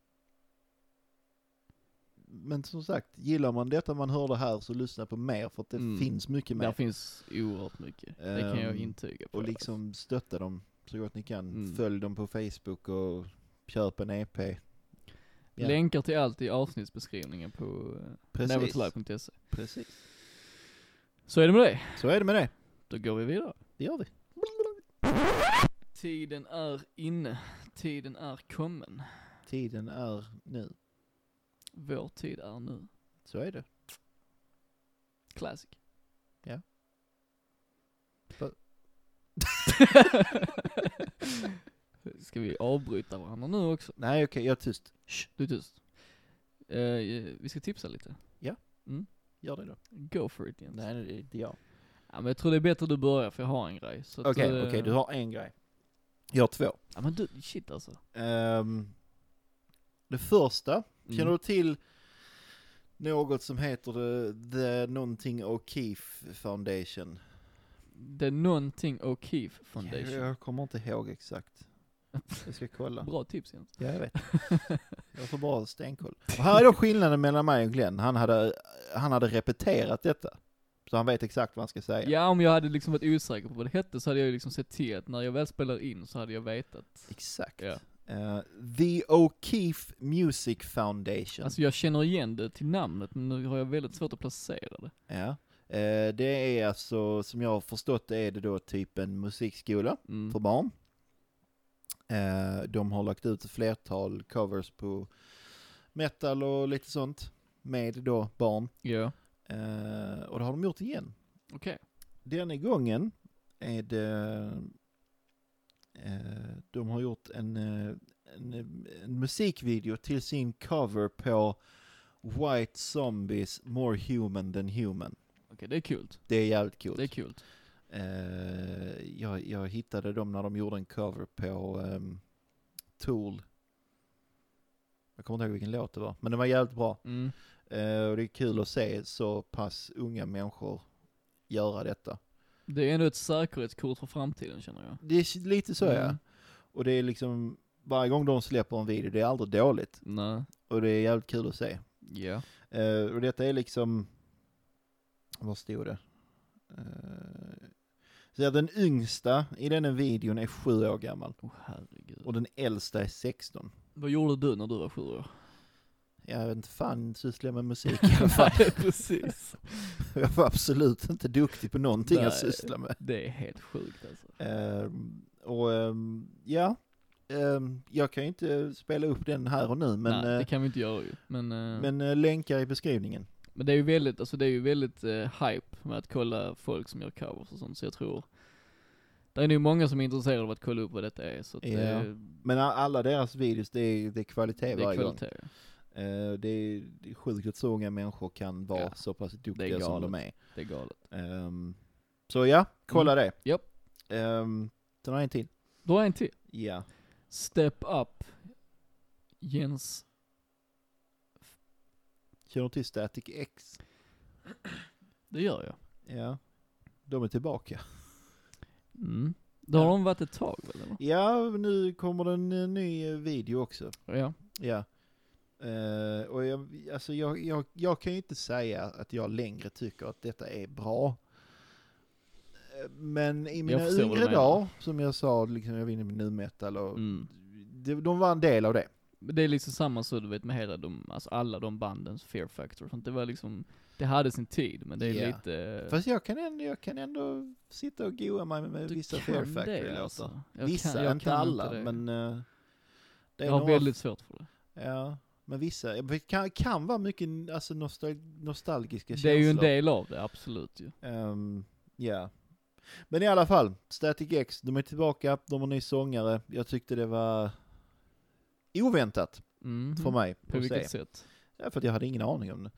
Speaker 2: men som sagt, gillar man detta man hör det här så lyssna på mer för att det
Speaker 1: Mm.
Speaker 2: finns mycket
Speaker 1: Där
Speaker 2: mer.
Speaker 1: finns oerhört mycket. det kan jag
Speaker 2: Ehm,
Speaker 1: intyga på.
Speaker 2: Och
Speaker 1: det.
Speaker 2: liksom stötta dem så gott ni kan.
Speaker 1: Mm.
Speaker 2: Följ dem på Facebook och köp en E EP. ja.
Speaker 1: Länkar till allt i avsnittsbeskrivningen på eh, nevertolive.se.
Speaker 2: Precis.
Speaker 1: Så är det med det.
Speaker 2: Så är det med det.
Speaker 1: Då går vi vidare.
Speaker 2: Det gör vi.
Speaker 1: Tiden är inne. Tiden är kommen.
Speaker 2: Tiden är nu.
Speaker 1: Vår tid är nu.
Speaker 2: Så är det.
Speaker 1: Classic.
Speaker 2: Ja. Va-
Speaker 1: Ska vi avbryta varandra nu också?
Speaker 2: Nej okej, jag är tyst.
Speaker 1: Du är tyst. Eh, vi ska tipsa lite.
Speaker 2: Gör det då.
Speaker 1: Go for it Jens.
Speaker 2: Nej, det är inte jag.
Speaker 1: Ja, men jag tror det är bättre du börjar för jag har en grej. så att,
Speaker 2: Okej, okej,
Speaker 1: eh,
Speaker 2: du har en grej. Jag har två.
Speaker 1: Ja men du, shit alltså.
Speaker 2: Ehm, det första,
Speaker 1: Mm.
Speaker 2: känner du till något som heter The, the Någonting O'Keefe Foundation?
Speaker 1: Det är någonting O'Keefe Foundation.
Speaker 2: Jag kommer inte ihåg exakt. Jag ska kolla.
Speaker 1: Bra tips Jens.
Speaker 2: Ja, jag vet. Jag får bara stenkoll. Och här är då skillnaden mellan mig och Glenn. Han hade, han hade repeterat detta. Så han vet exakt vad han ska säga.
Speaker 1: Ja om jag hade liksom varit osäker på vad det hette så hade jag ju liksom sett till att när jag väl spelar in så hade jag vetat.
Speaker 2: Exakt.
Speaker 1: Ja.
Speaker 2: Eh, The O'Keefe Music Foundation.
Speaker 1: Alltså jag känner igen det till namnet men nu har jag väldigt svårt att placera det.
Speaker 2: ja. Eh, det är alltså, som jag har förstått det, är det då typ en musikskola
Speaker 1: Mm.
Speaker 2: för barn. Eh, de har lagt ut ett flertal covers på metal och lite sånt med då barn.
Speaker 1: Ja,
Speaker 2: Eh, och det har de gjort igen.
Speaker 1: okej.
Speaker 2: Denna gången är det... Eh, de har gjort en, eh, en, en musikvideo till sin cover på White Zombies More Human Than Human.
Speaker 1: Okej det är kul.
Speaker 2: Det är jävligt kul.
Speaker 1: Det är kul.
Speaker 2: Eh, jag, jag hittade dem när de gjorde en cover på ehm, Tool. Jag kommer inte ihåg vilken låt det var, men den var jävligt bra.
Speaker 1: Mm.
Speaker 2: Eh, och det är kul att se så pass unga människor göra detta.
Speaker 1: Det är ändå ett säkerhetskort för framtiden känner jag.
Speaker 2: Det är lite så ja.
Speaker 1: Mm.
Speaker 2: Och det är liksom, varje gång de släpper en video, det är aldrig dåligt.
Speaker 1: Nej.
Speaker 2: Och det är jävligt kul att se.
Speaker 1: Ja.
Speaker 2: Eh, och detta är liksom, vad stod det? Eh, så att den yngsta i denna videon är sju år gammal.
Speaker 1: Åh herregud.
Speaker 2: Och den äldsta är 16.
Speaker 1: Vad gjorde du när du var sju år?
Speaker 2: Jag vet inte fan, sysslar jag med musik i alla fall.
Speaker 1: Nej, precis.
Speaker 2: Jag var absolut inte duktig på någonting jag
Speaker 1: Nej.
Speaker 2: sysslar med.
Speaker 1: Det är helt sjukt alltså.
Speaker 2: Ehm, och ehm, ja, Ehm, jag kan ju inte spela upp den här och nu, men,
Speaker 1: Nej,
Speaker 2: eh,
Speaker 1: det kan vi inte göra ju. Men, eh, men,
Speaker 2: men eh, länkar i beskrivningen.
Speaker 1: det är ju väldigt, alltså det är ju väldigt eh, hype med att kolla folk som gör covers och sånt, så jag tror det är nog många som är intresserade av att kolla upp vad detta är, så att
Speaker 2: Ja,
Speaker 1: det, är-
Speaker 2: Men a- alla deras videos, det är, det är kvalitet
Speaker 1: det är
Speaker 2: varje gång.
Speaker 1: kvalitet.
Speaker 2: Eh, det, är, det är sjukt att så unga människor kan vara
Speaker 1: Ja,
Speaker 2: så pass
Speaker 1: det
Speaker 2: duktiga
Speaker 1: är
Speaker 2: som
Speaker 1: galet.
Speaker 2: de är.
Speaker 1: Det är galet.
Speaker 2: Ehm, så ja, kolla det.
Speaker 1: Japp.
Speaker 2: Um, den har en till.
Speaker 1: Då har jag en till.
Speaker 2: Ja.
Speaker 1: Step Up, Jens,
Speaker 2: Känner du till Static X?
Speaker 1: det gör jag.
Speaker 2: Ja. De är tillbaka.
Speaker 1: Mm. Då har de varit ett tag väl? Eller?
Speaker 2: Ja, nu kommer det en eh, ny eh, video också.
Speaker 1: Ja.
Speaker 2: Ja. Eh, och jag, alltså jag, jag, jag kan ju inte säga att jag längre tycker att detta är bra. Eh, Men i mina
Speaker 1: förstår vad du
Speaker 2: yngre
Speaker 1: menar.
Speaker 2: dagar, som jag sa, liksom jag var inne med nu metal och
Speaker 1: Mm.
Speaker 2: de, de var en del av det.
Speaker 1: Men Det är liksom samma så du vet med hela de, alltså alla de bandens fear factor och sånt. Det var liksom, det hade sin tid men det är
Speaker 2: Ja.
Speaker 1: lite...
Speaker 2: Fast jag kan ändå, jag kan ändå sitta och goa mig med
Speaker 1: du
Speaker 2: vissa
Speaker 1: kan
Speaker 2: Fear
Speaker 1: det,
Speaker 2: Factory-låtar.
Speaker 1: alltså. Jag
Speaker 2: Vissa,
Speaker 1: kan- jag
Speaker 2: inte
Speaker 1: kan
Speaker 2: alla,
Speaker 1: det.
Speaker 2: men... eh, det är
Speaker 1: Jag har
Speaker 2: några-
Speaker 1: väldigt svårt för det.
Speaker 2: Ja, men vissa. ja, Det kan, kan vara mycket alltså, nostal, nostalgiska
Speaker 1: Det
Speaker 2: känslor.
Speaker 1: är ju en del av det, absolut ju.
Speaker 2: Ehm, ja. Men i alla fall, Static X, de är tillbaka, de har ny sångare. Jag tyckte det var oväntat
Speaker 1: Mhm.
Speaker 2: för mig
Speaker 1: På
Speaker 2: att
Speaker 1: vilket
Speaker 2: se.
Speaker 1: sätt?
Speaker 2: Ja, för att jag hade ingen aning om det.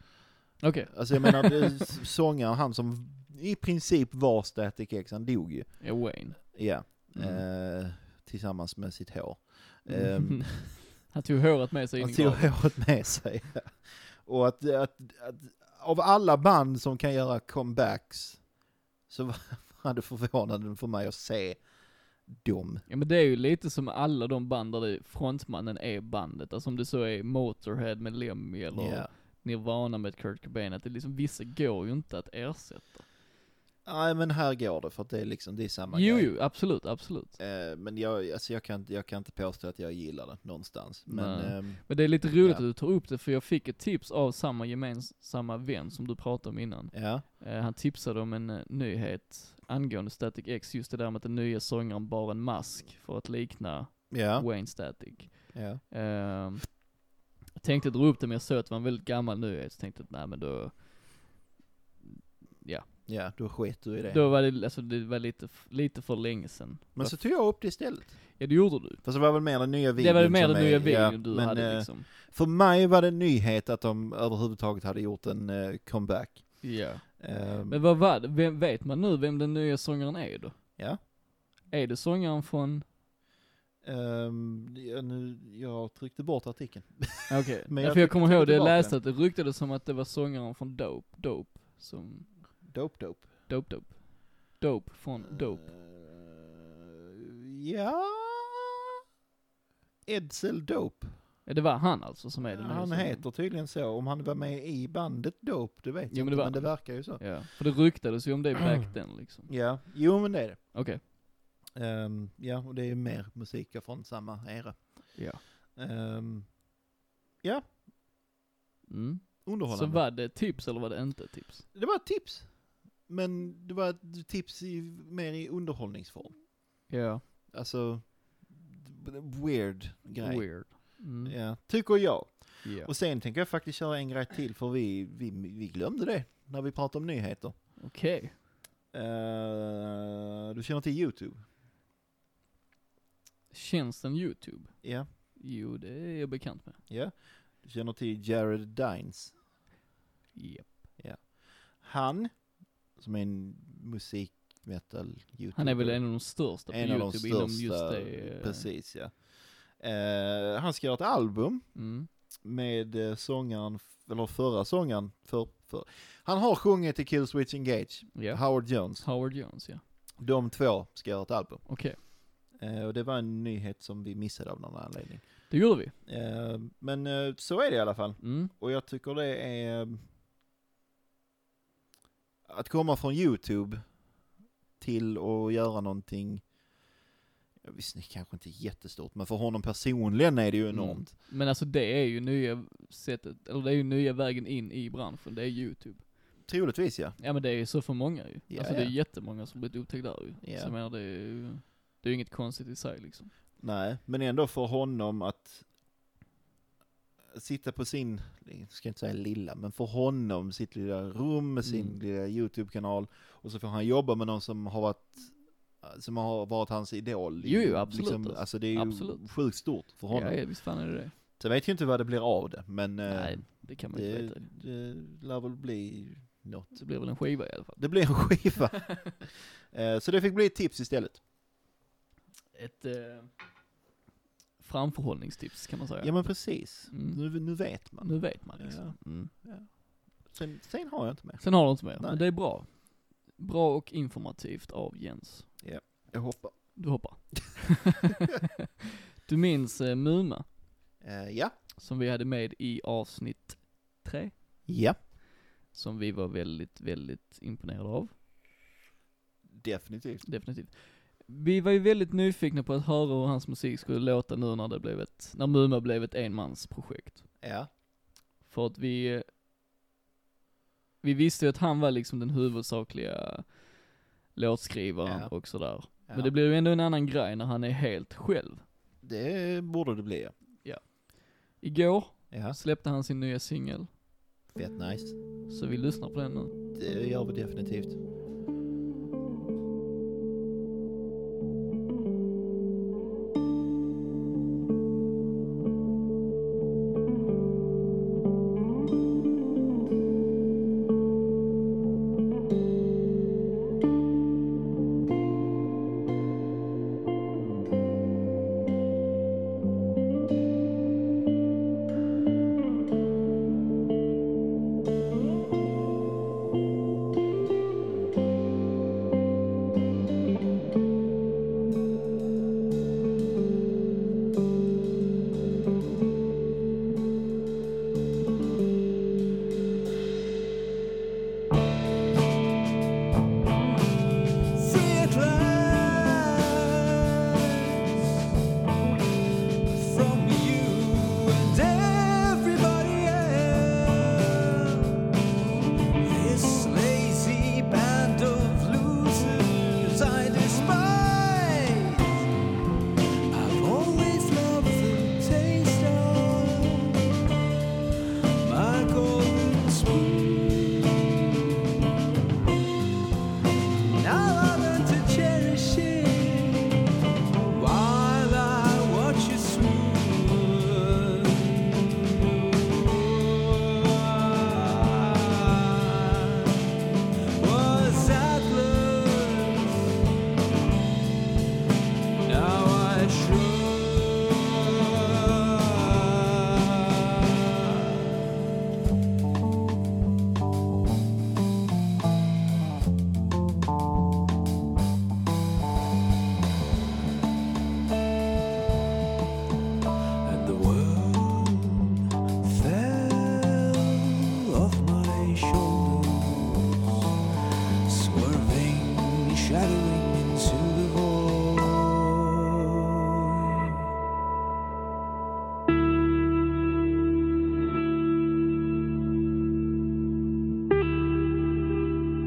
Speaker 1: Okej.
Speaker 2: Alltså jag menar, det- s- sångaren, han som i princip var Static X, han dog ju.
Speaker 1: Ja, Wayne.
Speaker 2: Ja.
Speaker 1: Mm.
Speaker 2: Eh, tillsammans med sitt hår. Ehm,
Speaker 1: Han tog håret med sig in
Speaker 2: Han
Speaker 1: i
Speaker 2: tog
Speaker 1: graven.
Speaker 2: håret med sig. Och att, att, att av alla band som kan göra comebacks så var var det förvånande för mig att se dem.
Speaker 1: Ja men det är ju lite som alla de band där det- frontmannen är bandet. Alltså om det så är Motorhead med Lemmy eller
Speaker 2: Ja.
Speaker 1: Nirvana med Kurt Cobain, att det liksom, vissa går ju inte att ersätta.
Speaker 2: Nej men här går det för att det är liksom, det är samma
Speaker 1: Jo,
Speaker 2: grej.
Speaker 1: jo, absolut, absolut.
Speaker 2: Eh, Men jag, alltså jag, kan, inte- jag kan inte påstå att jag gillar det någonstans. Men
Speaker 1: Nej.
Speaker 2: ehm,
Speaker 1: Men det är lite roligt
Speaker 2: Ja.
Speaker 1: att du tar upp det, för jag fick ett tips av samma gemensamma vän som du pratade om innan.
Speaker 2: ja,
Speaker 1: Eh, han tipsade om en eh, nyhet angående Static X, just det där med att den nya sångaren bar en mask för att likna
Speaker 2: ja,
Speaker 1: Wayne Static.
Speaker 2: ja.
Speaker 1: Ehm, jag tänkte dra upp det men jag såg att det var en väldigt gammal nyhet, så tänkte jag att nej men då,
Speaker 2: Ja, då sket du i det.
Speaker 1: då var det, alltså, det var lite, f- lite för länge sedan.
Speaker 2: men så tog jag upp det istället.
Speaker 1: Ja det gjorde du.
Speaker 2: Fast det var väl mer den nya videon
Speaker 1: Det var mer
Speaker 2: som
Speaker 1: den
Speaker 2: är-
Speaker 1: nya videon
Speaker 2: ja,
Speaker 1: du
Speaker 2: men,
Speaker 1: hade
Speaker 2: eh,
Speaker 1: liksom.
Speaker 2: För mig var det en nyhet att de överhuvudtaget hade gjort en eh, comeback.
Speaker 1: Ja.
Speaker 2: Ehm,
Speaker 1: Men vad var det, vem, vet man nu vem den nya sångaren är då?
Speaker 2: Ja.
Speaker 1: Är det sångaren från,
Speaker 2: ehm, ja, nu, jag tryckte bort artikeln.
Speaker 1: okej,
Speaker 2: Men
Speaker 1: ja,
Speaker 2: jag
Speaker 1: för jag
Speaker 2: fick
Speaker 1: kommer ihåg det, jag
Speaker 2: tillbaka.
Speaker 1: läste att det ryktades som att det var sångaren från Dope, Dope, som,
Speaker 2: Dope dope.
Speaker 1: Dope Dope. Dope från
Speaker 2: Eh.
Speaker 1: Dope.
Speaker 2: Ehm, ja... Edsel Dope.
Speaker 1: Ja, det var han alltså som är den nya
Speaker 2: han
Speaker 1: sångaren.
Speaker 2: heter tydligen så. Om han var med i bandet Dope, det vet
Speaker 1: Jo,
Speaker 2: jag
Speaker 1: men det
Speaker 2: inte,
Speaker 1: var
Speaker 2: men det
Speaker 1: han.
Speaker 2: verkar ju så.
Speaker 1: Ja, för det ryktades ju om det back then liksom.
Speaker 2: Ja, jo men det är det.
Speaker 1: Okej.
Speaker 2: Ehm, ja, och det är ju mer musik från samma era.
Speaker 1: Ja.
Speaker 2: Um,
Speaker 1: Mm. Så
Speaker 2: underhållande.
Speaker 1: var det ett tips eller var det inte ett tips?
Speaker 2: Det var ett tips. Men det var ett tips i, mer i underhållningsform.
Speaker 1: Ja.
Speaker 2: Alltså, d- weird grej.
Speaker 1: Weird. Mm. Ja.
Speaker 2: Ja, tycker jag. Och sen tänker jag faktiskt köra en grej till för vi, vi, vi glömde det när vi pratade om nyheter.
Speaker 1: Okej.
Speaker 2: Eh, du känner till YouTube?
Speaker 1: Tjänsten YouTube?
Speaker 2: Ja.
Speaker 1: Jo, det är jag bekant med.
Speaker 2: ja. Du känner till Jared Dines?
Speaker 1: Japp.
Speaker 2: Han, som är en musik metal youtuber
Speaker 1: Han är väl en av de största på
Speaker 2: en av
Speaker 1: YouTube
Speaker 2: de
Speaker 1: inom
Speaker 2: största,
Speaker 1: just det. eh,
Speaker 2: precis ja. Eh, han ska göra ett album
Speaker 1: Mm.
Speaker 2: med eh, sångaren, eller förra sångaren, för, för. han har sjungit i Killswitch Engage,
Speaker 1: Ja.
Speaker 2: Howard Jones.
Speaker 1: Howard Jones ja.
Speaker 2: De två ska göra ett album.
Speaker 1: Okej.
Speaker 2: Eh, och det var en nyhet som vi missade av någon anledning.
Speaker 1: Det gjorde vi.
Speaker 2: Eh, men eh, så är det i alla fall.
Speaker 1: Mm.
Speaker 2: Och jag tycker det är... eh, Att komma från YouTube till att göra någonting... ja, Visst, det kanske inte är jättestort, men för honom personligen är det ju enormt.
Speaker 1: Men alltså det är ju nya sättet, eller det är ju nya vägen in i branschen, det är YouTube.
Speaker 2: Troligtvis ja.
Speaker 1: Ja men det är ju så för många ju.
Speaker 2: Ja,
Speaker 1: alltså det är
Speaker 2: ja.
Speaker 1: jättemånga som blivit upptäckta där ju.
Speaker 2: Ja.
Speaker 1: Så jag menar det är ju, det är ju inget konstigt i sig liksom.
Speaker 2: Nej, men ändå för honom att sitta på sin, jag ska inte säga lilla, men för honom sitt lilla rum med sin
Speaker 1: Mm.
Speaker 2: lilla YouTube-kanal och så får han jobba med någon som har varit som har varit hans idol.
Speaker 1: Jo, jo, absolut, alltså.
Speaker 2: alltså det är ju
Speaker 1: Absolut.
Speaker 2: sjukt stort för honom.
Speaker 1: Ja, ja visst fan är det det.
Speaker 2: Sen vet jag inte vad det blir av det, men eh,
Speaker 1: Nej, det kan man ju inte
Speaker 2: det,
Speaker 1: veta.
Speaker 2: det lär väl bli något.
Speaker 1: Det blir väl en skiva i alla fall.
Speaker 2: Det blir en skiva. Eh, så det fick bli ett tips istället.
Speaker 1: Ett, eh, framförhållningstips kan man säga.
Speaker 2: Ja men precis.
Speaker 1: Mm.
Speaker 2: Nu, nu vet man.
Speaker 1: Nu vet man liksom. Mm.
Speaker 2: Sen, sen har jag inte mer.
Speaker 1: Sen har de inte mer,
Speaker 2: Nej.
Speaker 1: men det är bra. Bra och informativt av Jens.
Speaker 2: Jag hoppar.
Speaker 1: Du hoppar. du minns eh, Muma,
Speaker 2: Eh, ja.
Speaker 1: som vi hade med i avsnitt tre,
Speaker 2: Ja.
Speaker 1: som vi var väldigt, väldigt imponerade av.
Speaker 2: Definitivt.
Speaker 1: Definitivt. Vi var ju väldigt nyfikna på att höra hur hans musik skulle låta nu när det blev ett, när Muma blev ett enmansprojekt.
Speaker 2: Ja.
Speaker 1: För att vi, eh, vi visste ju att han var liksom den huvudsakliga låtskrivaren
Speaker 2: Ja.
Speaker 1: och sådär.
Speaker 2: ja.
Speaker 1: Men det blir ju ändå en annan grej när han är helt själv.
Speaker 2: det borde det bli ja.
Speaker 1: Igår
Speaker 2: Ja.
Speaker 1: släppte han sin nya singel,
Speaker 2: Fett nice.
Speaker 1: så vi lyssnar på den nu.
Speaker 2: Det gör vi definitivt.
Speaker 7: Now I learn to cherish it while I watch you swoon. Was atlas. Now I shrug. and the world fell off my shoulders, swerving, shadowing into the void.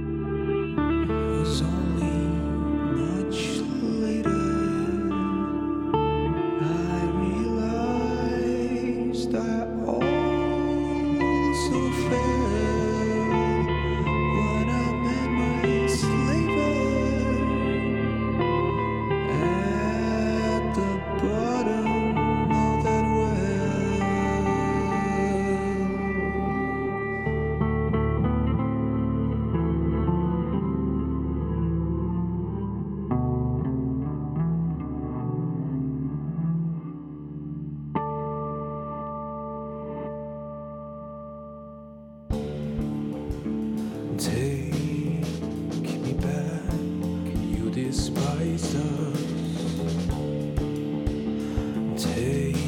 Speaker 7: It was only much later. I realized I also fell when I met my slaver at the bottom of that well. Take me back, you despise us. Take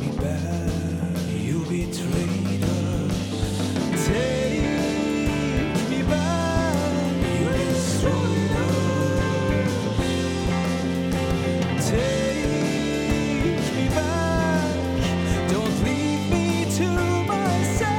Speaker 7: me back, you betrayed us. Take me back, you destroyed us. Take me back, don't leave me to myself. Take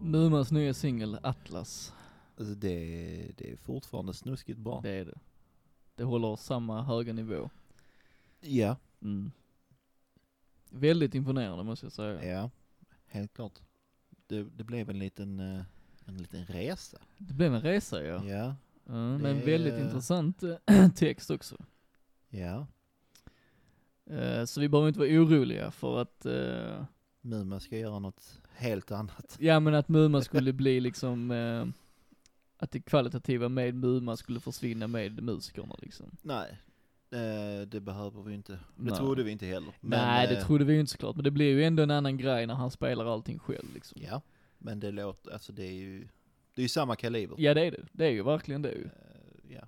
Speaker 1: Numans nya singel Atlas.
Speaker 2: Alltså det, det är fortfarande snuskigt bra.
Speaker 1: Det är det. Det håller samma höga nivå.
Speaker 2: Ja,
Speaker 1: Mm. Väldigt imponerande måste jag säga.
Speaker 2: ja. Helt klart. Det, det blev en liten, eh, en liten resa.
Speaker 1: Det blev en resa ja.
Speaker 2: Ja,
Speaker 1: Mm, men
Speaker 2: Det-
Speaker 1: väldigt intressant eh, text också.
Speaker 2: ja.
Speaker 1: Eh, så vi behöver inte vara oroliga för att, eh,
Speaker 2: Muma ska göra något helt annat.
Speaker 1: ja men att Muma skulle bli liksom, eh, att det kvalitativa med Muma skulle försvinna med musikerna liksom.
Speaker 2: Nej, eh, det behöver vi inte. Det
Speaker 1: Nej.
Speaker 2: trodde vi inte heller.
Speaker 1: Nej det
Speaker 2: eh,
Speaker 1: trodde vi ju inte såklart, men det blir ju ändå en annan grej när han spelar allting själv liksom.
Speaker 2: Ja, men det låter, alltså det är ju, det är ju samma kaliber.
Speaker 1: Ja det är det, det är ju verkligen det ju.
Speaker 2: Eh, ja.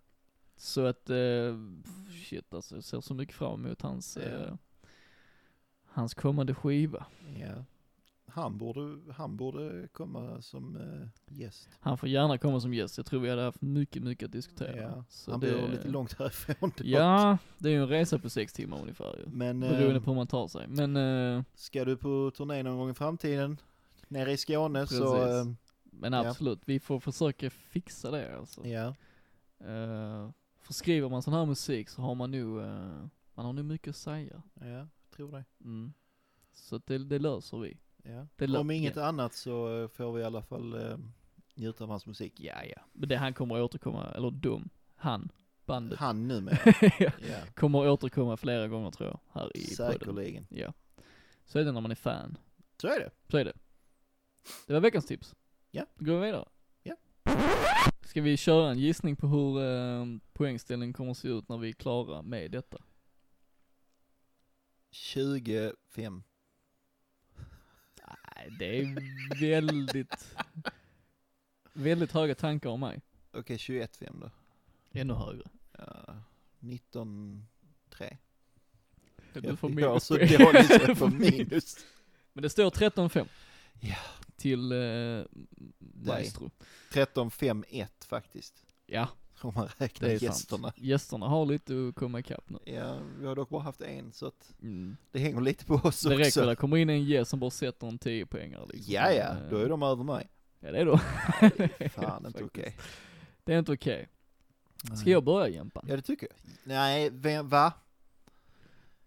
Speaker 1: Så att, eh, shit alltså, jag ser så mycket fram emot hans,
Speaker 2: Ja.
Speaker 1: eh, hans kommande skiva.
Speaker 2: Ja. Han borde, han borde komma som eh, gäst.
Speaker 1: Han får gärna komma som gäst, jag tror vi hade haft mycket, mycket att diskutera.
Speaker 2: Ja.
Speaker 1: Så
Speaker 2: han
Speaker 1: det-
Speaker 2: bor lite långt härifrån. då.
Speaker 1: Ja, det är ju en resa på sex timmar ungefär ju.
Speaker 2: Men
Speaker 1: Beroende
Speaker 2: eh,
Speaker 1: på hur man tar sig. Men eh,
Speaker 2: ska du på turné någon gång i framtiden, nere i Skåne så, eh,
Speaker 1: Precis. Men
Speaker 2: Ja.
Speaker 1: absolut, vi får försöka fixa det alltså.
Speaker 2: ja.
Speaker 1: Eh, för skriver man sån här musik så har man nog, eh, man har nog mycket att säga.
Speaker 2: ja, tror det.
Speaker 1: Mm. Så att det, det löser vi.
Speaker 2: Ja.
Speaker 1: Det lö-
Speaker 2: Om inget annat så eh, får vi i alla fall eh, njuta av hans musik.
Speaker 1: Ja, ja. Men det han kommer att återkomma, eller dum, han, bandet,
Speaker 2: Han nu med. ja.
Speaker 1: kommer att återkomma flera gånger tror jag, här i podden.
Speaker 2: Säkerligen.
Speaker 1: Ja. Så är det när man är fan.
Speaker 2: Så är det.
Speaker 1: Så är det. Det var veckans tips.
Speaker 2: Ja.
Speaker 1: Då går vi vidare.
Speaker 2: Ja.
Speaker 1: Ska vi köra en gissning på hur eh, poängställningen kommer att se ut när vi är klara med detta?
Speaker 2: 25.
Speaker 1: Nej, det är väldigt, väldigt höga tankar om mig.
Speaker 2: Okej, 21-5 då.
Speaker 1: Ännu högre.
Speaker 2: Ja. 19-3.
Speaker 1: Du får
Speaker 2: Jag har
Speaker 1: minus
Speaker 2: så
Speaker 1: poäng.
Speaker 2: dåligt så
Speaker 1: Du
Speaker 2: jag får minus.
Speaker 1: Men det står 13-5.
Speaker 2: Ja.
Speaker 1: Till eh, Maestro.
Speaker 2: 13-5-1 faktiskt.
Speaker 1: Ja,
Speaker 2: Om man räknar
Speaker 1: det är
Speaker 2: gästerna.
Speaker 1: sant. Gästerna har lite att komma ikapp nu.
Speaker 2: Ja, vi har dock bara haft en så att
Speaker 1: Mm.
Speaker 2: det hänger lite på oss
Speaker 1: Det räcker
Speaker 2: också.
Speaker 1: väl, det kommer in en gäst som bara sätter en 10 poängare liksom.
Speaker 2: Ja, ja,
Speaker 1: Men, eh,
Speaker 2: då är de över mig.
Speaker 1: Ja det är då.
Speaker 2: Fan, inte
Speaker 1: Eh, Faktiskt.
Speaker 2: okej.
Speaker 1: Det är inte okej. Ska jag börja Jempan?
Speaker 2: Ja, det tycker jag. Nej, vem, va?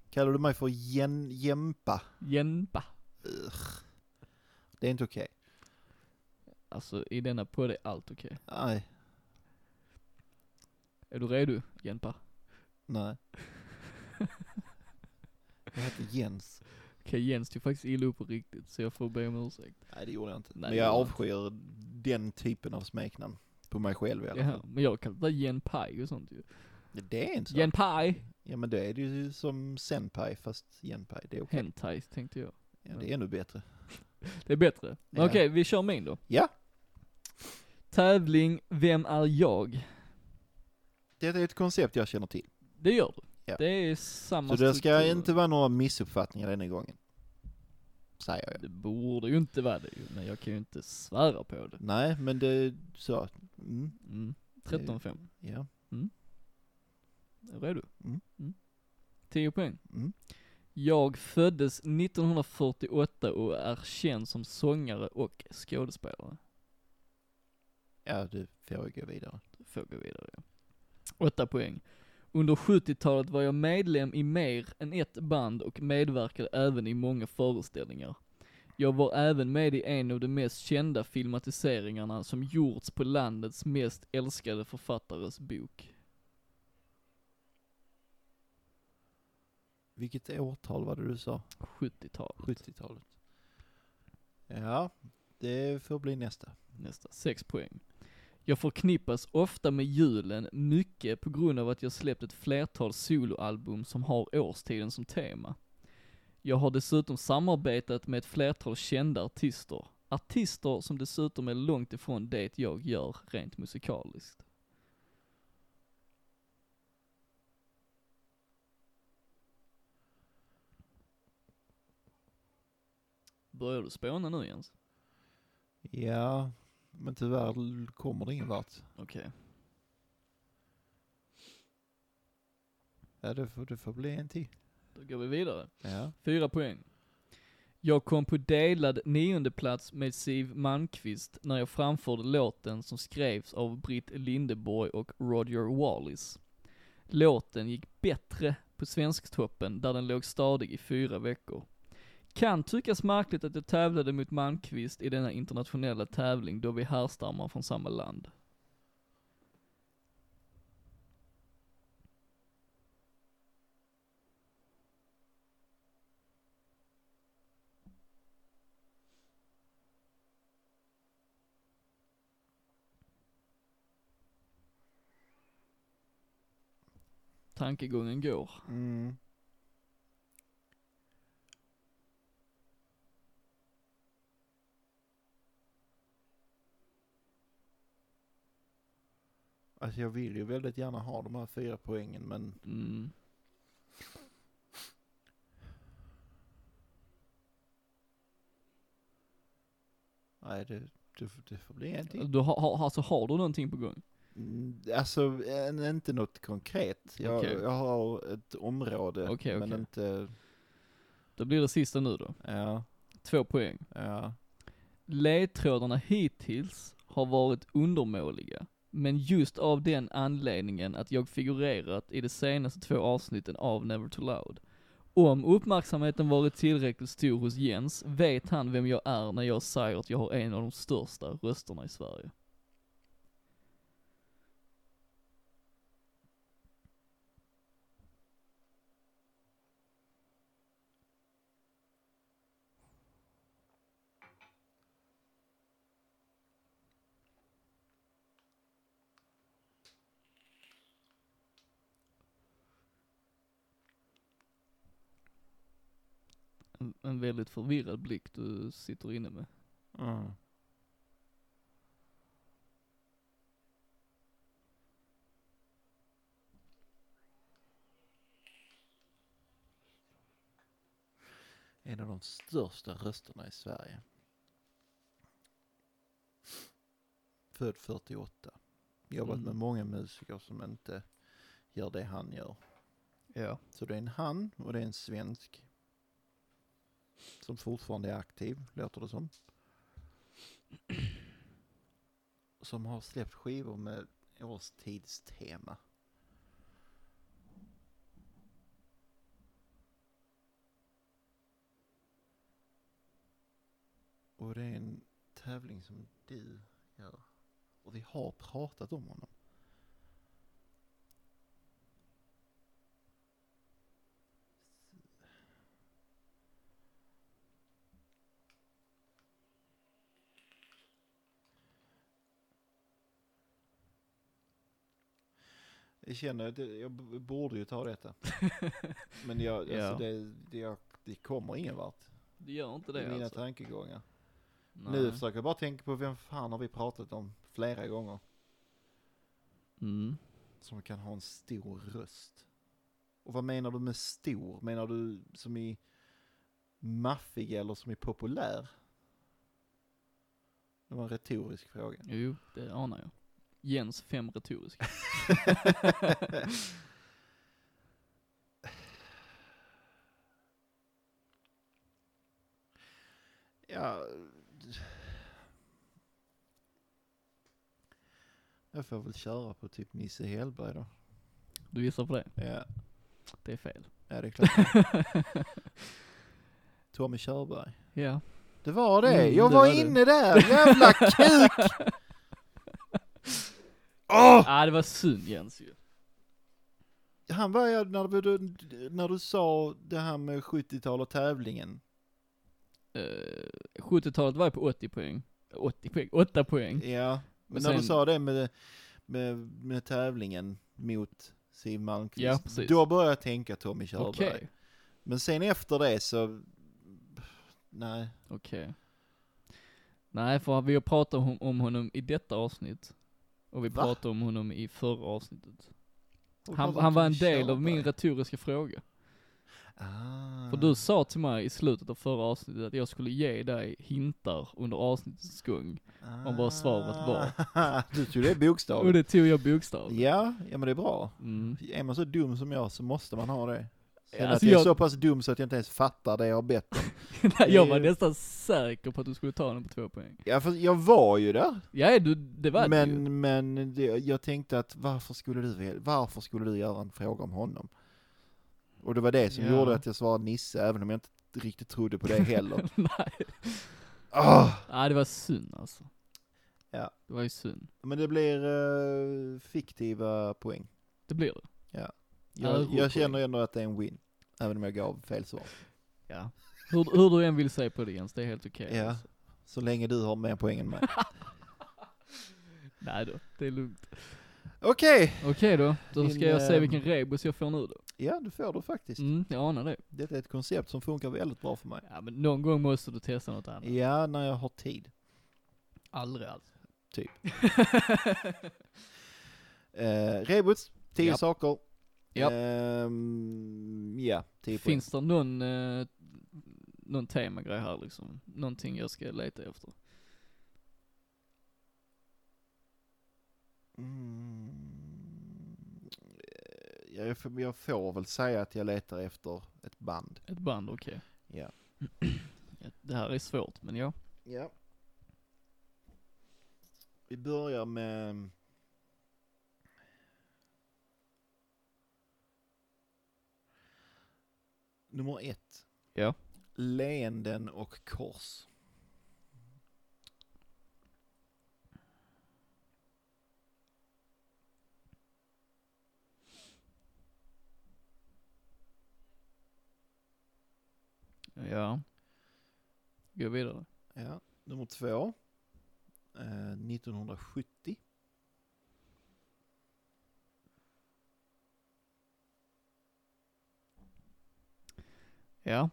Speaker 2: Kallar du mig för jen, jämpa?
Speaker 1: Jempa.
Speaker 2: Det är inte okej.
Speaker 1: Alltså i denna podd är allt okej.
Speaker 2: Nej,
Speaker 1: Är du redo Jempa?
Speaker 2: nej. Jag heter Jens.
Speaker 1: Okej Jens tog faktiskt illa upp på riktigt så jag får be om ursäkt.
Speaker 2: Nej, det gjorde jag inte.
Speaker 1: Nej,
Speaker 2: Men
Speaker 1: det
Speaker 2: jag
Speaker 1: gjorde jag
Speaker 2: avskyr den typen av smeknamn. På mig själv i alla
Speaker 1: Ja,
Speaker 2: fall.
Speaker 1: men jag kallar det Jenpaj och sånt ju.
Speaker 2: Det är inte så.
Speaker 1: Jenpaj!
Speaker 2: Ja, men då är det ju som senpai fast genpai. Det är okej.
Speaker 1: Hentai tänkte jag.
Speaker 2: Ja, det är ännu bättre.
Speaker 1: Det är bättre. Men
Speaker 2: Ja.
Speaker 1: Okej vi kör min då.
Speaker 2: Ja.
Speaker 1: Tävling Vem är jag?
Speaker 2: Det är ett koncept jag känner till.
Speaker 1: Det gör du.
Speaker 2: Ja.
Speaker 1: Det är samma
Speaker 2: Så det ska
Speaker 1: struktur.
Speaker 2: inte vara några missuppfattningar denna gången. Säger jag.
Speaker 1: Det borde ju inte vara det ju, men jag kan ju inte svära på det.
Speaker 2: Nej, men det, så. Mm,
Speaker 1: Mm. 13-5.
Speaker 2: ja.
Speaker 1: Är du redo?
Speaker 2: Mm.
Speaker 1: 10 poäng.
Speaker 2: Mm.
Speaker 1: Jag föddes 1948 och är känd som sångare och skådespelare.
Speaker 2: Ja, du får ju gå vidare.
Speaker 1: Får gå vidare. 8 poäng. Under 70-talet var jag medlem i mer än ett band och medverkade även i många föreställningar. Jag var även med i en av de mest kända filmatiseringarna som gjorts på landets mest älskade författares bok.
Speaker 2: Vilket årtal var det du sa?
Speaker 1: 70-talet.
Speaker 2: 70-talet. Ja, det får bli nästa.
Speaker 1: Nästa, 6 poäng. Jag förknippas ofta med julen, mycket på grund av att jag släppt ett flertal soloalbum som har årstiden som tema. Jag har dessutom samarbetat med ett flertal kända artister. Artister som dessutom är långt ifrån det jag gör rent musikaliskt. Börjar du spåna nu Jens?
Speaker 2: Ja, men tyvärr l- kommer det ingen vart.
Speaker 1: Okej.
Speaker 2: Ja, det får, det får bli en till.
Speaker 1: Då går vi vidare.
Speaker 2: Ja.
Speaker 1: Fyra poäng. Jag kom på delad nionde plats med Siv Malmkvist när jag framförde låten som skrevs av Britt Lindeborg och Roger Wallis. Låten gick bättre på Svensktoppen där den låg stadig i fyra veckor. Kan tyckas märkligt att jag tävlade mot Malmkvist i denna internationella tävling då vi härstammar från samma land. Tankegången går.
Speaker 2: Mm. Alltså jag vill ju väldigt gärna ha de här fyra poängen men
Speaker 1: Mm.
Speaker 2: nej det, det, får- det får bli en till.
Speaker 1: Du har, har, alltså har du någonting på gång?
Speaker 2: Mm, Alltså en, inte något konkret. Jag,
Speaker 1: Okej.
Speaker 2: jag har ett område
Speaker 1: Okej,
Speaker 2: men
Speaker 1: okej.
Speaker 2: inte,
Speaker 1: Då blir det sista nu då.
Speaker 2: ja,
Speaker 1: Två poäng.
Speaker 2: ja.
Speaker 1: Ledtrådarna hittills har varit undermåliga, men just av den anledningen att jag figurerat i de senaste två avsnitten av Never Too Loud. Om uppmärksamheten varit tillräckligt stor hos Jens vet han vem jag är när jag säger att jag har en av de största rösterna i Sverige. En, en väldigt förvirrad blick du sitter inne med.
Speaker 2: Mm. En av de största rösterna i Sverige. Född 48. Jobbat
Speaker 1: Mm.
Speaker 2: med många musiker som inte gör det han gör.
Speaker 1: Ja.
Speaker 2: Så det är en han och det är en svensk. Som fortfarande är aktiv, låter det som. Som har släppt skivor med årstidstema. Och det är en tävling som du gör. Och vi har pratat om honom. Jag känner att det- jag b- borde ju ta detta. Men jag, alltså
Speaker 1: Ja.
Speaker 2: det, det, jag, det kommer ingen vart.
Speaker 1: Det gör inte
Speaker 2: Det är
Speaker 1: det
Speaker 2: mina
Speaker 1: alltså.
Speaker 2: tankegångar. Nu
Speaker 1: Nej.
Speaker 2: försöker jag bara tänka på vem fan har vi pratat om flera gånger
Speaker 1: Mm.
Speaker 2: som kan ha en stor röst. Och vad menar du med stor? Menar du som i maffig eller som i populär? Det var en retorisk fråga.
Speaker 1: Jo, det anar jag. Jens fem retoriska.
Speaker 2: ja. Jag får väl köra på typ Nisse Hellberg då.
Speaker 1: Du gissar på det?
Speaker 2: Ja,
Speaker 1: Det är fel.
Speaker 2: ja det är klart. Tommy Körberg.
Speaker 1: Ja.
Speaker 2: Det var det.
Speaker 1: Mm,
Speaker 2: jag
Speaker 1: det
Speaker 2: var,
Speaker 1: var det.
Speaker 2: inne där. Jävla kuk! Åh!
Speaker 1: Ah, det var synd Jens ju.
Speaker 2: Han började när du, när du sa det här med 70-tal och tävlingen.
Speaker 1: Eh, 70-talet var jag på 80 poäng. 80 poäng, 8 poäng.
Speaker 2: Ja, men
Speaker 1: Och
Speaker 2: när du
Speaker 1: sen-
Speaker 2: sa det med, med, med tävlingen mot Siw Malmkvist.
Speaker 1: Ja, precis.
Speaker 2: då började jag tänka Tommy Körberg.
Speaker 1: Okej,
Speaker 2: Men sen efter det så... Nej.
Speaker 1: okej. Nej, för vi har pratat om, om honom i detta avsnitt. Och vi
Speaker 2: Va?
Speaker 1: pratade om honom i förra avsnitt. Han, han var en del av min
Speaker 2: Körberg.
Speaker 1: retoriska fråga.
Speaker 2: Ah.
Speaker 1: För du sa till mig i slutet av förra avsnittet att jag skulle ge dig hintar under avsnittets gång. om vad svaret var.
Speaker 2: Ah. Du tog det
Speaker 1: Och
Speaker 2: bokstavligt.
Speaker 1: det tog jag bokstavligt.
Speaker 2: Ja, ja men det är bra.
Speaker 1: Mm.
Speaker 2: Är man så dum som jag så måste man ha det. Sen
Speaker 1: Alltså
Speaker 2: att jag är
Speaker 1: jag-
Speaker 2: så pass dum så att jag inte ens fattar det jag har bett om.
Speaker 1: Nej, jag var
Speaker 2: Det är Eh. ju-
Speaker 1: nästan säker på att du skulle ta den på två poäng.
Speaker 2: Ja, för jag var ju där,
Speaker 1: Ja, du, det var det ju.
Speaker 2: men, men det, jag tänkte att varför skulle, du, varför skulle du göra en fråga om honom? Och det var det som
Speaker 1: Ja.
Speaker 2: gjorde att jag svarade Nisse, även om jag inte riktigt trodde på det heller.
Speaker 1: Nej.
Speaker 2: Ah!
Speaker 1: Nej, det var synd alltså.
Speaker 2: Ja.
Speaker 1: Det var ju synd.
Speaker 2: Men det blir eh, fiktiva poäng.
Speaker 1: Det blir det. Ja,
Speaker 2: Jag,
Speaker 1: god
Speaker 2: jag känner ändå att det är en win, även om jag gav fel svar.
Speaker 1: Ja. Hur, hur du än vill säga på det Jens, det är helt okej.
Speaker 2: Ja.
Speaker 1: alltså.
Speaker 2: Så länge du har mer poäng än mig.
Speaker 1: Nej då, det är lugnt.
Speaker 2: Okej!
Speaker 1: Okej då, då ska
Speaker 2: Din,
Speaker 1: jag se
Speaker 2: ehm,
Speaker 1: vilken rebus jag får nu då.
Speaker 2: Ja, det får du faktiskt.
Speaker 1: Mm, jag anar det.
Speaker 2: Detta är ett koncept som funkar väldigt bra för mig.
Speaker 1: Ja men någon gång måste du testa något annat.
Speaker 2: Ja, när jag har tid.
Speaker 1: Aldrig alltså. alls.
Speaker 2: Typ. Eh, Rebus, tio
Speaker 1: Japp.
Speaker 2: saker.
Speaker 1: Japp.
Speaker 2: Ehm, ja, tio poäng.
Speaker 1: Finns det någon, eh, någon temagrej här liksom? Någonting jag ska leta efter?
Speaker 2: Mm. Eh, Jag, får- jag får väl säga att jag letar efter ett band.
Speaker 1: Ett band, okej.
Speaker 2: Ja.
Speaker 1: Ja, Det här är svårt, men ja.
Speaker 2: Ja. Vi börjar med... Nummer ett.
Speaker 1: Ja.
Speaker 2: Leenden och kors.
Speaker 1: Ja. Gå vidare.
Speaker 2: Ja. Nummer två. Eh, 1970.
Speaker 1: Ja.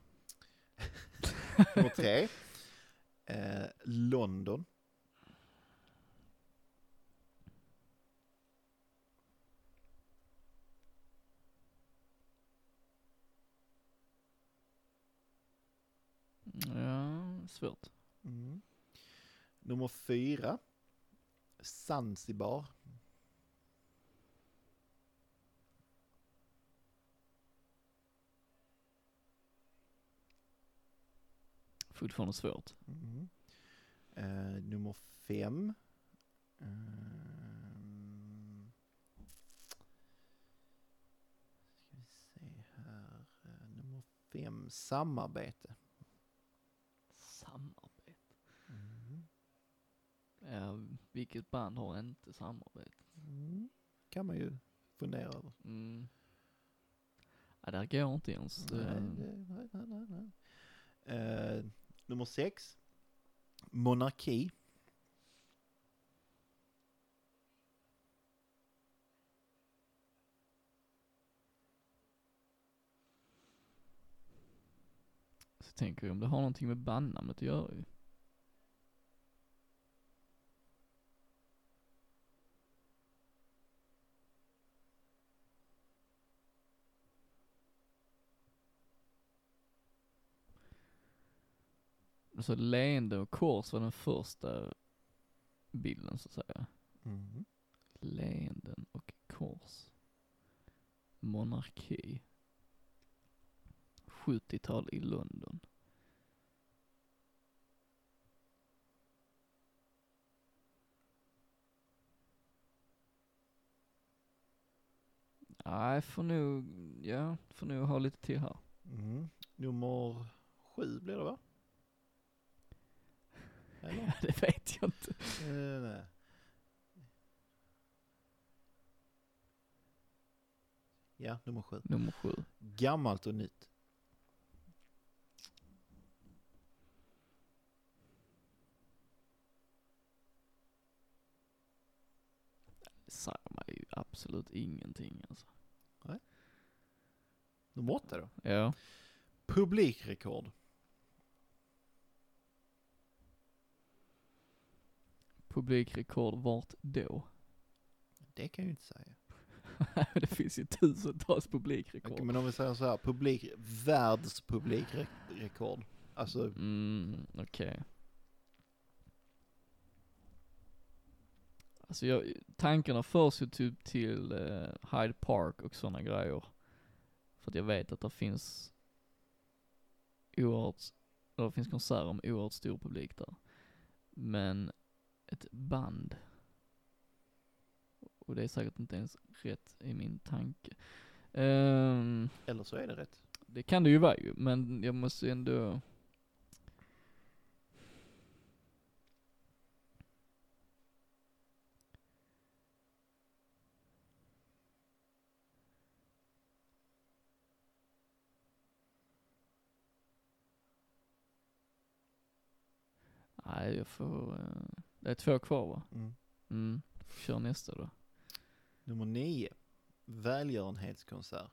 Speaker 2: Nummer tre. Eh, London.
Speaker 1: Ja, svårt.
Speaker 2: Mm. Nummer fyra. Zanzibar.
Speaker 1: Fortfarande svårt.
Speaker 2: Mm. Eh, nummer fem. Eh, ska vi se här. Eh, nummer fem, samarbete.
Speaker 1: Samarbete. Ja, vilket band har inte samarbete?
Speaker 2: Mm. Kan man ju fundera över.
Speaker 1: Mm. Ja, det här går inte ens.
Speaker 2: Nej,
Speaker 1: Eh,
Speaker 2: det- nej, nej, nej, nej. Eh, nummer sex. Monarki.
Speaker 1: Så tänker jag om det har någonting med bandnamnet att göra ju. Så Alltså leende och kors var den första bilden så att säga.
Speaker 2: Mm.
Speaker 1: Leenden och kors. Monarki. 70-tal i London. Nej, får nog, ja, får nog ha lite till här.
Speaker 2: Mm. Nummer sju blir det va? Eller?
Speaker 1: det vet jag inte.
Speaker 2: Nej, nej, nej. Ja, nummer sju.
Speaker 1: Nummer sju.
Speaker 2: Gammalt och nytt.
Speaker 1: Säger mig ju absolut ingenting alltså.
Speaker 2: Nummer åtta då.
Speaker 1: Ja.
Speaker 2: Publikrekord.
Speaker 1: Publikrekord vart då?
Speaker 2: Det kan jag ju inte säga.
Speaker 1: det finns ju tusentals publikrekord.
Speaker 2: Men om vi säger så här, publik, världspublikrekord. Alltså,
Speaker 1: Mm, okej. Alltså jag, tankarna förs ju typ till eh, Hyde Park och sådana grejer. För att jag vet att det finns oerhört, det finns konserter med oerhört stor publik där. Men ett band. Och det är säkert inte ens rätt i min tanke. Ehm,
Speaker 2: Eller så är det rätt.
Speaker 1: det kan det ju vara ju, men jag måste ju ändå... Nej, jag får... eh, Det är två kvar va?
Speaker 2: Mm.
Speaker 1: Mm. Kör nästa då.
Speaker 2: Nummer nio. Välgörenhetskonsert.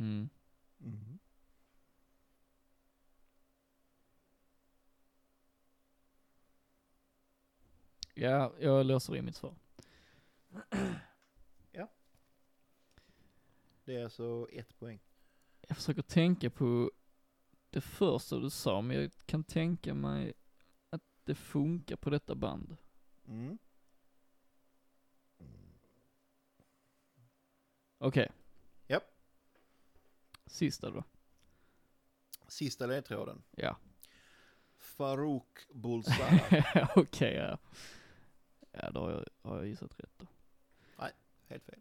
Speaker 1: Mm.
Speaker 2: Mm.
Speaker 1: Ja, jag låser in mitt svar.
Speaker 2: Det är alltså ett poäng.
Speaker 1: Jag försöker tänka på det första du sa, men jag kan tänka mig att det funkar på detta band.
Speaker 2: Mm.
Speaker 1: Okej.
Speaker 2: Japp.
Speaker 1: Sista då.
Speaker 2: Sista ledtråden.
Speaker 1: Ja.
Speaker 2: Farouk Bulsara.
Speaker 1: Okej, ja. Ja, då har jag, har jag gissat rätt då.
Speaker 2: Helt fel.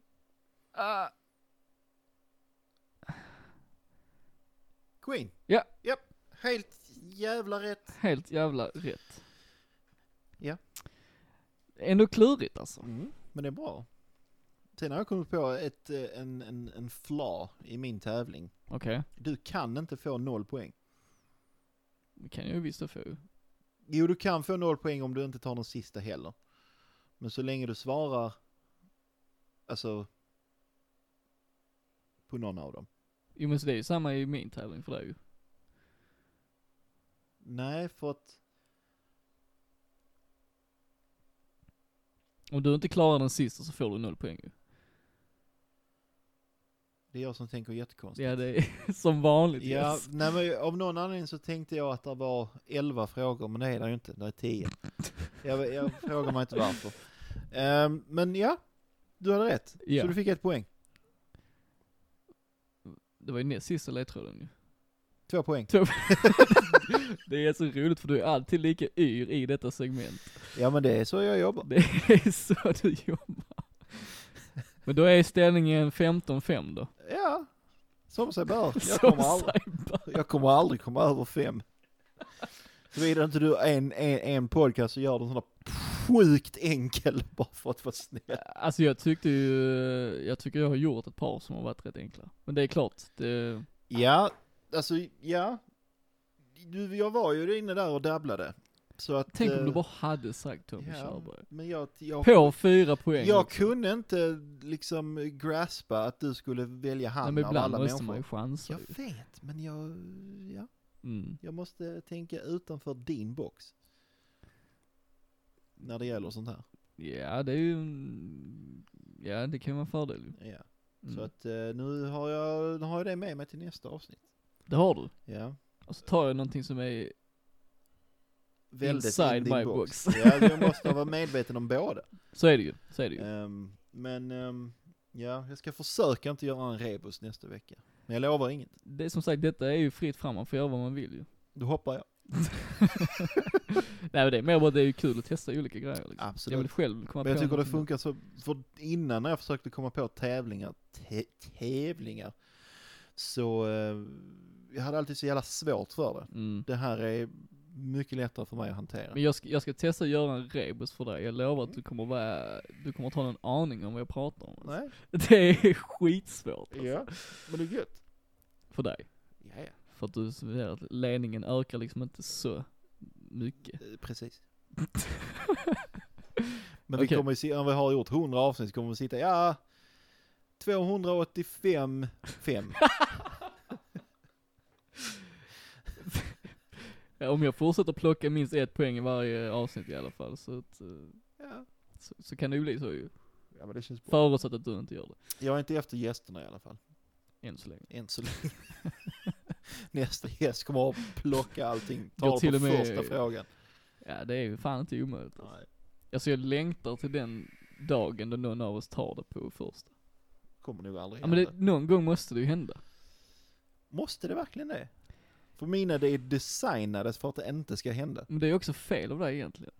Speaker 2: Ah. Queen.
Speaker 1: Ja.
Speaker 2: Japp. Helt jävla rätt.
Speaker 1: Helt jävla rätt.
Speaker 2: Ja.
Speaker 1: Ändå klurigt alltså.
Speaker 2: Mm, men det är bra. Sen har jag kommit på ett, eh, en, en, en flaw i min tävling.
Speaker 1: Okej,
Speaker 2: Du kan inte få noll poäng.
Speaker 1: det kan jag ju visst få. ju.
Speaker 2: Jo, du kan få noll poäng om du inte tar den sista heller. Men så länge du svarar, alltså, på någon av dem.
Speaker 1: Jo men så det är ju samma i min tävling för dig ju.
Speaker 2: Nej, för att,
Speaker 1: Om du inte klarar den sista så får du noll poäng ju.
Speaker 2: det är jag som tänker jättekonstigt.
Speaker 1: Ja det är som vanligt
Speaker 2: Ja,
Speaker 1: yes.
Speaker 2: nej men av någon anledning så tänkte jag att det var 11 frågor, men det är det ju inte, det är 10. Jag, jag frågar mig inte varför. Ehm, men ja, du hade rätt.
Speaker 1: Ja.
Speaker 2: Så du fick ett poäng.
Speaker 1: Det var ju näst sista ledtråden ju.
Speaker 2: Två poäng.
Speaker 1: Det är så roligt för du är alltid lika yr i detta segment.
Speaker 2: Ja men det är så jag jobbar.
Speaker 1: Det är så du jobbar. Men då är ställningen 15-5 då.
Speaker 2: Ja, som sig bör. Jag
Speaker 1: Så
Speaker 2: kommer aldrig,
Speaker 1: sajbar.
Speaker 2: jag kommer aldrig komma över fem. Såvida inte du är en, en, en podcast och gör den sån där sjukt enkel bara för att vara snäll.
Speaker 1: Alltså jag tyckte ju, jag tycker jag har gjort ett par som har varit rätt enkla. Men det är klart, det,
Speaker 2: Ja, alltså ja. Du, jag var ju inne där och dabblade. Så att,
Speaker 1: tänk om
Speaker 2: eh,
Speaker 1: du bara hade sagt Tommy
Speaker 2: ja,
Speaker 1: Körberg.
Speaker 2: Men jag, jag,
Speaker 1: På fyra poäng.
Speaker 2: jag
Speaker 1: också.
Speaker 2: kunde inte liksom graspa att du skulle välja
Speaker 1: Nej,
Speaker 2: han
Speaker 1: men
Speaker 2: av
Speaker 1: ibland
Speaker 2: alla
Speaker 1: måste man ju
Speaker 2: människor.
Speaker 1: chansa
Speaker 2: Jag
Speaker 1: ju.
Speaker 2: vet, men jag, ja,
Speaker 1: Mm.
Speaker 2: jag måste tänka utanför din box. När det gäller sånt här.
Speaker 1: Ja det är ju, en- ja det kan vara en fördel ju.
Speaker 2: Ja. Så
Speaker 1: Mm.
Speaker 2: att eh, nu har jag, nu har jag det med mig till nästa avsnitt.
Speaker 1: Det har du.
Speaker 2: Ja.
Speaker 1: Och så tar jag någonting som är
Speaker 2: Väldigt
Speaker 1: Inside
Speaker 2: in din
Speaker 1: my
Speaker 2: box.
Speaker 1: box.
Speaker 2: ja, jag måste vara medveten om båda.
Speaker 1: Så är det ju, så är det ju.
Speaker 2: Ehm, men ehm, ja, jag ska försöka inte göra en rebus nästa vecka. Men jag lovar inget.
Speaker 1: Det är som sagt, detta är ju fritt fram, man får göra vad man vill ju.
Speaker 2: Då hoppar jag.
Speaker 1: Nej men det är mer bara att det är ju kul att testa olika grejer liksom. Jag vill
Speaker 2: Absolut.
Speaker 1: själv komma
Speaker 2: Men jag
Speaker 1: på
Speaker 2: tycker
Speaker 1: någonting.
Speaker 2: det funkar så, för innan när jag försökte komma på tävlingar, tä- tävlingar, så eh, jag hade alltid så jävla svårt för det.
Speaker 1: Mm.
Speaker 2: Det här är mycket lättare för mig att hantera.
Speaker 1: Men jag ska, jag ska testa att göra en rebus för dig, jag lovar att du kommer vara, du kommer inte ha någon aning om vad jag pratar om. alltså.
Speaker 2: Nej,
Speaker 1: Det är skitsvårt
Speaker 2: ja, men det är gött.
Speaker 1: för dig.
Speaker 2: Ja, ja.
Speaker 1: För att du ser att ledningen ökar liksom inte så mycket.
Speaker 2: Eh, Precis. Men vi
Speaker 1: Okej.
Speaker 2: kommer ju se, när vi har gjort 100 avsnitt så kommer vi sitta, ja, 285, 5.
Speaker 1: Ja, Om jag fortsätter plocka minst ett poäng i varje avsnitt i alla fall så, att, eh,
Speaker 2: Ja.
Speaker 1: så, så kan det ju bli så ju.
Speaker 2: ja, men det känns bra.
Speaker 1: Förutsatt att du inte gör det,
Speaker 2: Jag är inte efter gästerna i alla fall.
Speaker 1: än så länge.
Speaker 2: Än så länge. Nästa gäst kommer att plocka allting,
Speaker 1: Går
Speaker 2: ta det
Speaker 1: till
Speaker 2: på
Speaker 1: och med-
Speaker 2: första frågan.
Speaker 1: Ja det är ju fan inte omöjligt. Alltså.
Speaker 2: Nej.
Speaker 1: Alltså jag längtar till den dagen då någon av oss tar det på första.
Speaker 2: Kommer nog aldrig
Speaker 1: Ja men det,
Speaker 2: hända.
Speaker 1: någon gång måste det ju hända.
Speaker 2: Måste det verkligen det? För mina det är designades för att det inte ska hända.
Speaker 1: Men det är också fel av dig egentligen.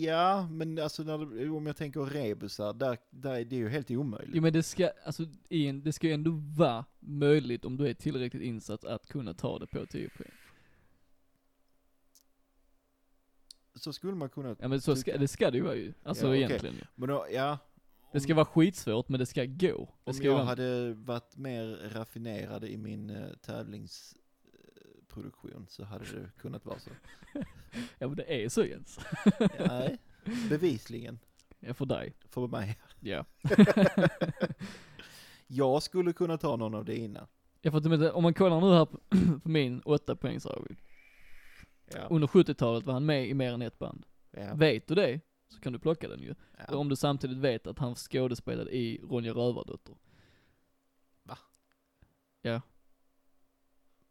Speaker 2: Ja, men alltså när det, om jag tänker rebusar, där, där är det ju helt omöjligt.
Speaker 1: Jo men det ska, alltså i en, det ska ju ändå vara möjligt om du är tillräckligt insatt att kunna ta det på typ 10 poäng.
Speaker 2: Så skulle man kunna,
Speaker 1: Ja men så ska, det ska det ju vara ju. Alltså
Speaker 2: Typ. Ja, okej.
Speaker 1: egentligen ju.
Speaker 2: men då, ja,
Speaker 1: Det ska vara skitsvårt men det ska gå. Det
Speaker 2: om
Speaker 1: ska ju
Speaker 2: jag
Speaker 1: vara,
Speaker 2: hade varit mer raffinerad i min eh, tävlingsproduktion så hade det kunnat vara så.
Speaker 1: ja men det är så Jens.
Speaker 2: Nej, bevisligen.
Speaker 1: Ja för dig.
Speaker 2: För mig.
Speaker 1: Ja.
Speaker 2: Jag skulle kunna ta någon av dina.
Speaker 1: Ja för att, men, om man kollar nu här på, på min 8 poängs Arvid.
Speaker 2: Ja.
Speaker 1: Under 70-talet var han med i mer än ett band.
Speaker 2: Ja.
Speaker 1: Vet du det, så kan du plocka den ju.
Speaker 2: Ja.
Speaker 1: Om du samtidigt vet att han skådespelade i Ronja Rövardotter.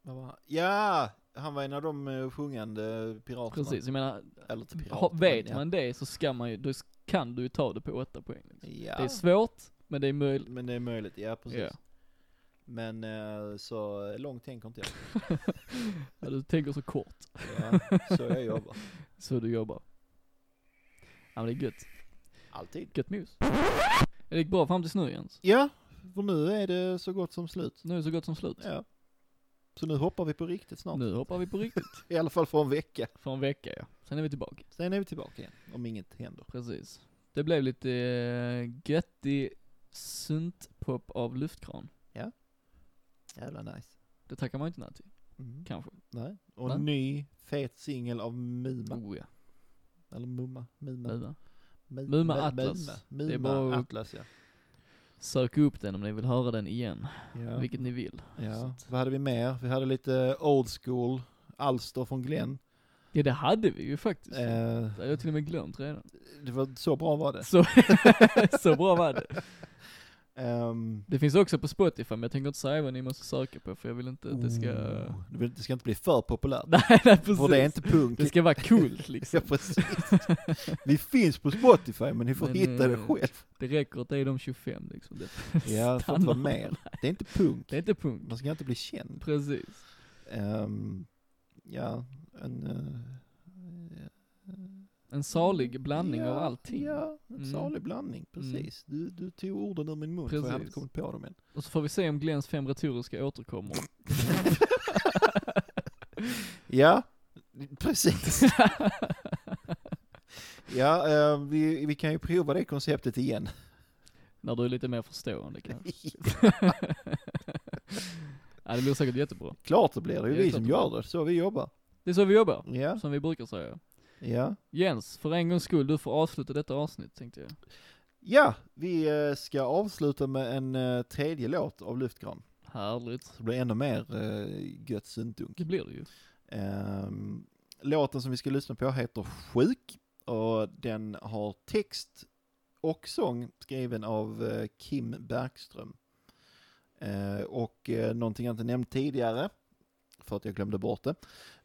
Speaker 2: Vad var han? Ja, han var en av de eh, sjungande piraterna.
Speaker 1: Precis, jag menar,
Speaker 2: Eller inte pirater.
Speaker 1: ha, vet
Speaker 2: men Typ ja.
Speaker 1: man det så ska man ju, då s- kan du ju ta det på 8 poäng. Liksom.
Speaker 2: Ja,
Speaker 1: Det är svårt, men det är möjligt.
Speaker 2: men det är möjligt. Ja, precis.
Speaker 1: Ja.
Speaker 2: Men eh, så långt tänker inte jag.
Speaker 1: Ja, du tänker så kort,
Speaker 2: Ja, så jag jobbar.
Speaker 1: så du jobbar. Ja men det är gött.
Speaker 2: Alltid.
Speaker 1: Gött mus. Det gick bra fram tills nu Jens.
Speaker 2: Ja, för nu är det så gott som slut.
Speaker 1: Nu är det så gott som slut.
Speaker 2: Ja. Så nu hoppar vi på riktigt snart.
Speaker 1: Nu hoppar vi på riktigt.
Speaker 2: I alla fall för en vecka.
Speaker 1: För en vecka ja. Sen är vi tillbaka.
Speaker 2: Sen är vi tillbaka igen, om inget händer.
Speaker 1: Precis. Det blev lite eh, göttig syntpop av luftkran.
Speaker 2: Jävla nice.
Speaker 1: Det tackar man ju inte nej till,
Speaker 2: Mm.
Speaker 1: kanske.
Speaker 2: Nej. Och
Speaker 1: Nej.
Speaker 2: ny fet singel av Muma.
Speaker 1: Oh ja,
Speaker 2: Eller Mumma. Muma.
Speaker 1: Luna.
Speaker 2: Mu-
Speaker 1: Muma
Speaker 2: Mu-
Speaker 1: Atlas.
Speaker 2: Muma,
Speaker 1: Det är
Speaker 2: Muma
Speaker 1: bara-
Speaker 2: Atlas ja.
Speaker 1: Sök upp den om ni vill höra den igen,
Speaker 2: ja.
Speaker 1: vilket ni vill. Så
Speaker 2: ja.
Speaker 1: att-
Speaker 2: Vad hade vi mer? Vi hade lite old school, Alster från Glenn.
Speaker 1: Ja det hade vi ju faktiskt.
Speaker 2: Eh,
Speaker 1: Det hade jag till och med glömt redan.
Speaker 2: det var, så bra var det.
Speaker 1: Så, så bra var det.
Speaker 2: Ehm,
Speaker 1: Det finns också på Spotify, men jag tänker inte säga vad ni måste söka på för jag vill inte att det ska...
Speaker 2: oh, det vill- det ska inte bli för populärt.
Speaker 1: Nej, nej precis.
Speaker 2: För det är Oh. inte punk.
Speaker 1: Det ska vara kult liksom.
Speaker 2: Ja, precis. Vi finns på Spotify men ni får
Speaker 1: Men,
Speaker 2: hitta det
Speaker 1: eh,
Speaker 2: själv.
Speaker 1: Det räcker att det är de 25 liksom. Det
Speaker 2: Ja, får inte vara mer. Det är inte punk.
Speaker 1: Det är inte punk.
Speaker 2: Man ska inte bli känd.
Speaker 1: Precis.
Speaker 2: Ehm, ja, en... eh,
Speaker 1: En salig blandning
Speaker 2: Mm. ja,
Speaker 1: av allting.
Speaker 2: Ja, en
Speaker 1: Mm.
Speaker 2: salig blandning. Precis. Du, du tog orden ur min mun för jag hade
Speaker 1: Precis.
Speaker 2: inte kommit på dem än.
Speaker 1: Och så får vi se om Glens fem retoriska återkommer.
Speaker 2: Ja, precis. ja, eh, vi, vi kan ju prova det konceptet igen.
Speaker 1: När du är lite mer förstående kanske. ja det blir säkert jättebra.
Speaker 2: Klart det blir, det är ju
Speaker 1: Det är
Speaker 2: vi
Speaker 1: klart
Speaker 2: som
Speaker 1: det
Speaker 2: gör det. Så vi jobbar.
Speaker 1: Det är så vi jobbar,
Speaker 2: Ja,
Speaker 1: som vi brukar säga.
Speaker 2: ja.
Speaker 1: Jens, för en gångs skull, du får avsluta detta avsnitt tänkte jag.
Speaker 2: Ja, vi eh, ska avsluta med en eh, tredje låt av Luftgran.
Speaker 1: Härligt.
Speaker 2: Så det blir ännu mer eh, gött syntdunk.
Speaker 1: Det blir det ju.
Speaker 2: Ehm, låten som vi ska lyssna på heter Sjuk och den har text och sång skriven av eh, Kim Bergström. Eh, och eh, någonting jag inte nämnt tidigare, för att jag glömde bort det,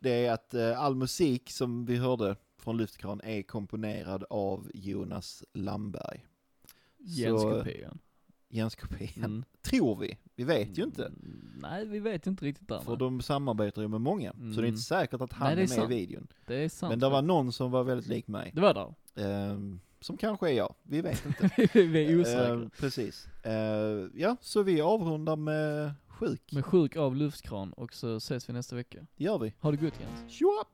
Speaker 2: det är att eh, all musik som vi hörde från Lyftkran är komponerad av Jonas Lamberg.
Speaker 1: Jens
Speaker 2: Så-
Speaker 1: kopian.
Speaker 2: Jens Kopén,
Speaker 1: Mm.
Speaker 2: tror vi. Vi vet ju inte.
Speaker 1: Mm, Nej, vi vet inte riktigt där.
Speaker 2: För
Speaker 1: nej.
Speaker 2: de samarbetar ju med många, så det är
Speaker 1: Mm.
Speaker 2: inte säkert att han
Speaker 1: Nej, det är
Speaker 2: är, med
Speaker 1: sant.
Speaker 2: i videon.
Speaker 1: Det är sant.
Speaker 2: Men det var någon som var väldigt lik mig.
Speaker 1: Det var där.
Speaker 2: Ehm, som kanske är jag, vi vet inte.
Speaker 1: vi är
Speaker 2: Ehm,
Speaker 1: osäkra.
Speaker 2: precis. Ehm, ja, så vi avrundar med sjuk.
Speaker 1: Men sjuk av luftkran och så ses vi nästa vecka.
Speaker 2: Det gör vi.
Speaker 1: Ha det gott Jens.
Speaker 2: Tjoa!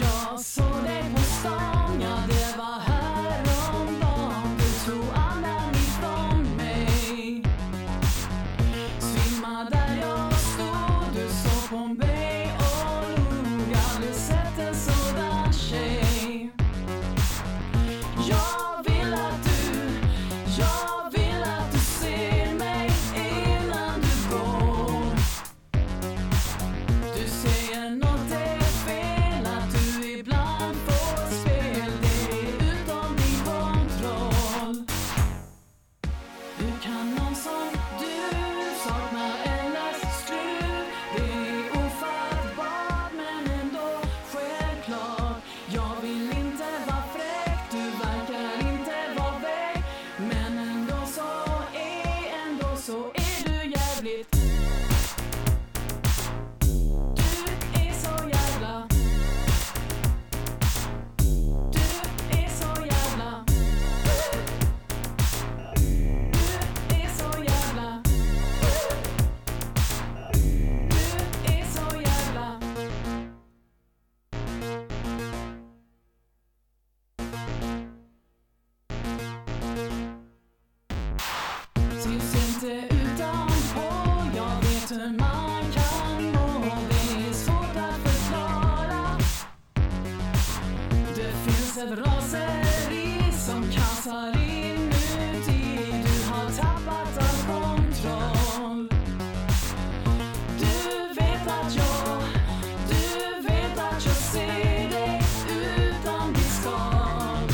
Speaker 6: Jag såg dig på stan, ja det var häromdagen Du tog andan ifrån mig Svimma där jag stod, du såg på mig och log Aldrig sett en sådan tjej Jag vill att du, jag vill finns ett raseri som kasar inuti. Du har tappat all kontroll. Du vet att jag, du vet att jag ser dig utan ditt skal.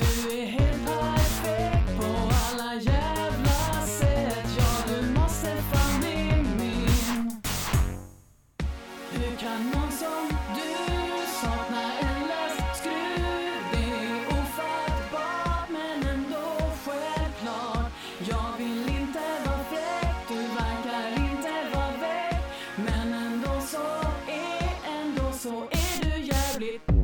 Speaker 6: Du är helt perfekt på alla jävla sätt. Ja, du måste fram i min. Hur kan någon som du sakna en lös skruv? Det är ofattbart men ändå självklart. Jag vill inte vara fräck, du verkar inte vara väck. Men ändå så är, ändå så är du jävligt